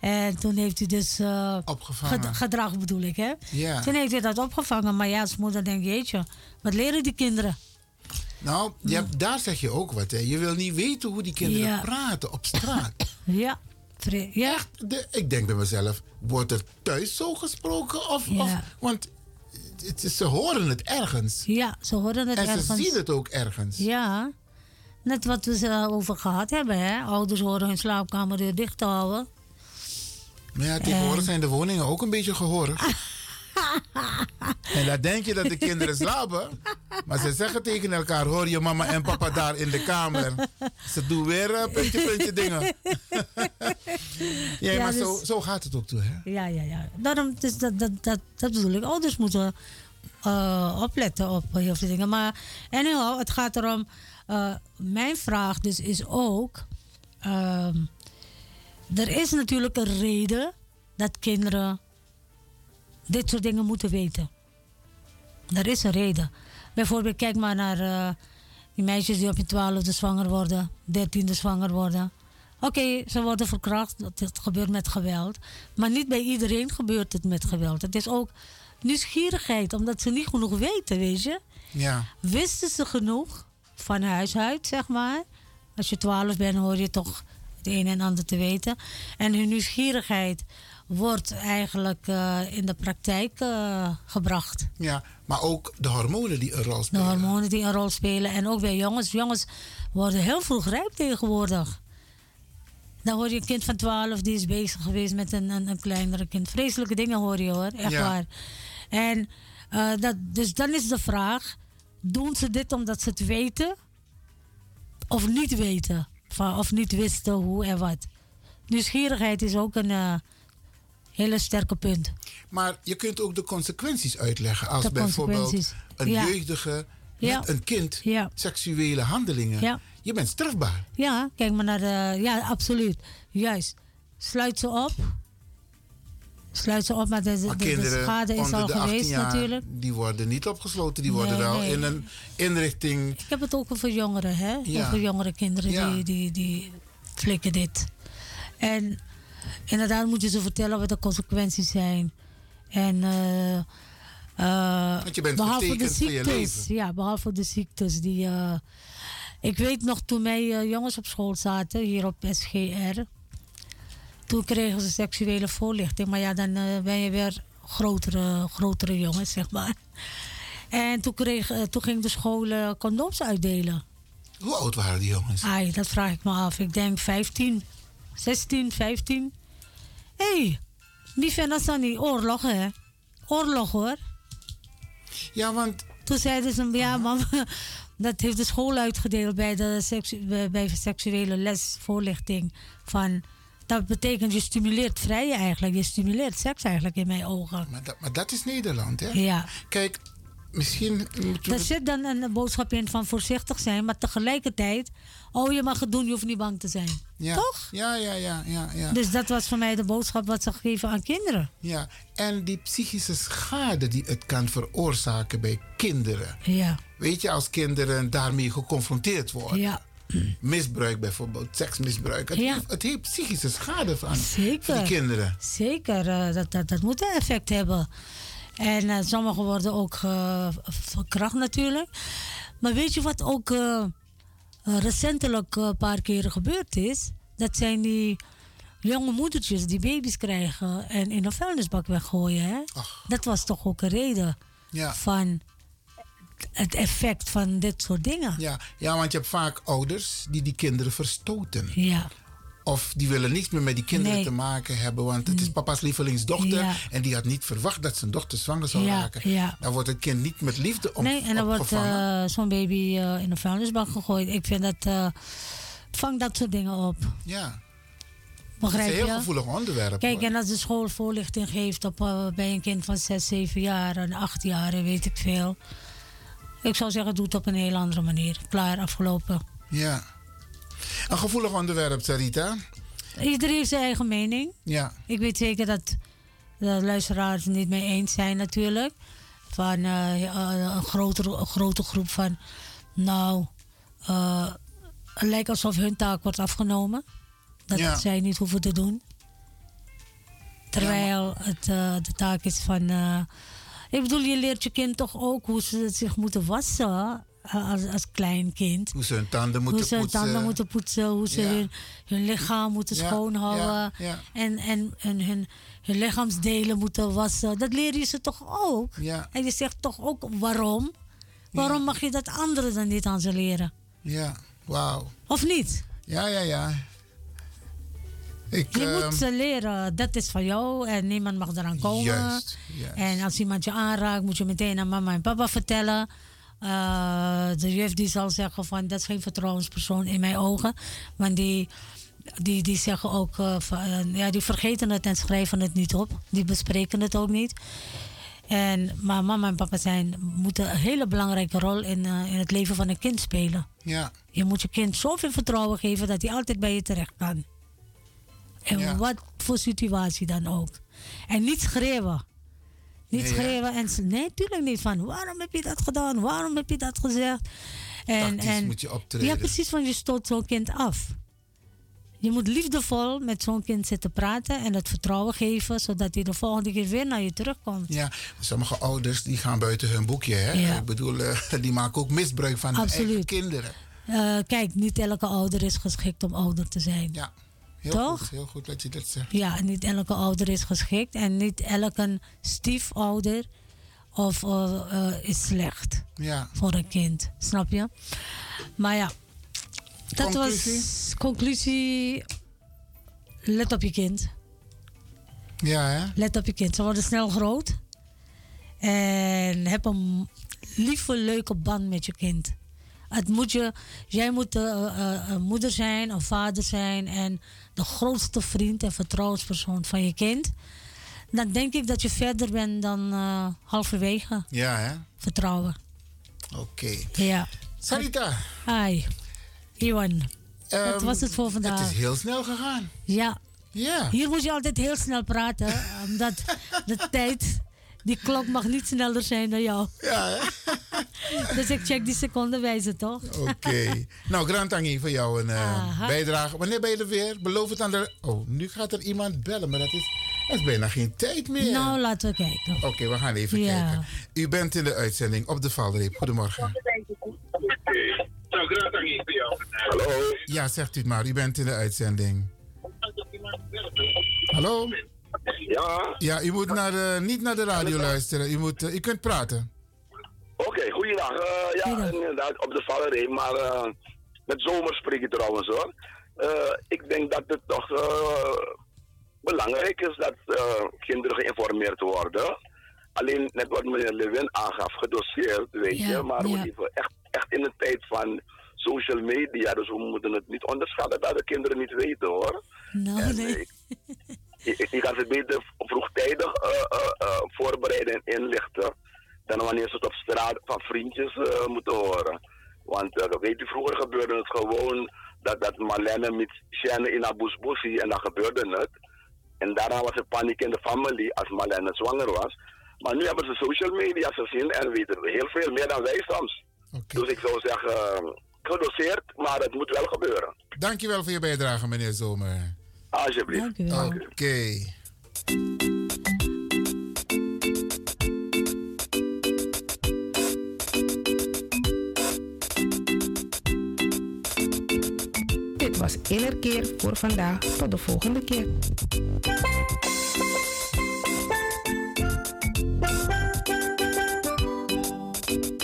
En toen heeft hij dus... eh, ged- gedrag bedoel ik, hè?
Ja.
Toen heeft hij dat opgevangen. Maar ja, als moeder denkt, jeetje, wat leren die kinderen?
Nou, je hebt- daar zeg je ook wat. Hè. Je wil niet weten hoe die kinderen
Ja.
praten op straat.
Ja. Vre- ja.
Echt, de- ik denk bij mezelf, wordt er thuis zo gesproken? Of, of, want het is- ze horen het ergens.
Ja, ze horen het
en
ergens.
ze zien het ook ergens.
Ja. Net wat we ze over gehad hebben, hè? Ouders horen hun slaapkamerdeur dicht te houden.
Maar ja, tegenwoordig
En-
zijn de woningen ook een beetje gehoorig. en dan denk je dat de kinderen slapen. Maar ze zeggen tegen elkaar, hoor je mama en papa daar in de kamer. Ze doen weer eh, puntje, puntje dingen. ja,
Ja,
maar zo,
dus-
zo gaat het ook toe, hè?
Ja, ja, ja. Daarom, dus dat, dat, dat, dat bedoel ik. Ouders moeten eh, opletten op heel veel dingen. Maar anyhow, het gaat erom... eh, mijn vraag dus is ook... ehm, er is natuurlijk een reden dat kinderen dit soort dingen moeten weten. Er is een reden. Bijvoorbeeld, kijk maar naar eh, die meisjes die op je twaalfde zwanger worden, dertiende zwanger worden. Oké, ze worden verkracht, dat dat gebeurt met geweld. Maar niet bij iedereen gebeurt het met geweld. Het is ook nieuwsgierigheid, omdat ze niet genoeg weten, weet je.
Ja.
Wisten ze genoeg van huis uit, zeg maar? Als je twaalf bent, hoor je toch het een en ander te weten. En hun nieuwsgierigheid wordt eigenlijk eh, in de praktijk eh, gebracht.
Ja, maar ook de hormonen die een rol
De
spelen.
hormonen die een rol spelen. En ook bij jongens. Jongens worden heel vroeg rijp tegenwoordig. Dan hoor je een kind van 12 die is bezig geweest met een, een, een kleinere kind. Vreselijke dingen hoor je hoor, echt
Ja.
waar. En eh, dat, dus dan is de vraag: doen ze dit omdat ze het weten? Of niet weten? Van, of niet wisten hoe en wat? Nieuwsgierigheid is ook een eh, hele sterke punt.
Maar je kunt ook de consequenties uitleggen. Als
De
bijvoorbeeld
consequenties,
een
ja.
jeugdige
Ja.
met een kind seksuele handelingen.
Ja.
Je bent strafbaar.
Ja, kijk maar naar de. Ja, absoluut. Juist. Sluit ze op. Sluit ze op, maar de, de,
Maar
de
kinderen
schade is
onder
al
de 18
geweest
jaar,
natuurlijk.
Die worden niet opgesloten. Die worden
Nee,
wel
nee.
in een inrichting.
Ik heb het ook over jongeren, hè?
Ja.
Over jongere kinderen
Ja.
die, die, die flikken dit. En inderdaad moet je ze vertellen wat de consequenties zijn. En eh, eh,
Want je bent
behalve de
getekend voor je
ziektes.
leven.
Ja, behalve de ziektes die. eh, ik weet nog toen wij eh, jongens op school zaten, hier op SGR. Toen kregen ze seksuele voorlichting. Maar ja, dan eh, ben je weer grotere, grotere jongens, zeg maar. En toen, kreeg, eh, toen ging de school eh, condooms uitdelen.
Hoe oud waren die jongens?
Ai, dat vraag ik me af. Ik denk 15, 16, 15. Hé, hey, wie vindt dat dan niet? Oorlog, hè? Oorlog, hoor.
Ja, want...
Toen zeiden ze, ja, mam, dat heeft de school uitgedeeld bij de seksu- bij, bij seksuele lesvoorlichting. Van, dat betekent, je stimuleert vrije eigenlijk. Je stimuleert seks eigenlijk in mijn ogen.
Maar dat, maar dat is Nederland, hè?
Ja.
Kijk, misschien moeten
Er
we...
zit dan een boodschap in van voorzichtig zijn, maar tegelijkertijd, oh je mag het doen, je hoeft niet bang te zijn.
Ja.
Toch?
Ja, ja, ja, ja, ja.
Dus dat was voor mij de boodschap wat ze geven aan kinderen.
ja. En die psychische schade die het kan veroorzaken bij kinderen.
Ja.
Weet je, als kinderen daarmee geconfronteerd worden.
Ja.
Misbruik bijvoorbeeld, seksmisbruik. Het,
Ja.
het heeft psychische schade van,
Zeker.
van die kinderen.
Zeker, eh, dat, dat, dat moet een effect hebben. En eh, sommigen worden ook eh, verkracht natuurlijk. Maar weet je wat ook eh, recentelijk eh, een paar keren gebeurd is? Dat zijn die jonge moedertjes die baby's krijgen en in een vuilnisbak weggooien. Hè? Dat was toch ook een reden?
Ja.
van het effect van dit soort dingen.
Ja, ja, want je hebt vaak ouders die die kinderen verstoten.
Ja.
Of die willen niks meer met die kinderen
Nee.
te maken hebben. Want het is papa's lievelingsdochter.
Ja.
En die had niet verwacht dat zijn dochter zwanger zou
Ja,
raken.
ja.
Dan wordt het kind niet met liefde om,
nee, en dan wordt
opgevangen.
eh, zo'n baby eh, in een vuilnisbak gegooid. Ik vind dat. eh, vang dat soort dingen op.
ja.
eh, Begrijp
het is
je?
een heel gevoelig onderwerp.
Kijk,
hoor.
en dus- als de school voorlichting geeft op, eh, bij een kind van 6, 7 jaar en 8 jaar, en weet ik veel. Ik zou zeggen, doe het op een heel andere manier. Klaar, afgelopen.
Ja. Een gevoelig onderwerp, Sarita.
Iedereen heeft zijn eigen mening.
Ja.
Ik weet zeker dat de luisteraars het niet mee eens zijn natuurlijk. Van eh, eh, een, grotere, een grote groep van... Nou, eh, het lijkt alsof hun taak wordt afgenomen. Dat
Ja.
zij niet hoeven te doen. Terwijl het eh, de taak is van... eh, ik bedoel, je leert je kind toch ook hoe ze zich moeten wassen eh, als, als klein kind.
Hoe ze hun tanden moeten
hoe ze hun
poetsen.
tanden moeten poetsen, hoe ze
Ja.
hun, hun lichaam moeten
Ja,
schoonhouden.
ja, ja.
En, en, en hun, hun lichaamsdelen moeten wassen. Dat leer je ze toch ook?
Ja.
En je zegt toch ook waarom? Waarom mag je dat anderen dan niet aan ze leren?
Ja, wauw.
Of niet?
Ja, ja, ja. Ik,
Je
ehm,
moet eh, ze leren, dat is van jou en niemand mag eraan komen.
Juist, juist.
En als iemand je aanraakt, moet je meteen aan mama en papa vertellen. Eh, de juf die zal zeggen van, dat is geen vertrouwenspersoon in mijn ogen. Want die, die, die zeggen ook, eh, van, eh, ja, die vergeten het en schrijven het niet op. Die bespreken het ook niet. En, maar mama en papa zijn, moeten een hele belangrijke rol in, eh, in het leven van een kind spelen.
Ja.
Je moet je kind zoveel vertrouwen geven dat hij altijd bij je terecht kan. En
Ja.
wat voor situatie dan ook. En niet schreeuwen. Niet
Nee, ja.
schreeuwen en s- nee, tuurlijk niet van waarom heb je dat gedaan? Waarom heb je dat gezegd? En,
Tactisch moet je optreden.
Ja, precies, want je stoot zo'n kind af. Je moet liefdevol met zo'n kind zitten praten en het vertrouwen geven, zodat hij de volgende keer weer naar je terugkomt.
Ja, sommige ouders die gaan buiten hun boekje. Hè?
Ja.
Ik bedoel, eh, die maken ook misbruik van hun eigen
Absoluut.
kinderen.
Eh, kijk, niet elke ouder is geschikt om ouder te zijn.
Ja, Heel
Toch?
goed, heel goed dat je dat zegt.
Ja, niet elke ouder is geschikt en niet elke stiefouder of, eh, eh, is slecht
Ja.
voor een kind. Snap je? Maar ja, dat was
Conclusie?
conclusie. Let op je kind.
Ja, hè?
Let op je kind. Ze worden snel groot. En heb een lieve, leuke band met je kind. Het moet je, jij moet eh, eh, een moeder zijn, een vader zijn en de grootste vriend en vertrouwenspersoon van je kind. Dan denk ik dat je verder bent dan eh, halverwege
Ja, hè?
vertrouwen.
Oké.
Ja.
Sarita.
Hi. Iwan. dat
Ehm,
was het voor vandaag.
Het is heel snel gegaan.
Ja.
Ja.
Hier moet je altijd heel snel praten, omdat de tijd, die klok mag niet sneller zijn dan jou.
Ja,
dus ik check die secondenwijze toch?
Oké. nou, Grand Tangi, voor jou een eh,
Aha.
bijdrage. Wanneer ben je er weer? Beloof het aan de... Oh, nu gaat er iemand bellen, maar dat is, dat is bijna geen tijd meer.
Nou, laten we kijken.
Oké, we gaan even
Ja.
kijken. U bent in de uitzending op de Valreep. Goedemorgen.
Nou, graag dank voor jou. Hallo.
Ja, zegt u het maar. U bent in de uitzending. Hallo?
Ja,
Ja, u moet naar de- niet naar de radio luisteren. U, moet, eh, u kunt praten.
oké, goeiedag. Eh, ja, inderdaad, op de vallerij, maar eh, met zomer spreek je trouwens hoor. Eh, ik denk dat het toch eh, belangrijk is dat eh, kinderen geïnformeerd worden. Alleen net wat meneer Lewin aangaf, gedoseerd, weet je. Maar we leven echt, echt in een tijd van social media, dus we moeten het niet onderschatten dat de kinderen niet weten hoor.
Nou, nee.
Je, je kan ze beter vroegtijdig eh, eh, eh, voorbereiden en inlichten. Dan wanneer ze het op straat van vriendjes eh, moeten horen. Want eh, weet je, vroeger gebeurde het gewoon dat, dat Marlene met Shane in Abousbussi en dan gebeurde het. En daarna was er paniek in de familie als Marlene zwanger was. Maar nu hebben ze social media gezien en weten we heel veel meer dan wij soms. Dus ik zou zeggen, eh, gedoseerd, maar het moet wel gebeuren.
Dankjewel voor je bijdrage, meneer Zomer.
Alsjeblieft.
Oké.
Dit was Innerkeer voor vandaag. Tot de volgende keer.
Thank you.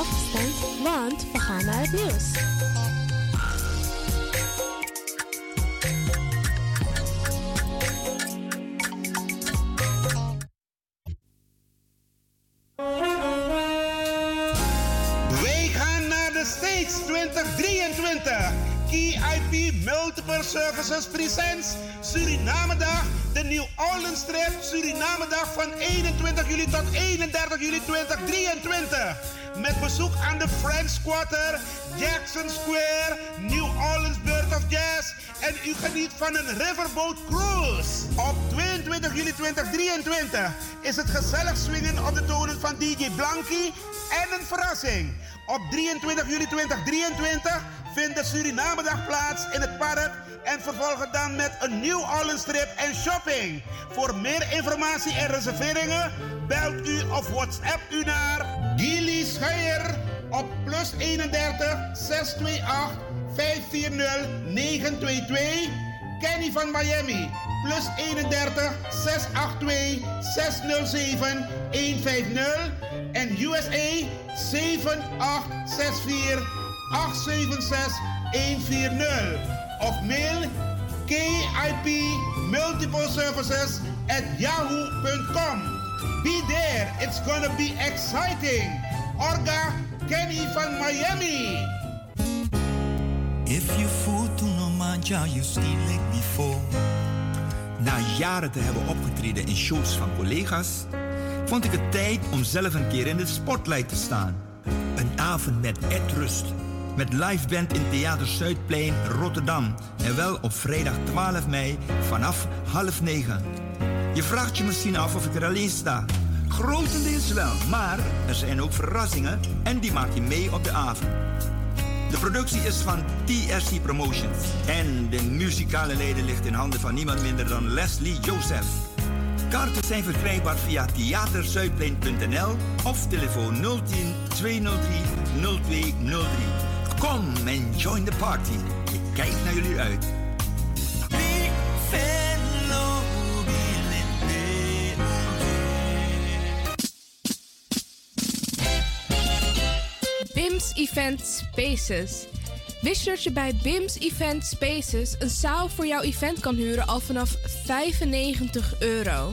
afgestemd, want we gaan naar het nieuws.
Wij gaan naar de States 2023. KIP Multiple Services Presents Surinamedag. De New Orleans Trip Surinamedag van 21 juli tot 31 juli 2023. Met bezoek aan de French Quarter, Jackson Square, New Orleans Bird of Jazz. En u geniet van een Riverboat Cruise. Op 22 juli 2023 is het gezellig swingen op de tonen van DJ Blankie en een verrassing. Op 23 juli 2023 vindt de Surinamedag plaats in het park. En vervolgens dan met een New Orleans trip en shopping. Voor meer informatie en reserveringen belt u of WhatsApp u naar Gilly Scheier op plus 31 628 540 922. Kenny van Miami plus 31 682 607 150 en USA 7864 876 140 of mail KIP Multiple Services at yahoo.com. Be there, it's gonna be exciting. Orga Kenny van Miami.
If you fool to no man, ja, you still like before. Na jaren te hebben opgetreden in shows van collega's, vond ik het tijd om zelf een keer in de spotlight te staan. Een avond met Ed Rust, met live band in Theater Zuidplein, Rotterdam. En wel op vrijdag 12 mei vanaf half negen. Je vraagt je misschien af of ik er alleen sta. Grotendeels wel, maar er zijn ook verrassingen en die maak je mee op de avond. De productie is van TSC Promotions. En de muzikale leden ligt in handen van niemand minder dan Leslie Joseph. Kaarten zijn verkrijgbaar via theaterzuidplein.nl of telefoon 010 203 0203. Kom en join the party. Ik kijk naar jullie uit.
BIMS Event Spaces. Wist je dat je bij BIMS Event Spaces een zaal voor jouw event kan huren al vanaf 95 euro?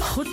Goed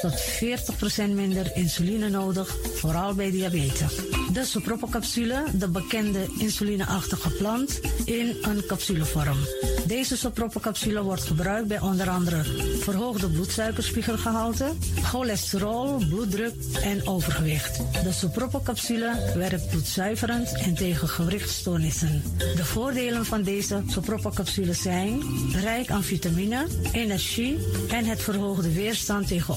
tot 40% minder insuline nodig, vooral bij diabetes. Dus De soproppencapsule, de bekende insulineachtige plant, in een capsulevorm. Deze soproppencapsule wordt gebruikt bij onder andere verhoogde bloedsuikerspiegelgehalte, cholesterol, bloeddruk en overgewicht. De soproppencapsule werkt bloedzuiverend en tegen gewrichtstoornissen. De voordelen van deze soproppencapsules zijn rijk aan vitamine, energie en het verhoogde weerstand tegen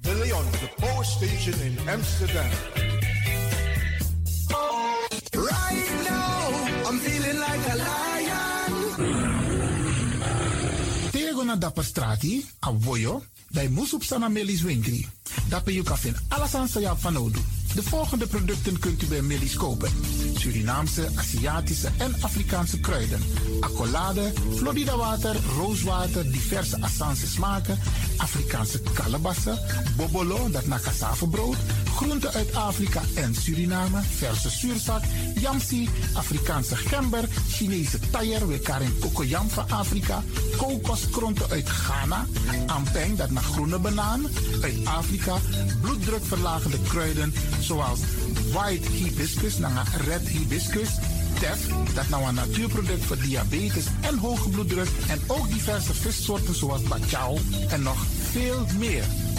De Leon, the power station in Amsterdam.
Right now, I'm feeling like a lion.
Tego na dapa strati, a voyo, dai musup sana melis wengri. Dape yuka fin alasan sa ya fanodu. De volgende producten kunt u bij Millie's kopen: Surinaamse, Aziatische en Afrikaanse kruiden, accolade, Florida water, rooswater, diverse Assange smaken, Afrikaanse kalebassen, bobolo, dat na cassavebrood, groenten uit Afrika en Suriname, verse zuurzak, yamsi, Afrikaanse gember, Chinese taier, wekarin kokoyam van Afrika, kokoskronten uit Ghana, ampeng, dat naar groene banaan, uit Afrika, bloeddrukverlagende kruiden, zoals white hibiscus, naar red hibiscus, TEF, dat nou een natuurproduct voor diabetes en hoge bloeddruk en ook diverse vissoorten zoals bachao en nog veel meer.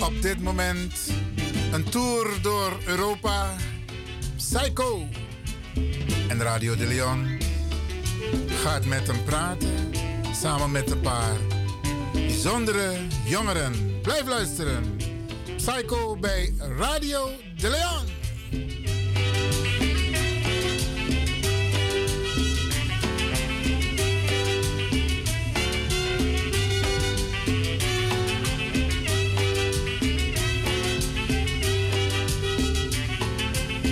Op dit moment een tour door Europa. Psycho en Radio de Leon gaat met hem praten. Samen met een paar bijzondere jongeren. Blijf luisteren. Psycho bij Radio de Leon.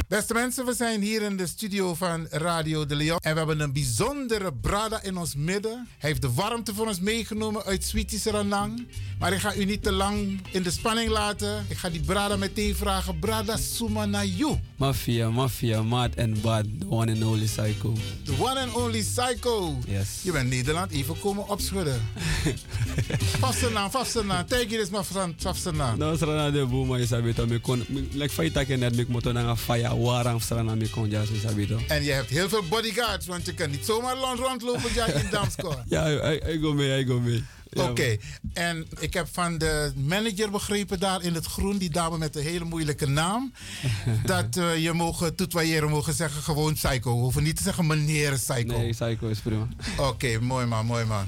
Beste mensen, we zijn hier in de studio van Radio de Leon. En we hebben een bijzondere brada in ons midden. Hij heeft de warmte voor ons meegenomen uit Sweetie Serenang. Maar ik ga u niet te lang in de spanning laten. Ik ga die brada meteen vragen. Brada Suma na you.
Mafia, mafia, mad and bad, the one and only psycho.
The one and only psycho.
Yes.
Je bent Nederland even komen opschudden. Vafsena, Vafsena. Teg hier is maar van Vafsena.
No strana de buma isabito me kon like faita ken net mik moto nanga faya warang strana me kon jas isabito.
En je hebt heel veel bodyguards, want je kan niet zomaar rond- rondlopen ja, in Damscore.
Ja, ik- ik go mee, ik go mee. Ja,
Oké, en ik heb van de manager begrepen daar in het groen, die dame met een hele moeilijke naam, dat eh, je mogen toetwaaieren, mogen zeggen gewoon psycho. We hoeven niet te zeggen meneer psycho.
Nee, psycho is prima.
Oké, mooi man, mooi man.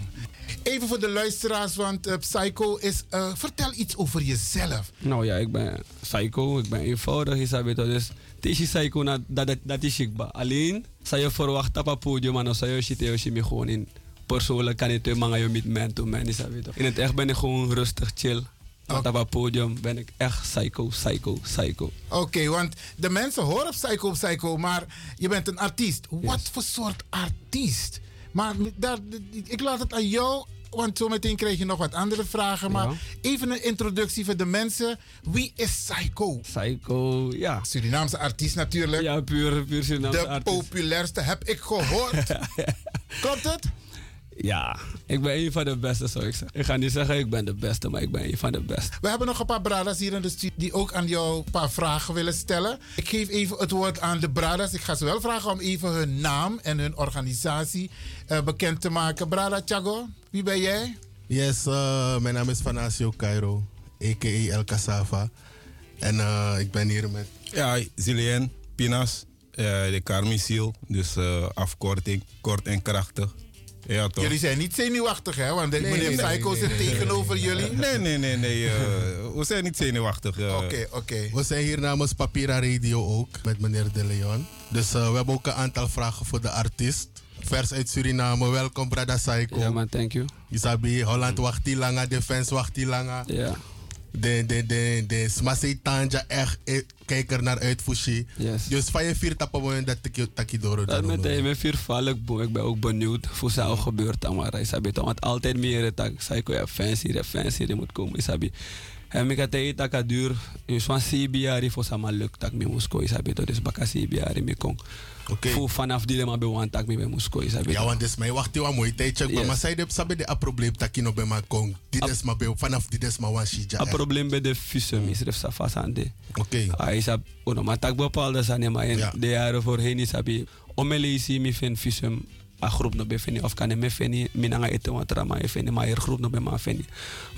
even voor de luisteraars, want eh, Psycho is... eh, vertel iets over jezelf.
Nou ja, ik ben psycho, ik ben eenvoudig, je weet wel. Dus het is je psycho, na- dat, dat, dat is ik. ba. Alleen, zou je verwachten op een podium, maar dan zou je zitten, je ziet me gewoon in. Persoonlijk kan ik het maar je met man to man, je weet wel. In het echt ben ik gewoon rustig, chill. Maar op een podium ben ik echt psycho, psycho, psycho.
Oké, want de mensen horen Psycho Psycho, maar je bent een artiest. Wat voor soort artiest? Maar daar, ik laat het aan jou, want zometeen krijg je nog wat andere vragen. Maar
Ja.
even een introductie voor de mensen. Wie is Psycho?
Psycho, ja.
Surinaamse artiest natuurlijk.
Ja, puur, puur Surinaamse
de
artiest.
populairste heb ik gehoord. Klopt het?
Ja, ik ben een van de beste, zou ik zeggen. Ik ga niet zeggen ik ben de beste, maar ik ben een van de beste.
We hebben nog een paar bradas hier in de studio die ook aan jou een paar vragen willen stellen. Ik geef even het woord aan de bradas. Ik ga ze wel vragen om even hun naam en hun organisatie eh, bekend te maken. Brada Chago, wie ben jij?
Yes, eh, mijn naam is Vanasio Cairo, a.k.a. El Cassava. En eh, ik ben hier met... Ja, Zilien, Pinas, eh, de Carmisiel. Dus afkorting, kort en krachtig. Ja, toch?
Jullie zijn niet zenuwachtig, hè? Want de meneer Psycho zit tegenover jullie.
Nee, nee, nee, nee. eh, we zijn niet zenuwachtig. eh. Oké,
Uh.
oké.
We zijn hier namens Papira Radio ook, met meneer De Leon. Dus eh, we hebben ook een aantal vragen voor de artiest. Vers uit Suriname, welkom Brada Psycho. Ja
man, thank you.
Isabi, Holland wacht die langer, de fans wacht die langer.
Ja.
De, de, de, de Smasei Tanja echt, ik kijk er naar uit, Fushi.
Yes.
Dus van je vier tappen moment dat ik je takkie door
Dat met hem heeft viervallig boom. Ik ben ook benieuwd hoe zou gebeurt aan maar Isabi. toch? Want altijd meer dat ik zei, ik heb fans hier, je hebt fans hier, je moet komen Isabi. En ik had tijd dat ik duur, dus van zeven jaar heeft het allemaal lukt dat ik me moest komen Isabi. toch? Dus bakken zeven jaar in mijn kong. Voor vanaf die maar bewaand dat ik me mee moest komen Isabi.
Ja, want dit is mij wacht een mooie tijdje.
Yes.
Maar zij de sabi de a probleem takkie nog bij mij kong. Dit is maar bij- vanaf dit is maar wan shija.
Een probleem bij de visum is er vast aan de.
Oké.
Hij is op maar tak bepaalde zijn maar in de jaren voorheen is hij om me lezen me vind visum a groep nog bevinden of kan ik me vinden minanga eten wat rama je vinden maar er groep nog bij me vinden.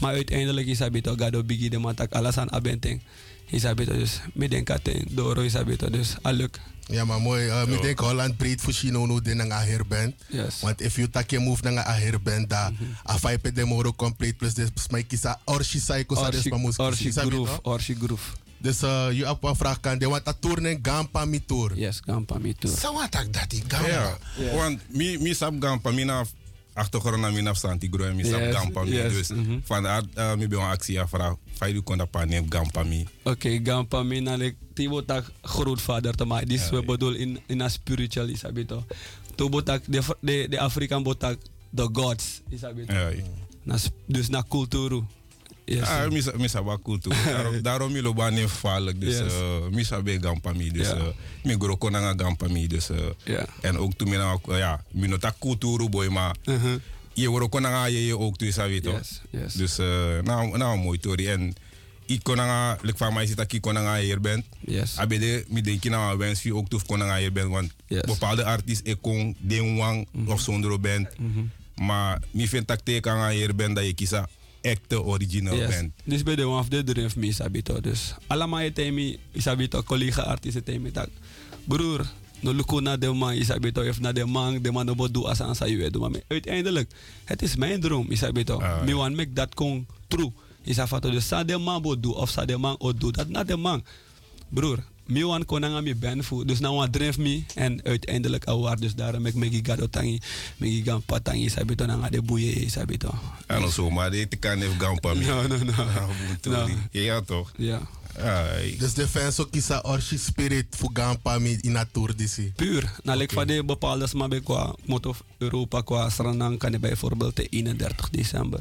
Maar uiteindelijk is hij beter gado bigi de matak alles aan abenting. Is hij beter dus me denk dat hij door is hij beter dus aluk.
Ja, maar mooi. eh, Ik
Ja.
denk Holland breed voor Chino nu de nga her bent.
Yes. Mhm.
Want if you take a move naar a her bent, da afai pe de moro complete plus des smai kisa orshi saiko sa des
Orshi-
pamus.
Orshi groove, orshi groove.
Dus eh, je hebt een vraag kan de want dat tourne gampa mi tour.
Yes, gampa mi tour.
Zo wat ik dat ik Ja. gampa. Want mi mi sab gampa mi na achtergrond na mi na santi groen mi sab Yes, gampa mi yes, dus vandaar eh, mi ben actie afra. Faidu kon dat pa neem gampa mi.
Oké, Gampa Mina, like, die wordt ook grootvader te maken. Die is we bedoel in, in een spiritual, is dat beter. Toen wordt ook de, de, de Afrikaan wordt ook de gods, is dat beter.
Ja, ja.
Na s- dus naar cultuur. Yes.
Ah, misa, misa baku tu. Daarom, daarom mi loba ne falik. Dus
Yes.
yes. uh, misa be gampa mi. Dus
Ja.
eh, mi gro kon nga gampa mi. Dus, eh,
Ja.
En ook toen mi na, ja, mi no tak kulturu boy, maar je wordt kon nga je je ook tu, isa weet toch?
Uh-huh. Yes, yes.
Dus eh, nou, nou mooi tori. En ik kon nga, like van mij zit dat ik kon nga e hier bent.
Yes.
Abede, mi denk je nou wens je ook toe kon nga hier bent. Want
Yes. Mm-hmm.
bepaalde artiest, ik kon den wang of zonder bent. Maar mi vind dat teken aan hier ben dat je kisa echte original
Yes.
bent.
Dus bij de one of the dream van mij, is dat beter. Dus allemaal je temi, is dat beter. Collega artiesten temi tak. Broer, no luko na de man, is dat beter. Of na de man, de man no doen als aan zijn je Maar uiteindelijk, het eh, is mijn droom, is dat beter. Me want make that kon true. Is dat vato. Dus sa de man bo do, of sa de man o do, dat na de man. Broer, me want kon aan me ben voor. Dus nou want dream me. eh, En uiteindelijk award. Dus daarom ik me gigado tangi. Me gigan patangi, is dat beter. Na de boeie, is dat beter.
En of zo, maar dit kan even gampa mee.
No, no, no.
Ah, no. Ja, toch?
Ja.
Dus de fans ook kisa orshi spirit voor gampa mee in natuur disi.
Puur. Nou, ik van de bepaalde smabe qua motto Europa qua Sranang kan je bijvoorbeeld de 31 december.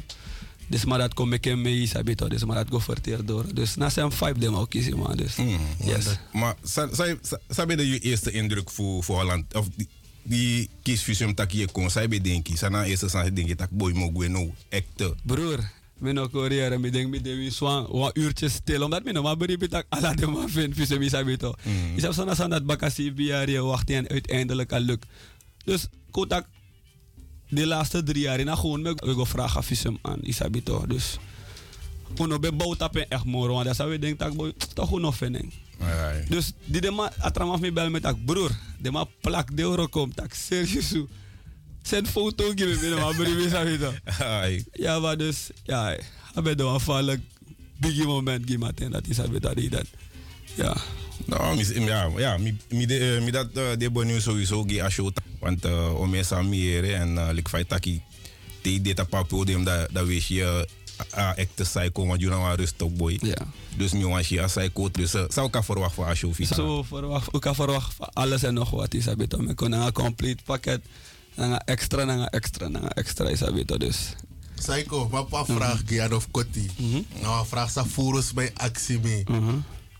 Dus maar dat kom ik in mee, Sabito. Dus maar dat go verteerd door. Dus na zijn vibe dem ook kiezen, man. Dus, yes.
Maar sa- sa- sa- sabe de je eerste indruk voor voor Holland? Of die- die kiesvisum tak je kon, sabe denk je. Sana eerste sana denk je tak boy mo gwe nou echte.
Broer, nou mijn ook hoor en ik denk met de zwan een uurtje stil. Omdat mijn normaal beriep dat alla de man vindt, vissen wie sabito. Ik heb zo'n aan dat bakassie biar je wacht en uiteindelijk al lukt. Dus kotak de laatste drie jaar in gewoon me ik wil vragen visum aan Isabito. Dus toen ik ben bouwt op een echt mooi, want dat zou je denken dat ik boy, toch gewoon nog vind. Dus die de man atramaf me bel met dat broer, de man plak de euro komt, dat serieus. Zet foto geven binnen, maar broer, wie zou je dat? Ja, maar Ya, dus, ja, ik ben een aanvankelijk big lah. moment gemaakt en dat is dat dat ik dat. Ja.
Nou, mis, ja, ja, Non, mi, mi, de, eh, mi dat uh, de bonu sowieso ge a show. Want uh, om eens aan meer en uh, ik feit dat ik die dit op het podium dat dat weet je eh, a ekte psycho want je nou een rustig boy.
Ja.
Dus nu was je een psycho dus eh, zou ik verwacht voor a show
Zo verwacht, ik had verwacht van alles en nog wat, is dat Ik kon een compleet pakket, een extra, een extra, een extra, is dat dus.
Psycho, papa
Mhm.
vraag Gian of Koti. Nou, vraag sa furus bij actie mee.
Mhm.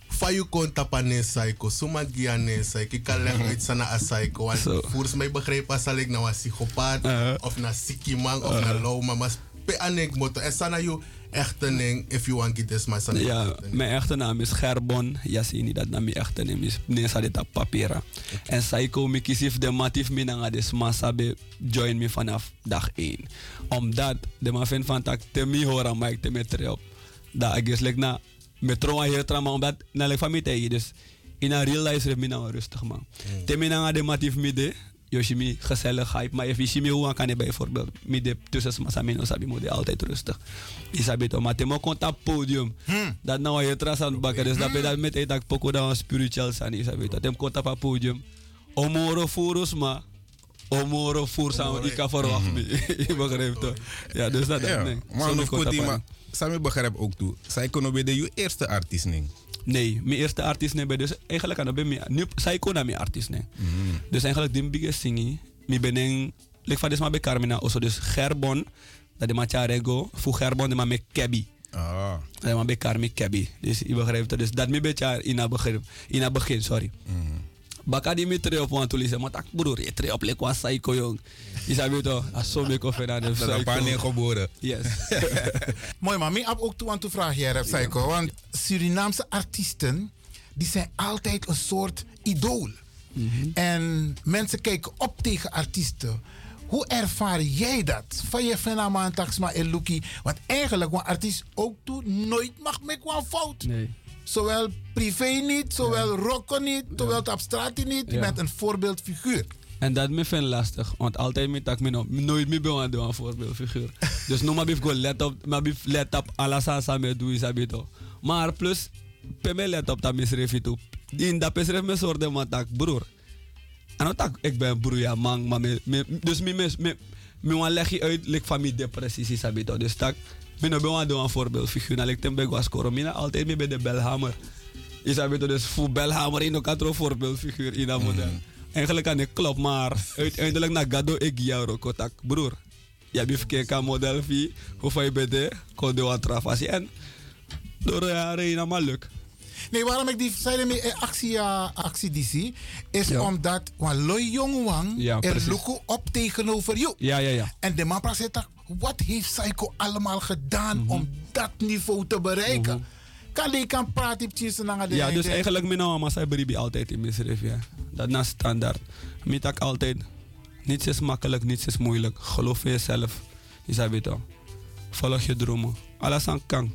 Fayu kon tapane psycho, suma giane psycho. Ik kan
Mhm.
leggen uit sana a psycho. Want Zo. volgens mij begreep als ik nou een psychopaat
Uh-huh.
of na sikimang of Uh-huh. na lauma. Maar pe anek moto.
Eh,
En sana you echte ning if you want get this maar sana
Ja, mijn echte naam is Gerbon. Ja, zie je niet dat naam mijn echte naam is. Nee, ze dit op papieren. En Psycho Mikisif, de matief minanga des masabe, join me vanaf dag 1. Omdat de man vindt van tak te mi horen, maar ik te met op. Dat ik is like na, met trauma hier trauma, omdat na lek van mij tegen. Dus in een real life is minanga rustig man. Te minanga de matief midden. Yoshimi gezellig hype, maar even Yoshimi hoe kan je bijvoorbeeld midden tussen massa mino sabi moet je altijd rustig. Isabito, maar te mo contact podium. Dat nou je tras aan het bakken, dus dat ben dat met een dag poko dan spiritueel zijn, Isabito. Tem contact op podium. Omoro furus ma. Omoro fur san ik kan verwacht me. Je begrijpt toch? Ja, dus dat
Ja,
nee.
maar
Zonder
nog goed,
contact
maar
aan.
Sammy begrijp ook toe. Zij kunnen bij de je eerste artiest nemen.
Nee, mijn eerste artiest nee, ben dus eigenlijk aan de ben nu zij kon naar mijn artiest nee.
Mm.
Dus eigenlijk die biggest singi, mi beneng, lek van desma be Carmina, also dus Gerbon, dat de macharego, voor Gerbon de ma me kebi.
Ah.
Dat de ma be Carmi kebi. Dus je begrijpt het, dus dat mi beetje in het begin, in het begin, sorry.
Mm.
Baka di mi tre op want tulise, maar tak broer, je tre op lek was psycho jong. Je sabi toch, als zo me koffie naar de
Dat een paar neer geboren.
Yes.
Mooi man, ik heb ook toe aan te vragen hier, Psycho. Want Surinaamse artiesten, die zijn altijd een soort idool. En mensen kijken op tegen artiesten. Hoe ervaar jij dat? Van je fenomeen Taxma en Luki. Want eigenlijk, een artiest ook toe nooit mag met een fout. Zowel privé niet, zowel rocken niet, zowel op straat niet. Je
Ja.
bent een voorbeeldfiguur.
En dat me vind ik lastig, want altijd met tak me no, nooit meer ben aan doen aan voorbeeldfiguur. dus nu maar ik gewoon let op, maar ik let op alles aan samen doen is abito. Maar plus, per me let op dat misref je toe. In dat misref me soort de man tak broer. En dan tak ik ben broer ja man, maar me, me, dus me me me me wan leg je uit like van mijn depressies is abito. Dus tak, me no ben aan doen aan voorbeeldfiguur. Nou, ik ten bij was corona altijd me bij de belhamer. Is abito dus voor belhamer in ook een voorbeeldfiguur in dat model. Eigenlijk aan de klop, maar uiteindelijk na Gado ik jou contact, broer. Je hebt gekeken model V, hoeveel je bent, hè? kon je wat trafasie en door de jaren heen allemaal leuk.
Nee, waarom ik die zei met eh, actie, ja, actie die zie, is omdat want Loy Jong Wang
Ja,
er
precies.
loco op tegenover jou.
Ja, ja, ja.
En de man praat zegt, wat heeft Psycho allemaal gedaan
Mhm.
om dat niveau te bereiken? Kan ik kan praten op Chinese Nanga de
Ja, dus
Nijde?
eigenlijk mijn naam was Bribi altijd in misrif, ja. Dat na standaard. Met tak altijd, niets is makkelijk, niets is moeilijk. Geloof in jezelf, je zou weten. Volg je dromen, alles aan kan.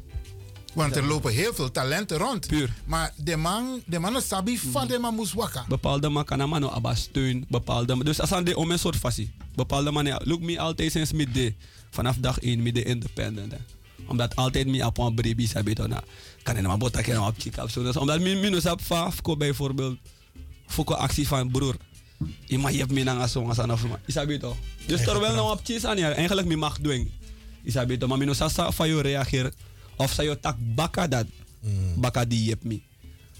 Want er lopen heel veel talenten rond.
Puur. Mhm.
Maar de man, de man is sabi van de man moest wakker.
bepaalde man kan aan abba steun, bepaalde dus als aan de om een soort fasie. Bepaalde man look me altijd sinds midden vanaf dag 1 midden independent. Hè. Omdat altijd me op een baby sabi tona. Kan ik nou maar botta kan op chick op zo. Dus omdat min minus op vaf ko bijvoorbeeld voor ko actie van broer. Je mag je hebt me nang asong asan of isabi to. Dus terwijl nou op chis aan ja eigenlijk me mag doen. Isabi to maar minus asa van jou reageer of sa jou tak bakka dat. Bakka die je hebt me.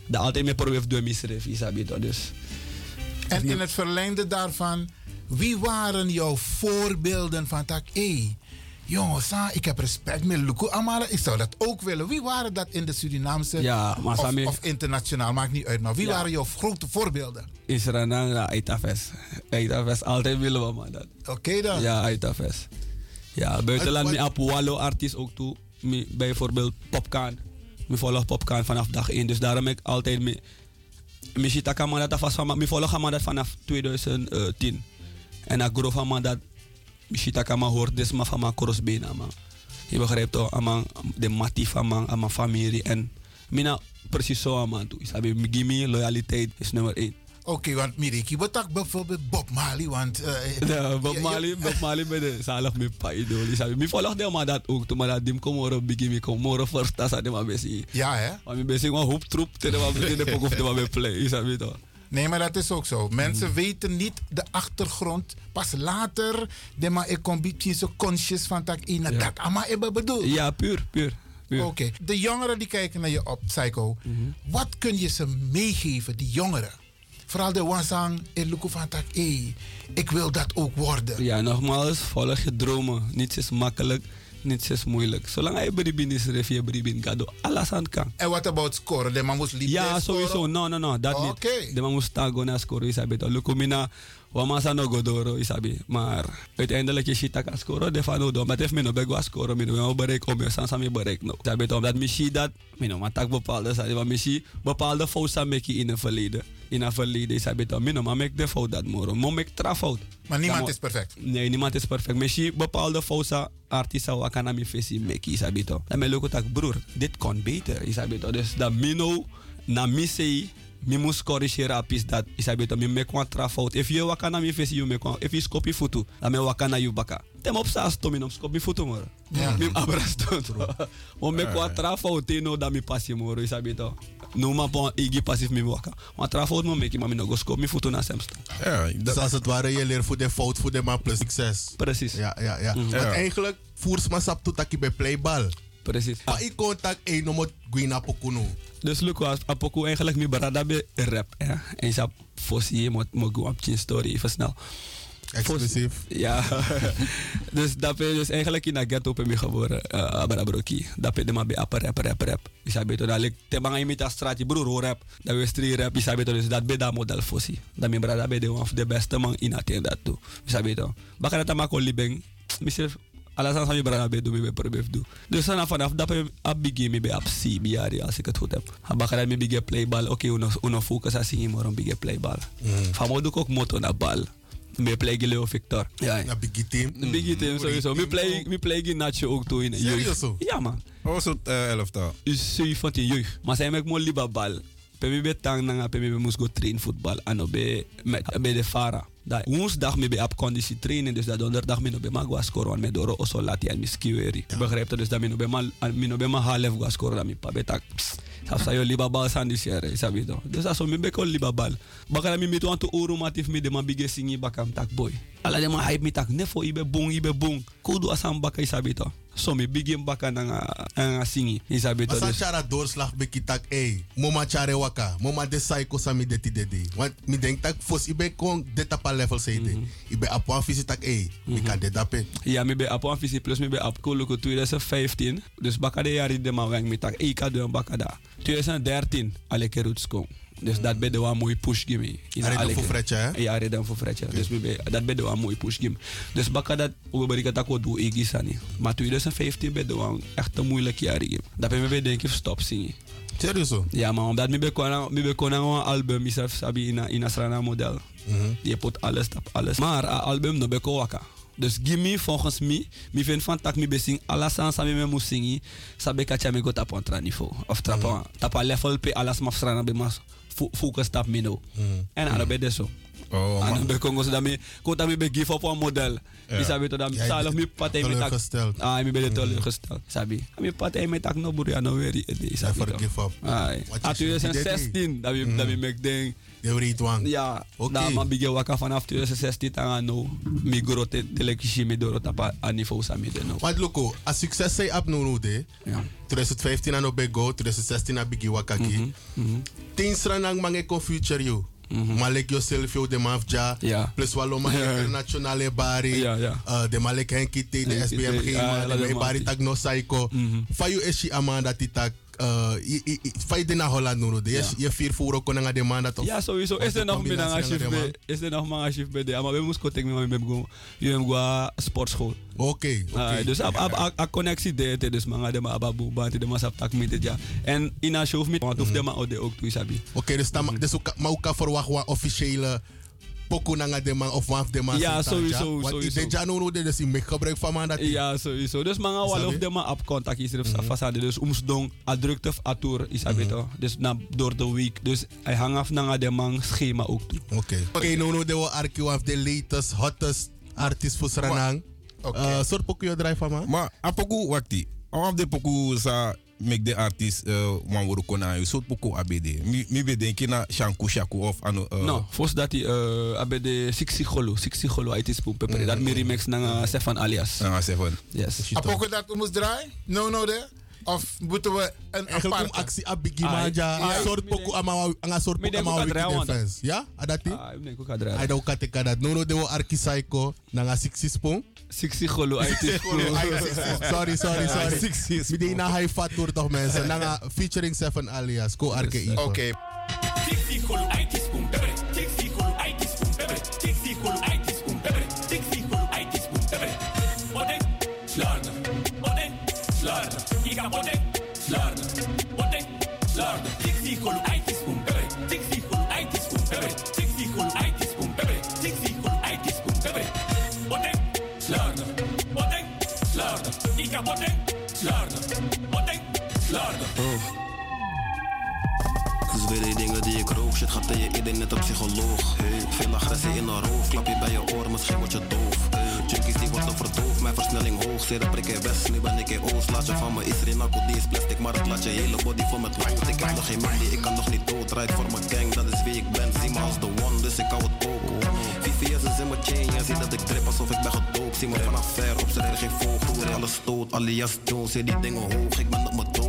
Dat altijd me probeer doen misref isabi to dus.
En in het verlengde daarvan, wie waren jouw voorbeelden van tak? Hé, jongens, ah, ik heb respect met Luku Amara, ik zou dat ook willen. Wie waren dat in de Surinaamse
Ja, maar
of,
Samir-
of internationaal, maakt niet uit. Maar wie
Ja.
waren jouw grote voorbeelden?
Is er een andere Aitafes? Aitafes, altijd willen we maar dat.
Oké dan.
Ja, Aitafes. Ja, buitenland,
Uit-
mijn Apualo artiest ook toe. Mi- Bijvoorbeeld Popkaan. Ik volg Popkaan vanaf dag 1, dus daarom heb ik altijd mee. Misschien dat kan dat vast van, ik volg hem dat vanaf 2010. En ik groef hem dat, misschien dat kan hoort, dus maar van mijn crossbeen. man. Je begrijpt toch, man, de matief van man, aan mijn familie. En mina precies zo aan man toe. Ik heb loyaliteit is nummer 1.
Oké, want Miriki, wat dacht bijvoorbeeld Bob Marley? Want, eh,
Ja, Bob
je- je-
Marley, Bob Marley bij de zalig met pa idol. Isabi, mi volg de maar dat ook, maar dat dim kom moro bigi mi kom moro first tas ade maar besi.
Ja hè?
Maar mi besi gewoon hoop troep te de maar besi de pok of de maar be play, isabi toch.
Nee, maar dat is ook zo. Mensen
Hmm.
weten niet de achtergrond. Pas later, de ma ik kom beetje zo conscious van dat ik naar dat allemaal hebben bedoeld.
Ja, puur, puur. puur. Mhm.
Oké, de jongeren die kijken naar je op, Psycho. Wat kun je ze meegeven, die jongeren? Vooral de wansang en Luku van tak, hé, ik wil dat ook worden.
Ja, nogmaals, volg je dromen. Niets is makkelijk, niets is moeilijk. Zolang hij bribin is, ref je bribin, ga door alles aan kan.
En what about scoren? De man moest liever
Ja, sowieso. No, no, no. Dat niet. De man moest tago na scoren, isabi. Dan lukt mina. Wamasa no godoro, isabi. Maar uiteindelijk is shita kan scoren. De van odo. Maar het heeft me no bego scoren. Mino, we bereik om. San sami bereik no. Isabi, toch, omdat mishi dat. Mino, maar tak bepaalde. Isabi, maar mishi bepaalde fout sa meki in een verleden. In een verleden, isabi. toch, Mino, maar mek de fout dat moro. Mo mek tra fout.
Maar niemand is
perfect. Nee, niemand is perfect. Misschien bepaalde fouten artiesten wakana mi fesi meki isabito. Dan mijn leuke tak broer, dit kon beter isabito. da, Dus dat mino na misei mi moest corrigeren op is dat da, isabito mi mek wan tra fout. If je wakana mi fesi you mek wan. If je skopi futu, dan mijn wakana you baka. Tem op sa stomi nom skopi futu moro.
Ja.
Mi abrasto. Mo mek wan tra fout eno da mi pasi moro isabito. Numa pon igi pasif mi waka. Wan tra fout mo meki ma mi no go skopi futu na semsto.
Ja,
dat-
dat,
Dus als
het ware, je leert voor de fout, voor de maar plus succes.
Precies.
Ja, ja, ja.
Mhm.
Want
Ja.
eigenlijk, voers maar sap toe dat je bij playball.
Precies.
Maar ik contact één om het Guina Pokuno.
Dus Luco, als Apoku eigenlijk meer barada be rap. Hè? En ze fosie moet mogen op je story even snel.
Exclusief.
Ja. dus dat ben je dus eigenlijk in de ghetto ben je geboren. eh, Abarabroki. Dat ben je maar bij appa rap, rap, rap. Je zei beter dat ik te bang met dat straatje broer hoor rap. Dat we street rap. Je zei beter dus dat ben dat model fosie. Dat mijn barada ben de one of the beste man in Athene dat toe. Je zei beter. Bakker dat dat maar kon lieben. Misschien alles aan je brana bedoel, je probeert doen. Dus dan vanaf dat je op begin je op C, biari, als ik het goed heb. Dan begrijp je big playball, oké, uno focus als je maar een big playball. Van mij doe ik ook motor naar bal. Me play Leo Victor. Ja.
Naar Biggie Team.
Biggie Team sowieso. eh, Me play, me play je Nacho ook toe in de jeugd. Ja man.
Hoe was uh, het elftal?
Dus 17 jeugd. Maar zijn ik mooi liba bal. Pemi be tang nanga, pemi be moest go train voetbal. Ano be met be de fara. Dat woensdag me be op conditie trainen, dus dat donderdag me no be magwa scoren. Want me doro oso lati en miski weri. Begrijp je? Dus dat me no be ma, an- me no be ma half gwa scoren. Dat me pa be tak. Saf sa yo liba bal san dis yere, sabi to. Dus aso me be kon liba bal. Bakala me mitu anto oru matif me de ma bige singi bakam tak boy. Ala de ma hype me tak nefo ibe bong ibe bong. Kudu asam baka isabi to. So me bigim baka nanga, nanga singi isabi to.
Maar sa
Dus-
chara doorslag bekitak e. Moma chare waka. Moma de psycho sa mi deti dedi. Want mi denk tak fos ibe kon detapa level seide. Ibe apwa fisi tak e. Mi kan detape.
Ja, ik ben op een visie plus, ik ben op Koloko 2015. Dus bakka de jaren de man wang met tak, ik had doen bakka da. 2013, alle keer roots kom. Dus dat ben de wel een mooie push gimme. Is
Reden
alle
voor
keer.
fretje, hè?
Ja, reden voor fretje. Dus we ben- dat ben de wel een mooie push gimme. Dus bakka dat, we bereiken dat ook doe ik is aan niet. Maar 2015 ben de wel een echt een moeilijk jaar gimme. Dat ben ik weer denk ik stop zingen.
Serieus?
Ja, maar omdat ik ben kon- ik ben kon aan een album, ik heb in een- in een strana model. Je put alles op alles. Maar een album no beko waka. Dus gimme volgens mij, mi vind van tak mi besing alles aan samen met moest zingen, sabe kacha me go tap on tra niveau. Of
Hmm.
tap on, tap on level pe alles maf strana be mas fo- focus tap me no. En aan de bed zo.
Hmm. Oh,
Aan de kongo so dat mi, kon dat mi be give up on model. Die sabe to dat mi,
Jij
zalig
bent
mi patay me tak.
teleurgesteld.
Ah, mi ben
Hmm.
teleurgesteld, sabi. Mi patay me tak no buria no weri. I
forgive up.
Ai.
Wat
A
is- Hmm. die
2016, dat we, dat we make ding.
Mhm. De writ wang.
Ja,
Oké.
okay. maar begin wakker vanaf 2016 tanga no. Mi grote telekishi mi doro tapa a niveau sa mi de no.
Want loko, a succes sei ap nou nou de. 2015 an obe go, 2016 an bigi wakaki.
Mm-hmm.
Tien sran ang mange kon future yo.
Mhm.
Malek yo self yo de mafja.
Ja.
Plus walo ma internationale bari.
Ja, ja.
Uh, de malek henki te, de
Henkie
SBM
T,
gema,
ah,
de
laat
mijn
maar.
e bari tak no saiko.
Mhm.
Fayu eshi aman dat itak. uh, Fai de na Holland nou nou de.
Ja.
Yes, Je vier voero kon nga de man dat. of-
Ja, sowieso.
of
Is
de
er nog meer dan
combinatie
een shift
aan de man.
bij? Is er nog maar een shift bij de? Maar we moesten contact met mijn go. Je hem go sportschool.
Oké, oké.
Ah, Dus ab ab ab- ab connectie deed dus manga de ma ababu bati de ma saptak met het ja. En in een show met want hoef de ma ode ook toe isabi.
Oké, dus, dan- dus ook, maar ook kan verwachten wat officiële pokoe nanga de man of maaf de man.
Ja,
sentanja.
sowieso,
Want ik
sowieso.
denk ja, no, no, dit is in gebruik van man dat.
Ja, sowieso. Dus manga wal of de man op contact is er op fasade. Dus omsdong, a drukte of a tour is dat beter. Dus na, door de week. Dus hij hangt af naar de man schema ook toe.
Oké. Oké, no, no, de wo arki of the latest, hottest artist voor Sranang.
Oké.
Eh, Soort pokoe je draai van man.
Maar a poku wakti. Of de poku sa make de artist
eh,
uh, wan woru kona yu. Sot poku abede. Mi, mi bedenki na shanku shaku of ano. Uh,
No, volgens dat hij eh abe de Sixi Golo, Sixi Golo uit is Poen Pepper. Dat meer remix naar Stefan alias.
Naar Stefan.
Yes.
Apoko dat we moest draaien? No, no, de. Of moeten we een
Eigenlijk
aparte? Ah,
om actie abigi manja. Een soort pokoe amawa, een soort pokoe
denk
amawa
ook aan
wiki
draai, want-
defense. Ja, adati?
Ah, ik denk ook aan draai.
Ya? Ada ukate kadat. No, no, de wo arki psycho nanga 60 spoon.
60 golo uit is Poen.
Sorry, sorry, sorry.
Sixties,
We deden naar high fat door toch mensen. Nanga featuring Seven alias. Ko arke Ivo.
Oké.
Dat is weer die dingen die ik rook. Shit gaat tegen iedereen net een psycholoog. Hey, veel agressie in haar hoofd. Klap je bij je oor, misschien word je doof. Hey, junkies die worden verdoofd, mijn versnelling hoog. Zere prik in west, nu ben ik in oost. Laat je van me is rinakko, die is plastic. Maar het laat je hele body vol met lood. Ik heb nog geen money, ik kan nog niet dood. Rijd voor mijn gang, dat is wie ik ben. Zie me als de one, dus ik hou het ook. VVS is in mijn chain, jij ziet dat ik trip alsof ik ben gedoopt. Zie me vanaf ver, op zijn geen vogel. Weer alles stoot, alias Jones, zit die dingen hoog. Ik ben op mijn dood.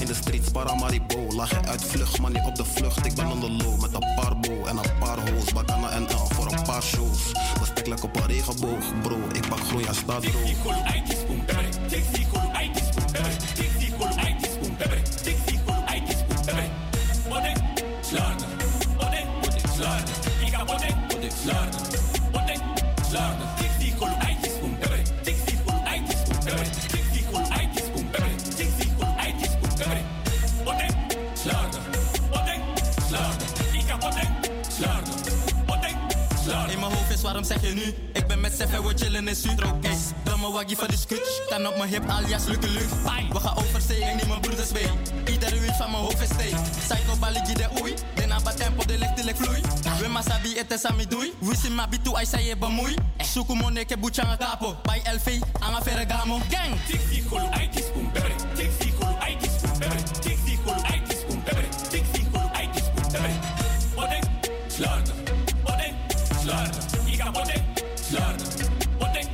In de streets, Paramaribo. Laag je uit vlucht, maar niet op de vlucht. Ik ben on the low met een paar bo en een paar hoes. Bakana en L voor een paar shows. Bestek lekker op een regenboog, bro. Ik pak groen, ja, staat bro.
In mijn hoofd is waarom zeg je nu? Ik ben met Sef en we chillen in Sudro. Ey, domme waggie van de scutch. Kan op mijn hip alias lukke lucht. We gaan over zee en niet mijn broeders mee. Iedere uur van mijn hoofd is steek. Psycho baligi de oei. De naba tempo de licht de vloei. We masabi ete sami doei. We zien mabi tu ai say je bemoei. Suku moneke buchanga kapo. Bij LV, ama ferragamo. Gang! Tixi kul aitis kum bebe. Tixi kul aitis kum bebe. Tixi kul aitis kum bebe. Tixi kul aitis kum bebe. Bodek, slaarde. Bodek, slaarde. Iga bodek, slaarde. Bodek,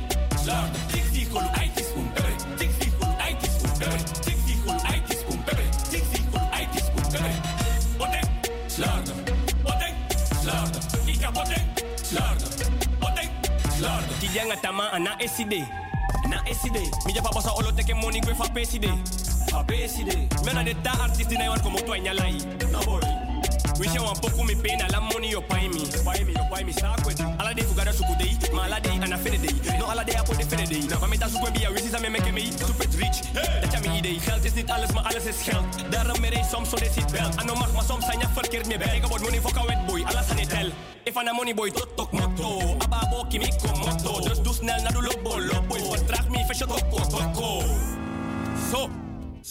slaarde. Tixi kul aitis kum bebe. Tixi kul aitis kum bebe. Tixi kul aitis kum bebe. Tixi kul aitis kum bebe. Bodek, slaarde. Bodek, slaarde. Iga bodek, slaarde. Bodek, slaarde.
Kijanga tama ana eside. Na eside. Mi japa bosa olo teke moni kwe fa peside. Fa peside. Mena de ta artist na iwan como tu añalai. No boy. Wisha wan poku mi pena la money yo pay me. Pay me, yo pay me sa kwe. Ala de fugada suku dei, ma ala de ana fede dei. No ala de apo de fede dei. Na mami ta suku bia wisi sa me meke me super rich. Dat ja mi idee. Geld is niet alles, maar alles is geld. Daarom merei soms zo de zit wel. Ano mag maar soms zijn ja verkeerd mee bij. Ik word money foka wet boy. Ala sa ne tel. If ana money boy tot tok motto. Ababo kimi kom motto. Dus doe snel naar de lobo lobo. Vertraag me visje toko toko. Zo.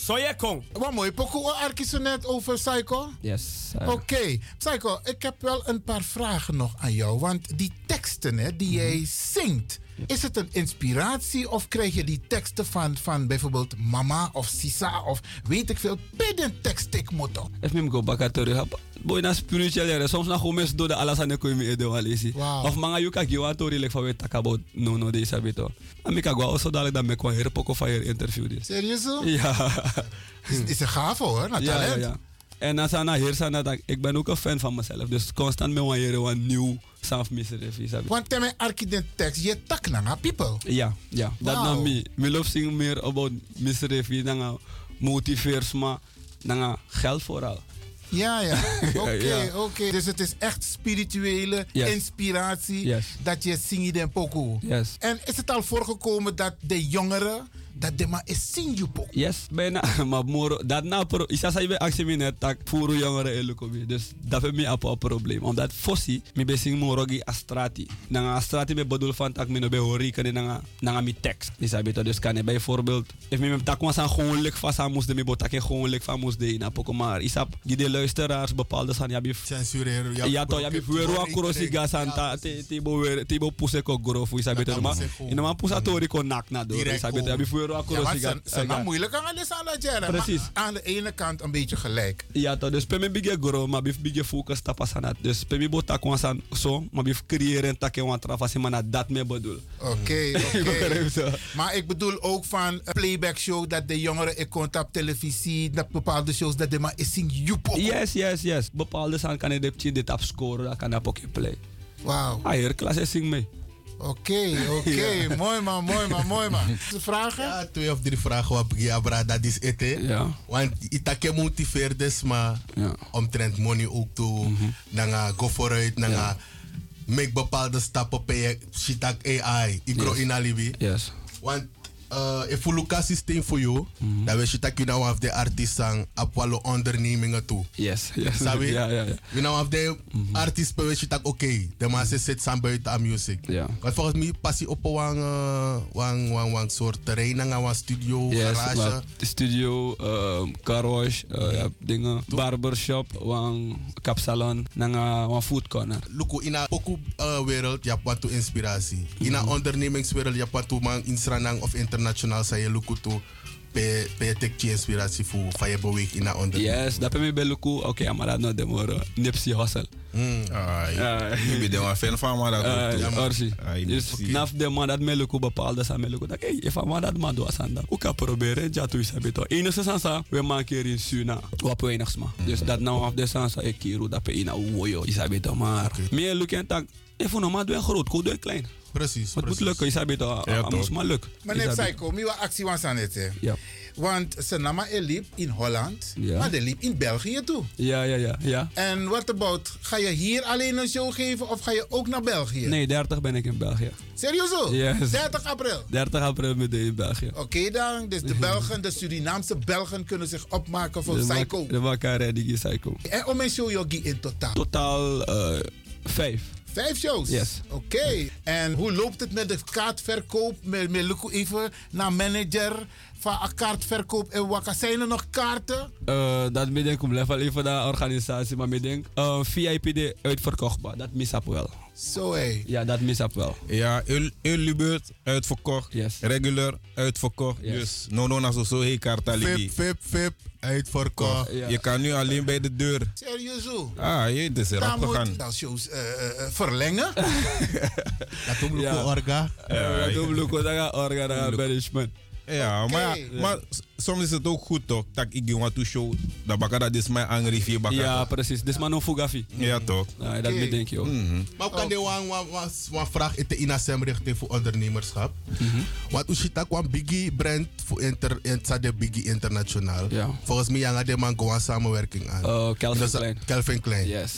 Zo je kon.
Wat mooi. Poko Arki zo net over Psycho.
Yes.
Oké, Psycho, ik heb wel een paar vragen nog aan jou. Want die teksten hè,
Mhm.
die jij zingt, is het een inspiratie of krijg je die teksten van, van bijvoorbeeld Mama of Sisa of weet ik veel, bidden tekst ik moet op.
Even me go back at the hap. Boy na spiritual jaren. Soms na gomes do de alas aan de koe mee doen alisi.
Wow.
Of manga yuka giwa tori lek van we takabo no no de isabito. Amika gwa also dadelijk dat me kwa her poko van her interview dit.
Serieus?
Ja.
Is, is een gaaf hoor, naar
Ja,
talent.
ja, ja. En dan sana hier sana dat ik ben ook een fan van mezelf. Dus constant me wan jere wan nieuw saaf misref isabito.
Want temme Arki den tekst, je tak na naar people.
Ja, ja. Dat
Wauw.
nam me. Me love sing meer about misref. Nanga motiveers eh, maar nanga geld vooral.
Ja, ja. Oké,
Ja.
oké. Dus het is echt spirituele
Yes.
inspiratie
Yes.
dat je zingt in pokoe.
Yes.
En is het al voorgekomen dat de jongeren dat de ma is sinjupo.
Yes, bijna. Maar moro, dat na pro, isa sa ibe actie min net tak furu jongere elukobi. Dus dat vind ik een probleem. Omdat fossi, mi be sing moro gi astrati. Nanga astrati me bedoel van tak min obe hori kani nanga, nanga mi tekst. Isa bito dus kan bijvoorbeeld. If mi mem tak wan san gewoon lek van san moest de mi botak en gewoon lek van moest de in apoko maar. Isa gi de luisteraars bepaalde san yabi.
Censureren.
Ja to yabi weru akuro si gasanta. Tibo weer, tibo puse ko grofu. Isa bito. Inama pusa tori ko nak na door. Isa bito yabi weru akuro
Ja,
si
want ze
gas-
zijn
eh,
nou
ga-
moeilijk aan de sala jaren.
Precies.
Maar aan de ene kant een beetje gelijk.
Ja, toch. Dus pemi bigge gro, maar bif bigge focus tapas aan dat. Dus pemi bo tak wan san so, maar bif creëren takke wan trafas in mana dat me bedoel.
Oké, oké.
begrijp ze.
Maar ik bedoel ook van een playback show dat de jongeren in contact op televisie, dat bepaalde shows dat de ma is in joepo.
Yes, yes, yes. Bepaalde san kan je de pchi dit afscoren, dat kan op je play.
Wauw.
Ah, hier klas is zing mee.
Oké, oké. Mooi man, mooi man, mooi man. Vragen?
Ja, twee of drie vragen wat ik ja, bra, dat is het. hè.
Ja.
Want ik heb motiveerd dus, maar omtrent money ook toe.
Mhm.
Dan ga go vooruit, dan ga make bepaalde stappen per shitak AI. Ik grow
Yes.
in alibi.
Yes.
Want uh, if we look at systeem voor jou,
Mhm.
dan weet je dat je nou af de artisan op alle ondernemingen toe.
Yes, yes.
Sabi?
Ja, ja, Mhm. ja.
We nou af de artiest per weet je dat oké, de mensen zitten samen buiten aan music.
Ja.
Want volgens mij pas je op een wang, eh, wang, wang, wang soort terrein, aan een studio,
Yes,
garage.
maar studio, ehm car wash, eh, ja, dingen, barbershop, wan kapsalon, nanga wan food corner.
Luku, in een pokoe eh, wereld, je hebt wat toe inspiratie. In een
Mhm.
ondernemingswereld, je hebt wat toe man insranang of internationaal, zei je Luku toe. Per per tek je inspiratie voor van je beweeg in een onderneming.
Yes, dat pemi beluku, oké, okay, maar dat no demoro. Nipsey hustle.
Hmm. Ik ben er wel fan van, maar dat
Ah,
ook,
ja,
toch?
Orsi.
Ah, ik
Dus
zie.
naf de man dat meluku bepaalde sa meluku. Dat hey, if man dat man doa sanda. Ook kan proberen, ja tu isabi to. Ene se sansa, we man keer in Suna. Wap we enig sma.
Hmm.
Dus dat nou af de sansa, ik kiru dat pe ina uwoyo isabi to. Maar meer lukken en tak, e even normaal doe een groot, goed doe een klein.
Precies,
Het moet lukken, isabi to.
Ja,
Het moet
toch.
ah, maar lukken.
Meneer
isabi.
Saiko, mi wa actie was aan het. hè.
Ja.
Want ze namen een liep in Holland,
Ja.
maar de liep in België toe.
Ja, ja, ja, ja.
En wat about, ga je hier alleen een show geven of ga je ook naar België?
Nee, 30 ben ik in België.
Serieus? hoor?
Yes.
30 april.
30 april met in België.
Oké dan, dus de Belgen, de Surinaamse Belgen kunnen zich opmaken voor
De ma-
Saiko.
De makare die psycho.
En om een show yogi in totaal.
Totaal eh, vijf.
Vijf shows?
Yes.
Oké. En hoe loopt het met de kaartverkoop? Met, met Luku even naar manager van een kaartverkoop en Waka. Zijn er nog kaarten?
Eh, dat midden ik level even de organisatie, maar midden eh VIP de uitverkochtbaar. Dat mis ik wel.
Zo hé.
Ja, dat mis ik wel.
Ja, Ulubert uitverkocht. Regular uitverkocht.
Yes.
Dus no no na zo zo hey karta ligi.
Vip, vip, vip, uitverkocht.
Je kan nu alleen bij de deur.
Serieus zo?
Ah, je het is
Dan
erop
moet
gegaan.
je dan shows eh, eh, eh, verlengen.
Dat doen we orga.
Ja, dat doen we orga, orga, dan gaan management.
Ja, maar, ja,
Oké.
maar s- soms is het ook goed toch? Dat ik die want to show. Dat baka dat is mijn angriffie baka.
Ja, precies. Dus man, fugafi.
Ja, toch?
Ja, dat
Oké.
bedenk je ook.
Mm-hmm.
Maar kan
Oh.
de wan wan wan wan vraag in de INASM richting voor ondernemerschap.
Mhm.
Want Ushita kwam Biggie brand voor inter en het zat de Biggie internationaal. Volgens mij hangt de man gewoon samenwerking aan.
Ya. Oh, Calvin
Dus,
Klein.
Calvin Klein.
Yes.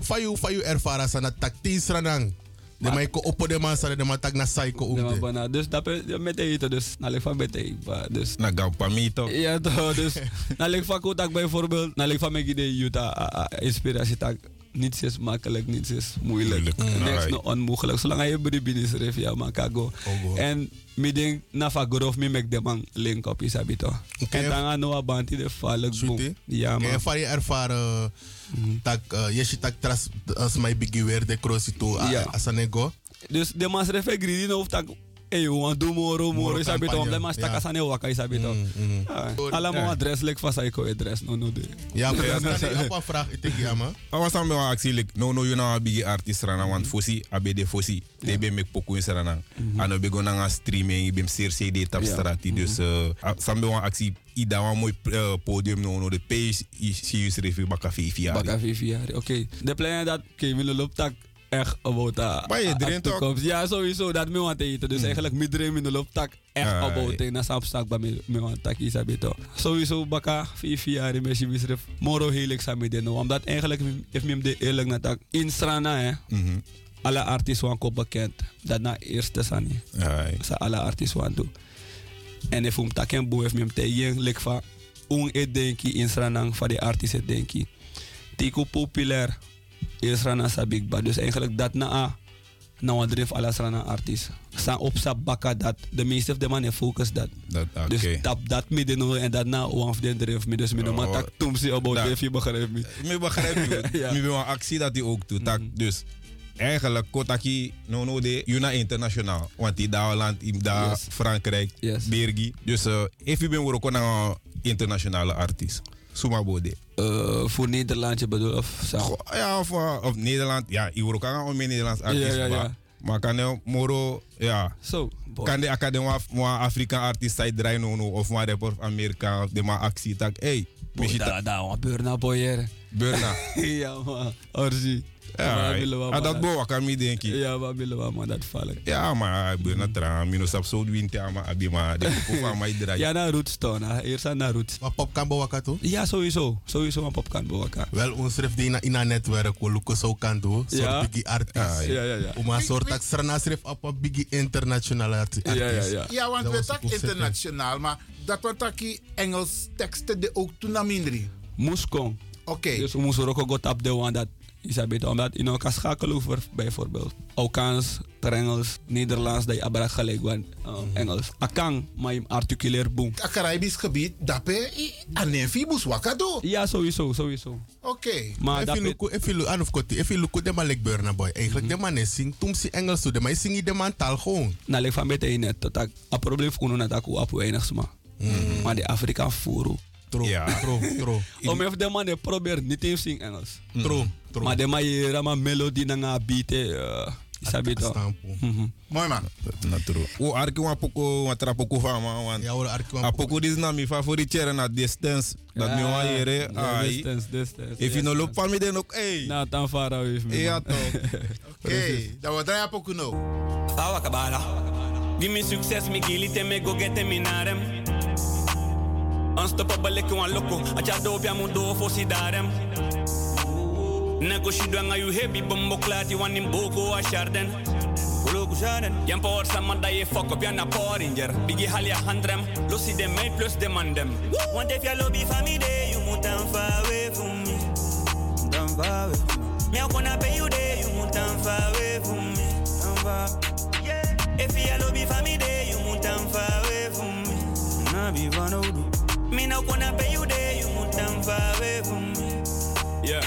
Van jou van jou ervaren zijn dat tak tien ranang. De man ko oppo de man zijn de man tak na psycho ook.
Ja, maar
de.
bijna. Dus dat ben- met eten, dus naar leg van met eten. Dus.
Na gaupamito.
Ja, toch. Dus naar leg van kotak bijvoorbeeld, naar leg van mijn idee, Utah, inspiratie tak. Niets is makkelijk, niets is moeilijk.
Mm.
Niks
Alright.
no onmogelijk. Zolang je brief is, ref, ya, ja, man, kago. En mi ding na fa gorof mi mek de man link op is abito. En dan aan noa banti de falig boom. Ja,
Kan je
man.
van je ervaren
Mhm.
dat eh, je ziet dat tras eh, als mijn Biggie weer de cross toe
Ja.
als een ego.
Dus de man ref ik gridi no of tak. Eh, you want do moro, moro is abito. Om de man stak
Ja.
as ane waka is abito. Ah, Allemaal
Ja.
wat dress, lek van psycho eh, dress. No, no, de.
Ja, maar
Ya.
dat kan ik op een vraag. Ik denk ja, man.
I was talking about actually like no no you know a big artist rana want
Mm-hmm.
fosi abede fosi they be make poku in rana and we go na streaming be ser CD tap
Ja.
strati
Mm-hmm.
dus uh, sambe wan aksi ida wan mooi eh, podium no no the page is is review baka fifi ja
Baka vijf jaar. Oké. De plan is dat Kevin loopt tak echt about a,
Maar je
a- a
dreamt ook. Mm.
toekomst. Ja, sowieso. Dat me want eten. Dus eigenlijk mijn dream in de loopt tak echt
Ai.
about it. Na sap stak bij me- me want tak is abito. Sowieso baka vijf jaar in mijn misref. Moro heel ik samen doen. Omdat eigenlijk heeft me hem de eerlijk na tak in strana hè.
Mhm.
Alle artiesten waren ook bekend. Dat na eerste sani. Sa alle artiesten waren toe. En if um taken boef mem te yen lek fa un e denki in sranang van de artiest e denki. Tiku populair is rana sa big bad. Dus eigenlijk dat na a na wat drif alles rana artiest. Sa op sa bakka dat. De meeste van de mannen focus dat.
Dat, oké.
Dus tap dat midden hoor en dat na one of the drif me. Dus me no
Oh,
maar tak tumsi about
dat-
drif je begrijpt me.
Me begrijp je.
Ja. Mhm.
Me wil een actie dat hij ook doet. Tak, Dus eigenlijk Kotaki, no no de Juna internationaal. Want die daar land, die daar
Yes.
Frankrijk, België. Dus eh if je bent ook een internationale artiest. Suma bode.
Eh, voor Nederland je bedoelt of
Ja, of, eh, of Nederland. Ja, je wordt ook aan om een Nederlands artiest.
Ja, ja, ja.
maar- Maar kan je moro, ja.
Zo.
Kan de academie of een Afrikaan artiest zijn draaien no, no, of een rapper van Amerika of de maar actie. Tak, hey. misschien
da-
tak-
da- wa Burna boyer.
Burna.
ja man, orzi.
Ja,
Maar
right.
willen we
Ah,
maar
dat boek kan niet denken.
Ja, maar willen we maar dat vallen.
Ja, maar ik ben het eraan. Minus op zo'n winter, maar ik ben maar de koek van mij draaien.
Ja, naar roots toch. na- Eerst aan naar roots.
Maar pop kan bewakken toch?
Ja, sowieso. Sowieso een pop kan bewakken.
Wel, ons
schrift
die
in
een
netwerk,
we
lukken
zo
kan
doen.
Soort Ja. biggie
Ah,
artiest. Ja, ja, ja.
Om een
soort
tak strana schrift op een biggie internationale arti-
Ja, ja,
artiest.
ja.
Ja, want
Dat
we
was
tak
ook zeker.
internationaal, maar dat we tak die Engels teksten de ook toen naar mindri.
Moeskong.
Oké.
Dus we moesten ook goed op de one dat is een beetje omdat je nou kan schakelen over bijvoorbeeld. Alkaans, Engels, Nederlands, dat je abrak gelijk want
Mhm.
um, Engels. Akang, maar je articuleer boom.
Het Caribisch gebied, dape, aan een fibus wakado.
Ja, sowieso, sowieso.
Oké.
Maar
dat
dat
look
bet-
if you look of koti if you look de malik burna boy eigenlijk de man is sing tum si Engels toe de man sing de man taal gewoon
na lek van meteen net dat ik een probleem voor dat ik op weinig maar maar de Afrika voeren tro
Ah,
Ja.
tro tro om even de man die probeert niet eens in Engels
Mm. Tro, tro.
maar de man hier rama melodie na nga beat eh sabi to Mm-hmm.
mooi man
natro o arki wa poko wa tra poko fa ma wan
Ja, hoor, arki wa
a poko dis na mi favorite chair na distance dat mi wa yere ai
distance distance
eh? if you no look for me then ook hey
na tan fara with me
ja
man.
toch
Oké, dat we draaien pokoe nou.
Awakabala. Give me success, me gilite, me go get me narem. Unstoppable, like one loco. Acha dope, ya mundo for sidarem. Nago shidwanga you heavy, bombo clati, one in boko, a sharden. Oloku sharden. Yan power samanda ye fuck up, yan a power ranger. Biggie halia handrem, losi dem, me plus demandem.
Want if your lobby for me day, you must turn far away from me. Turn far away from me. Me I gonna pay you day, you must turn far away from me. Turn far. Yeah. If your lobby for me day, you must turn far away from me. Nah be van Odu. Me not gonna pay you day, you must turn far away from me.
Yeah.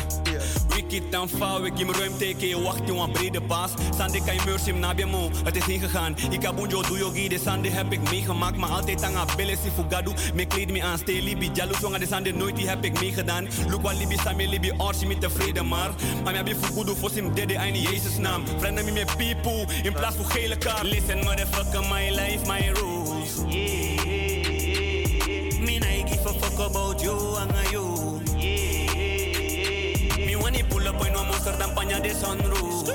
Wicked dan fout, ik geef me ruimte, ik je wacht in een brede baas. Sande kan je mercy na bij me, het is ingegaan. Ik heb onjo doyogi, de sande heb ik meegemaakt. Maar altijd aan abele si fugadu, me kleed me aan stee libi. Jaloers jongen, de sande nooit die heb ik meegedaan. Look wat libi, same libi, orsi me tevreden maar. Maar mij heb fugudu voor sim dede en in Jezus naam. Vrienden me met people, in plaats van gele kaart. Listen motherfucker, my life, my rules.
Me nah give a fuck about you and a you.
Me when he pull up, I know monster than paña de sunroof.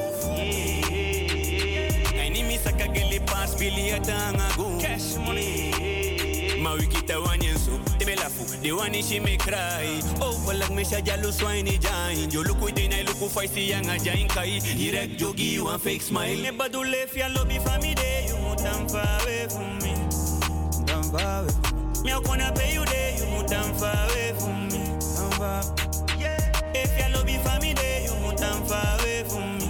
I need me saka gele pass billion ago. Cash money. Ma wikita wanyenso, temelafu, the one she me cry. Oh, well, like me shajalu swine jain. Yo look within, I look for see young a jain kai. Direct jogi, you and fake smile.
Never do left your lobby for me day. You move down far away from me. Down far away. from Me Me I gonna pay you day. You move down far away from me. Down far. Yeah. If your lobby for me day, you move down far away from me.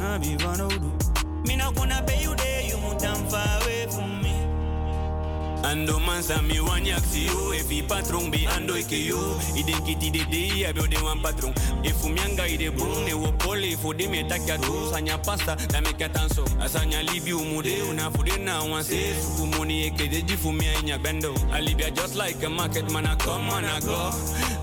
Nah be van Odu. Me not gonna pay you day. You move down far away from me.
Ando man sa mi wan yak si yo Efi patron bi ando ike yo Iden kiti de de ya de wan E patron Efu mianga ide brum ne e wo pole Fo de me tak ya do Sanya pasta da me katanso Asanya libi umude Una fo de na wan se Suku money eke de di fu mi a inya bendo Alibia just like a market man I come and I go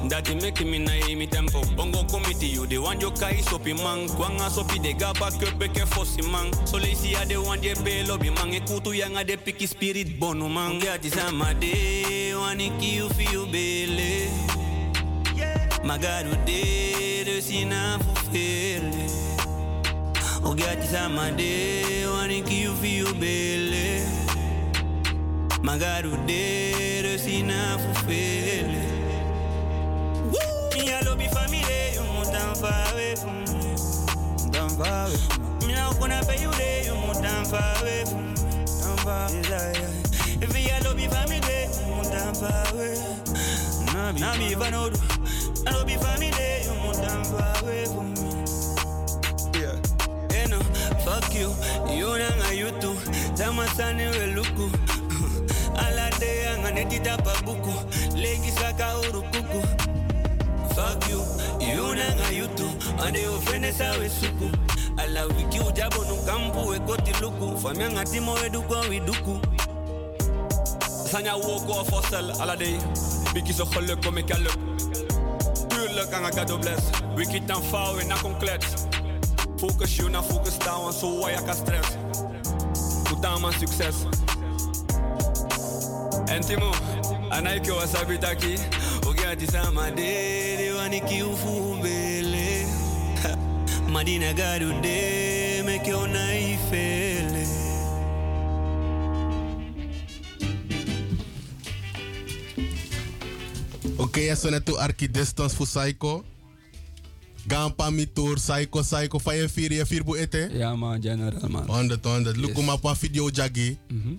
That it make me na e mi tempo Bongo committee you de wan jo kai sopi man Kwanga sopi de gaba kepe ke fosi man Sole si a de wan de be lobby man E Ekutu yang a de piki spirit bono man
Get this on my day, wanna kill for you, Billy. My God, we did this enough for Philly. Oh, get this on my day, wanna kill for you, Billy. My God, we did this enough for Philly. Me, I love you for me, day, you move down far away from me. Down far away. from Me, Me not gonna pay you, day, you move down far away from me. Down far. Desire. If you yellow be for me day, you want them far away. Nah, be nah, be for no do. I don't be for me day, you want them far away from me. Yeah. Hey, no, fuck you. You nang a you too. Tamasani we luku. Ala day ang anetita pabuku. Legi saka urukuku. Fuck you. You nang a you too. Ande ofene sawe suku. Ala wiki ujabo nukampu we koti luku. Famianga timo eduko widuku.
Sanja walk of hostel alla day. Vi kiezen geluk kom ik al op. Tuurlijk aan een cadeau bless. We kiet dan vouwen na compleet. Focus you na focus down. Zo waar je kan stress. Goed aan mijn succes. En Timo. Anaiki wa sabitaki. Oge ati sama dede waniki ufumbele. Ha, Madina garu de meke onaifele.
Ok, a sona tu arki distance fu psycho. Gampa mi tour psycho psycho fa je vier je vier bu ete.
Ja man, general man.
100 100. Look
Yes.
yes. pa video jagi.
Mhm.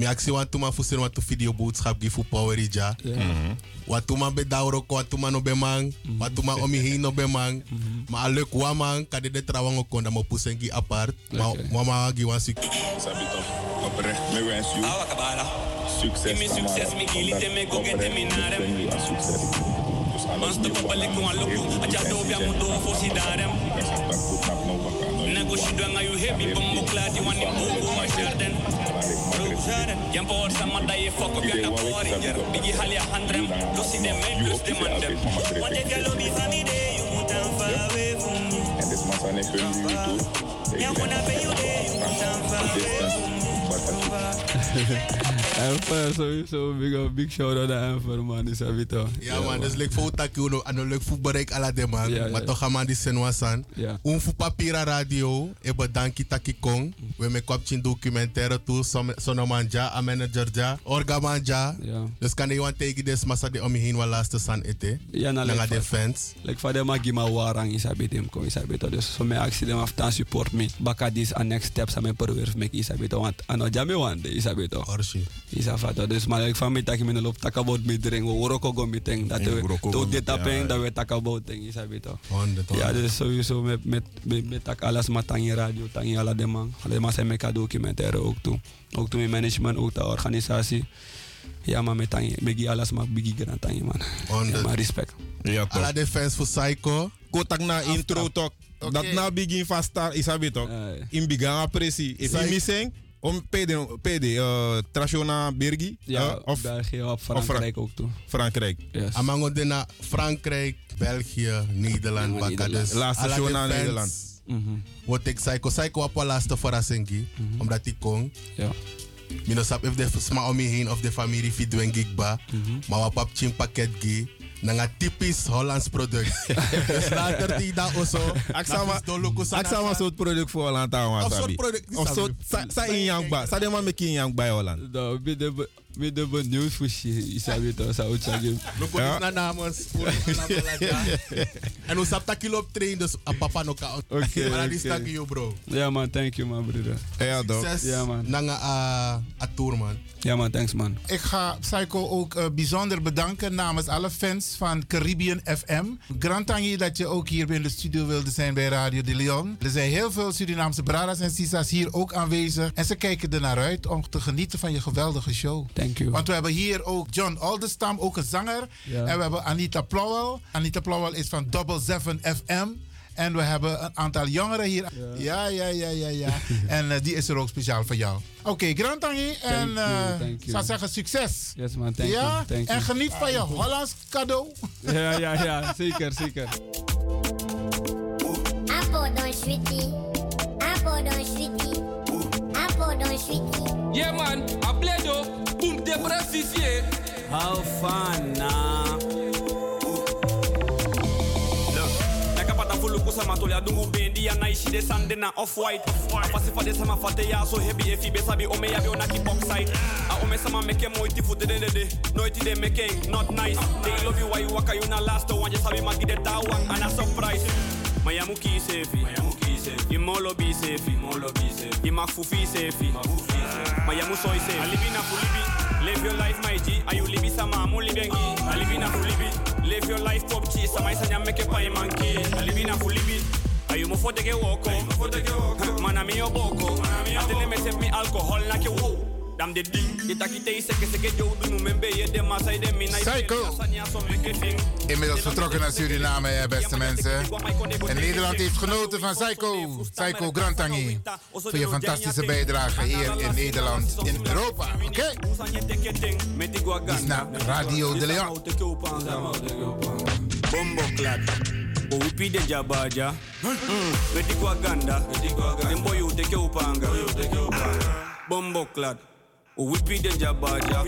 Mi aksi wan tuma fu sir wan tu video boodschap gi fu power ja.
Ja. Mhm.
Wan tuma be dauro ko wan tuma no be man.
Mm-hmm.
Wan tuma omi hi no be man. Ma alek wa man ka de de trawang o konda mo pusengi apart. Ma mama gi wan sik.
Sabito, oprecht me wens you. Succes,
Give me succes,
Tamara,
mi gili
omdat
te me go get
oprecht
me naar hem.
gun you een succes. Dus alles
Ons de
meer van
popalik
hem.
kon
Heel
loku.
goed
Aja
en
dobia
succes.
mudo fosi darem.
Ik zeg dat goed, dat nou wat aan.
Nago shidwanga you heavy bombo clad you want to go my garden. Rosaden. Jam power sama dai fuck up your power ranger. Bigi halia handrem. Dosi de me plus de mandem. Wat ik galo bi fami de you moet aan fave from me.
En dit man zijn ik hun nu toe. Ik
Now
ben
when I pay you there you moet aan fave from me.
Enfer, sowieso. Big, up, big shout out aan Enfer, man. Die sabi toch.
Ja man, dus lek fo taki uno ano lek fu bereik ala de man.
Ja, ja,
Ma
ja.
toch ama di senwa san.
Ja.
Un fu papira radio e bedanki taki kong. We me kwap chin documentaire tu som- sono manja, a manager ja, orga manja.
Ja.
Dus kan je want tegi des masa de om je heen wa laatste san ete.
Ja, na
Nanga
lek
de
van-
fans.
Lek van de magi ma warang isabi dem kom isabi to. Dus voor mij actie dem af dan support me. Baka dis a next steps aan mijn perwerf mek isabi to. Want ano jami wan de isabi to.
Orsi.
Isafa to. Dus maar lek van me taki mino loop takabot me drink. We woroko go me teng. Dat
Ja,
we
woroko Eh, go
to
me-
dit
ja,
tapeng dat
ja.
we takabot teng isabi to.
Honderd,
Ja,
honderd.
dus sowieso met, met, met, met tak alles maar tangi radio, tangi alle de man. Alleen maar zijn met elkaar documentaire ook toe. Ook toe mijn management, ook de organisatie. Ja, maar met tangi, bigi alles maar bigi gran tangi man. Ja, maar Ya, respect.
Ja,
Ala de fans fu psycho.
Kotak na intro talk. Dat na begin van star is abi toch? In began apresi. If
Zij-
you missing, om PD, PD uh, Trashona Birgi.
Ya,
Ja,
eh, of
België, of
Fran-
Frankrijk ook toe.
Frankrijk.
Yes.
Amango de na Frankrijk, België, Nederland. Baka dus.
Laatste
ala de
show na
fans.
Nederland.
Wat ik psycho, psycho op laatste verrassing. Omdat ik kon.
Ja.
Mino sap if de sma om me heen of de familie fit doen gigba. Maar wat pap chin pakket gi. Nanga typisch Hollands product. dus later die da oso.
Aksama, aksama soort product voor Holland aan
Of
Wasabi.
soort product,
Of
Sabi.
soort, Oh, sa, sa in Yangba. Sa de man meki in Yangba in Holland.
Nou, met de met de benieuwd voor je, isabi to, zou het zeggen.
Loko ja. na namens. en ons sap takil op train dus a papa no ka.
Oké,
Maar dat is
oké.
tak you bro.
Ja man, Ya, thank you Ya, man broeder.
Ja
Succes
Ja man.
nanga a, ah, a tour man.
Ja man, Ya, thanks man.
Ik ga Psycho ook eh, bijzonder bedanken namens alle fans van Caribbean FM. Grand tangi dat je ook hier in de studio wilde zijn bij Radio de Leon. Er zijn heel veel Surinaamse Bradas en Sisas hier ook aanwezig. En ze kijken er naar uit om te genieten van je geweldige show.
Thank you.
Want we hebben hier ook John Aldestam, ook een zanger.
Ja.
En we hebben Anita Plowel. Anita Plowel is van Double 7 FM. En we hebben een aantal jongeren hier. Ja, ja, ja, ja, ja. en eh, die is er ook speciaal voor jou. Oké, Grand Tangi. En
you,
eh,
thank
ik
you.
zou zeggen succes.
Yes man, thank
ja?
you. Thank
En
you.
geniet van je Hollands cadeau.
Ja, ja, ja, zeker, zeker.
Apple dans Sweetie. Apple dans Sweetie. Apple dans Sweetie.
Yeah man, a bledo, boom de precisé. How fun now.
Nakapata fulu kusa matolya dungu bendi ya naishi de sande na off white. Afasi fade sama fate ya so hebi efi be sabi ome ya be onaki boxite. A ome sama meke moiti fute de de de. Noiti de meke not nice. They love you why you oh, waka you na last one. Just sabi magi de tawang ana surprise. Mayamu ki sefi. Mayamu ki safe. Je molo be safe. Je molo be safe. Je mag fufi safe. Maar je moet soy safe. Alibi na fulibi. Live your life, my G. Are you libi sama amu libengi? Alibi na fulibi. Live your life, pop G. Sama isa nyam meke pa imanki. Alibi na fulibi. Ayu mo fote ke woko. Mana mi oboko. Atele me save me alcohol na ke wo. Dam de ding. Je takite iseke seke yo dunu membe ye de masai de minai.
Psycho. Inmiddels vertrokken naar Suriname, hè, beste mensen. En Nederland heeft genoten van Psycho, Psycho Grantangi. Voor je fantastische bijdrage hier in Nederland, in Europa. Oké? Dit is naar Radio de Leon.
Bombo clap. Oupi de jabaja. Wedi kwa ganda. Nembo yu teke upanga. Bombo clap. Oupi de jabaja.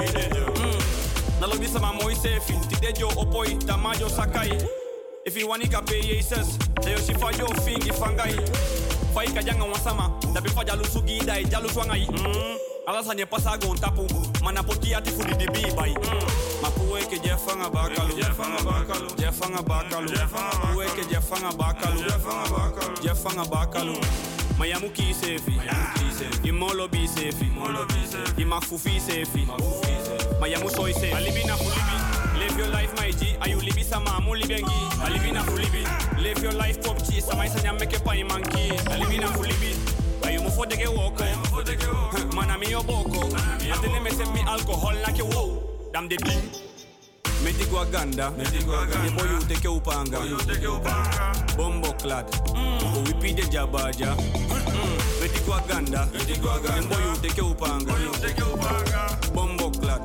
Nalobi sama moi sefi. Tide jo opoi tamajo sakai. If you want to pay Jesus, then you should find your thing if angai. Fai kajanga wansama, tapi fa jalu sugi dai jalu swangai. Mm. Alasa nye pasa gon tapu, manapoti ati fudi di bi bai. Mm. Mapuwe ke jefanga bakalu, jefanga bakalu, jefanga bakalu, mapuwe ke jefanga bakalu, jefanga bakalu, jefanga bakalu. Mayamu ki sefi, imolo bi sefi, imafufi sefi, mayamu soy sefi. Alibi na fulibi. Live your life, my G. Are you libi sama amu libengi? I live in a fulibi. Live your life, pop G. Sama isa nyam meke pa imanki. I live in a fulibi. Are you mufo dege woko? Mana mi oboko. Atene me se mi alcohol na ke wo. Dam de ding. Meti gwa ganda. Nebo yu teke upanga. Bombo clad. Uwipi de jabaja. Meti gwa ganda. Nebo yu teke upanga. Bombo clad.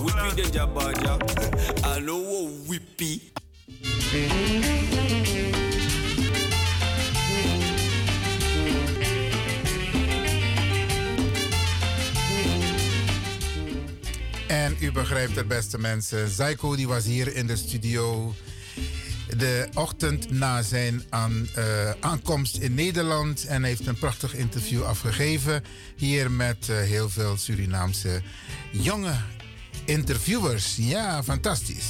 Whippy de jabaja. Alo wo whippy.
En u begrijpt het, beste mensen. Zaiko die was hier in de studio. De ochtend na zijn aan, eh, aankomst in Nederland. En heeft een prachtig interview afgegeven. Hier met eh, heel veel Surinaamse jonge interviewers. Ja, fantastisch.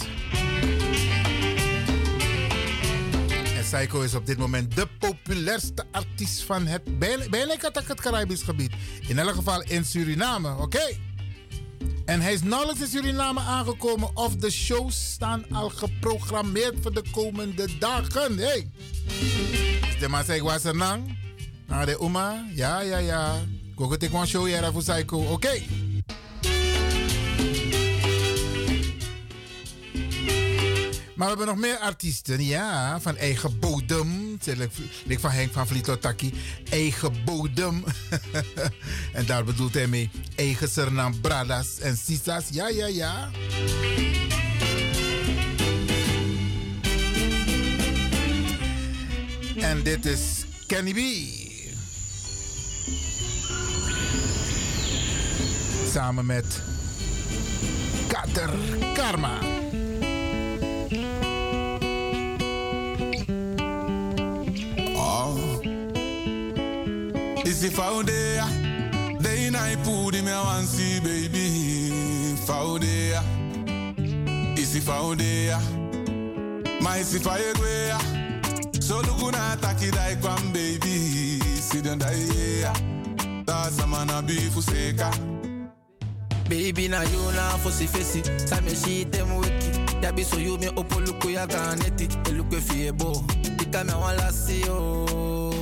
En Saiko is op dit moment de populairste artiest van het bijna bijna katak- het Caribisch gebied. In elk geval in Suriname, oké? En hij is nauwelijks in Suriname aangekomen of de shows staan al geprogrammeerd voor de komende dagen. Hey. Dus de man zei, was er nang? Naar de oma? Ja, ja, ja. Gogo te kwam show jera voor Saiko, oké? Maar we hebben nog meer artiesten, ja, van eigen bodem. Ik van Henk van Vliet tot Taki. Eigen bodem. en daar bedoelt hij mee eigen Sernam Bradas en Sisas. Ja, ja, ja. En dit is Kenny B. Samen met Kater Karma.
Oh. It's the Faudia. They night put in my one see baby. Faudia. It's the Faudia. My si fire So look on attack it like one baby. See don't die. That's a man a beef who say ka.
Baby, na you na for si fesi. Same she dem wiki. That be so you me opo luku ya ganeti. E Eluku fiebo. Ika me wan lasi yo.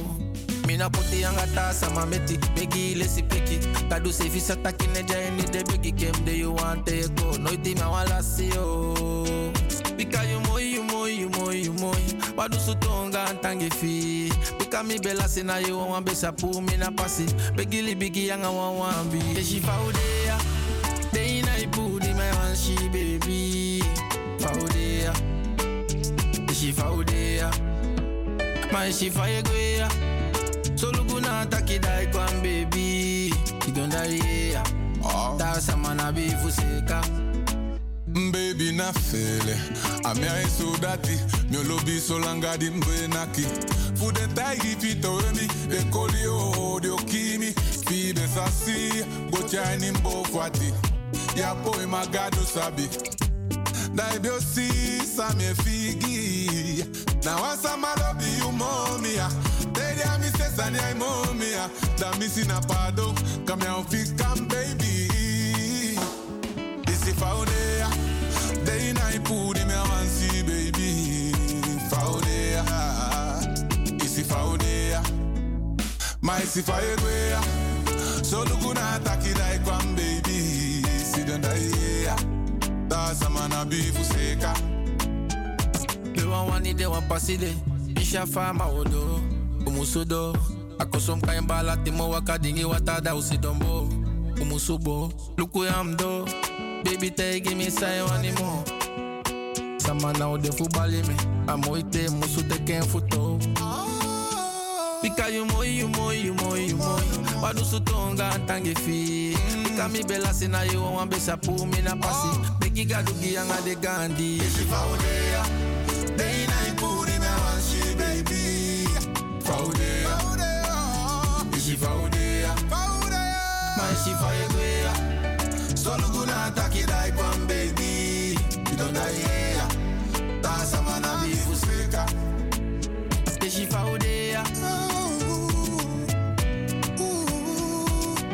Mina poti yanga ta sama meti. Begi lesi peki. Kadu se fi sata kine jaini de begi kem de you want take go. Noiti me wan lasi yo. Bika you moi you moi you moi you moi. Wadu su tonga ntangi fi. Bika mi bela se na you wan besa pu mi na pasi. Begi li bigi yanga wan wan bi. E Eshi faudea. Day na ipu di my one she baby. ah. Faudea. Eshi faudea. My ah. she fire go yeah. So look na taki dai kwan baby. You don't die yeah. That's a man a be fuseka.
Baby na fele Ami ai sudati Mio lobi solanga di mbenaki Fude tai di pito emi De koli o de okimi Spide sasi Gocha ni mbo kwati Ya po imagado sabi Dai bio si ah. Sami figi Na wasa marobi umomia Dei dia mi se sani ai momia. Da mi si na pado, come on fit come baby. Isi faudea, ah. day na ipudi me wan see baby. ah. Faudea, isi faudea. ah. My si faudea, ah. so lukuna taki like one baby. Si den da yeah, da samana bifu seka.
They want one, they want pass it. Isha fama odo, oh, umusudo. Akosom kain bala timo waka dingi wata da usidombo. Umusubo, luku yamdo. Baby take give me say one more. Sama na ode fubali me, amoite musu teken futo. Bika you moi, you moi, you moi, you moi. Wadu sutonga tangi fi. Bika mi bela sina you wan besa pu mi na pasi. Beki gadu giyanga de gandhi.
Day night booty me want she baby. Faudea, is she faudea? Faudea, man she faudea. So look good and take it like one baby. You don't die here. That's a man a beef speaker.
Is she faudea?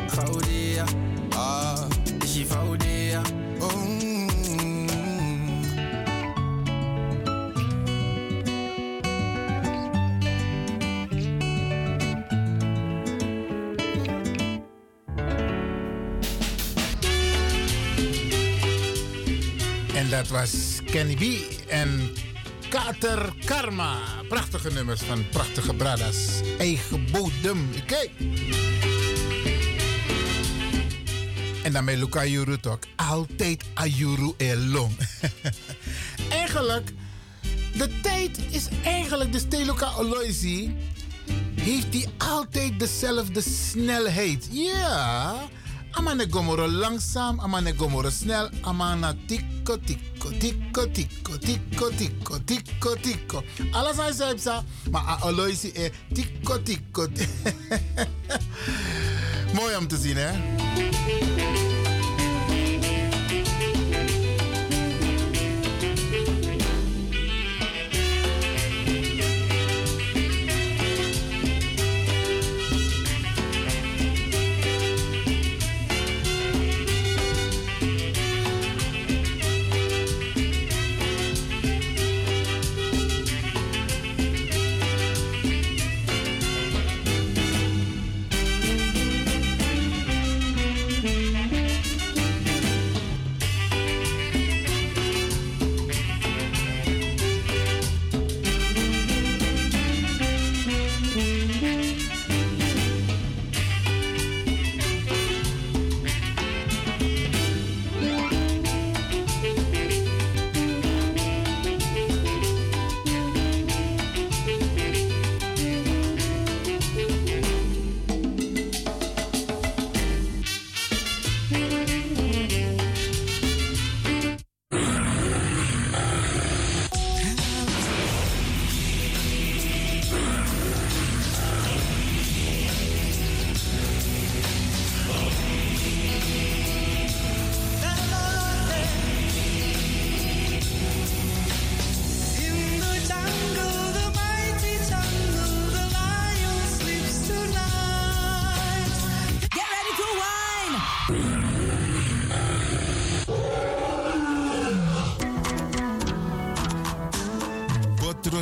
Faudea, ah, is she faudea?
En dat was Kenny B en Kater Karma. Prachtige nummers van prachtige Bradas. Eigen bodem. Oké. En daarmee Luca Ayuru toch. Altijd Ayuru Elong. eigenlijk, de tijd is eigenlijk... Dus Teluka Oloisi heeft die altijd dezelfde snelheid. Ja... Amane gomoro langzaam, amane gomoro snel, amana tikko tikko tikko tikko tikko tikko tikko tikko. Alles hij zei sa, maar a Aloisi eh tikko tikko. ti- Mooi om te zien hè.
In the jungle, the mighty jungle, the lion sleeps tonight. Get ready to whine.
Botro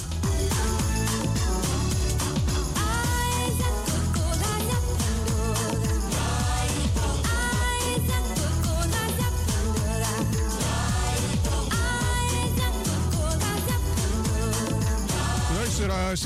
Luisteraars,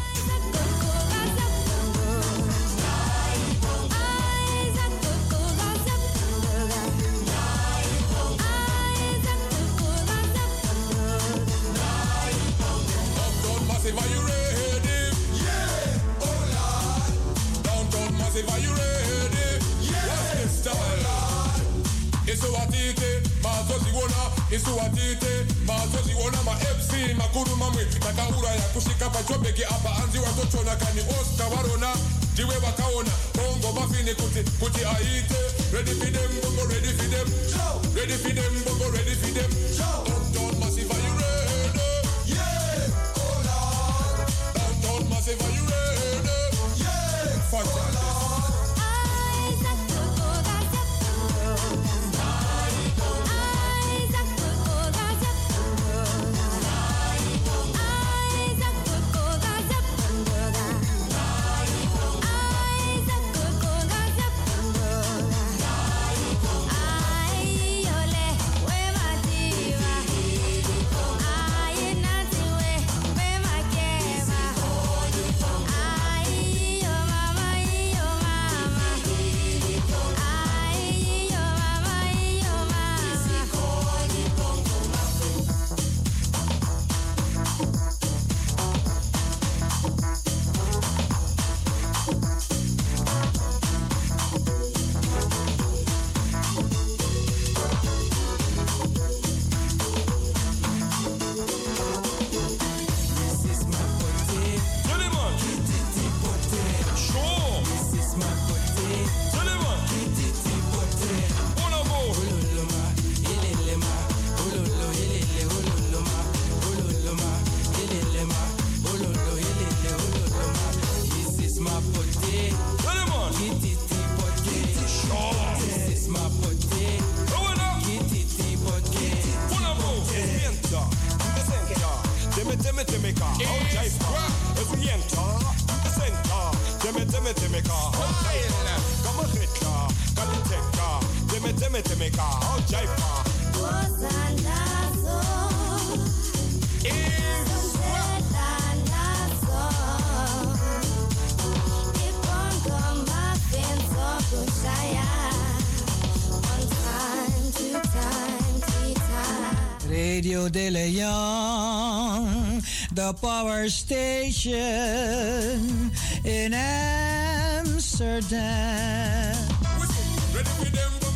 Oh, If are you ready? What's the style? It's what it is. My zozi wona. It's what it is. My zozi wona. My FC. My kuru mamwe. Nakaura ya kushika pachobeki apa anzi watochona kani osta warona. Diwe wakaona. Bongo mafini kuti kuti aite. Ready for them, bongo ready for them. Ready for them, bongo ready for them. Uptown massive are you ready? Yeah. Oh, Downtown massive are you ready? Yeah. Fantastic.
Radio de Leon, the power station in Amsterdam.
Ready for them, bongo Oh, Oh,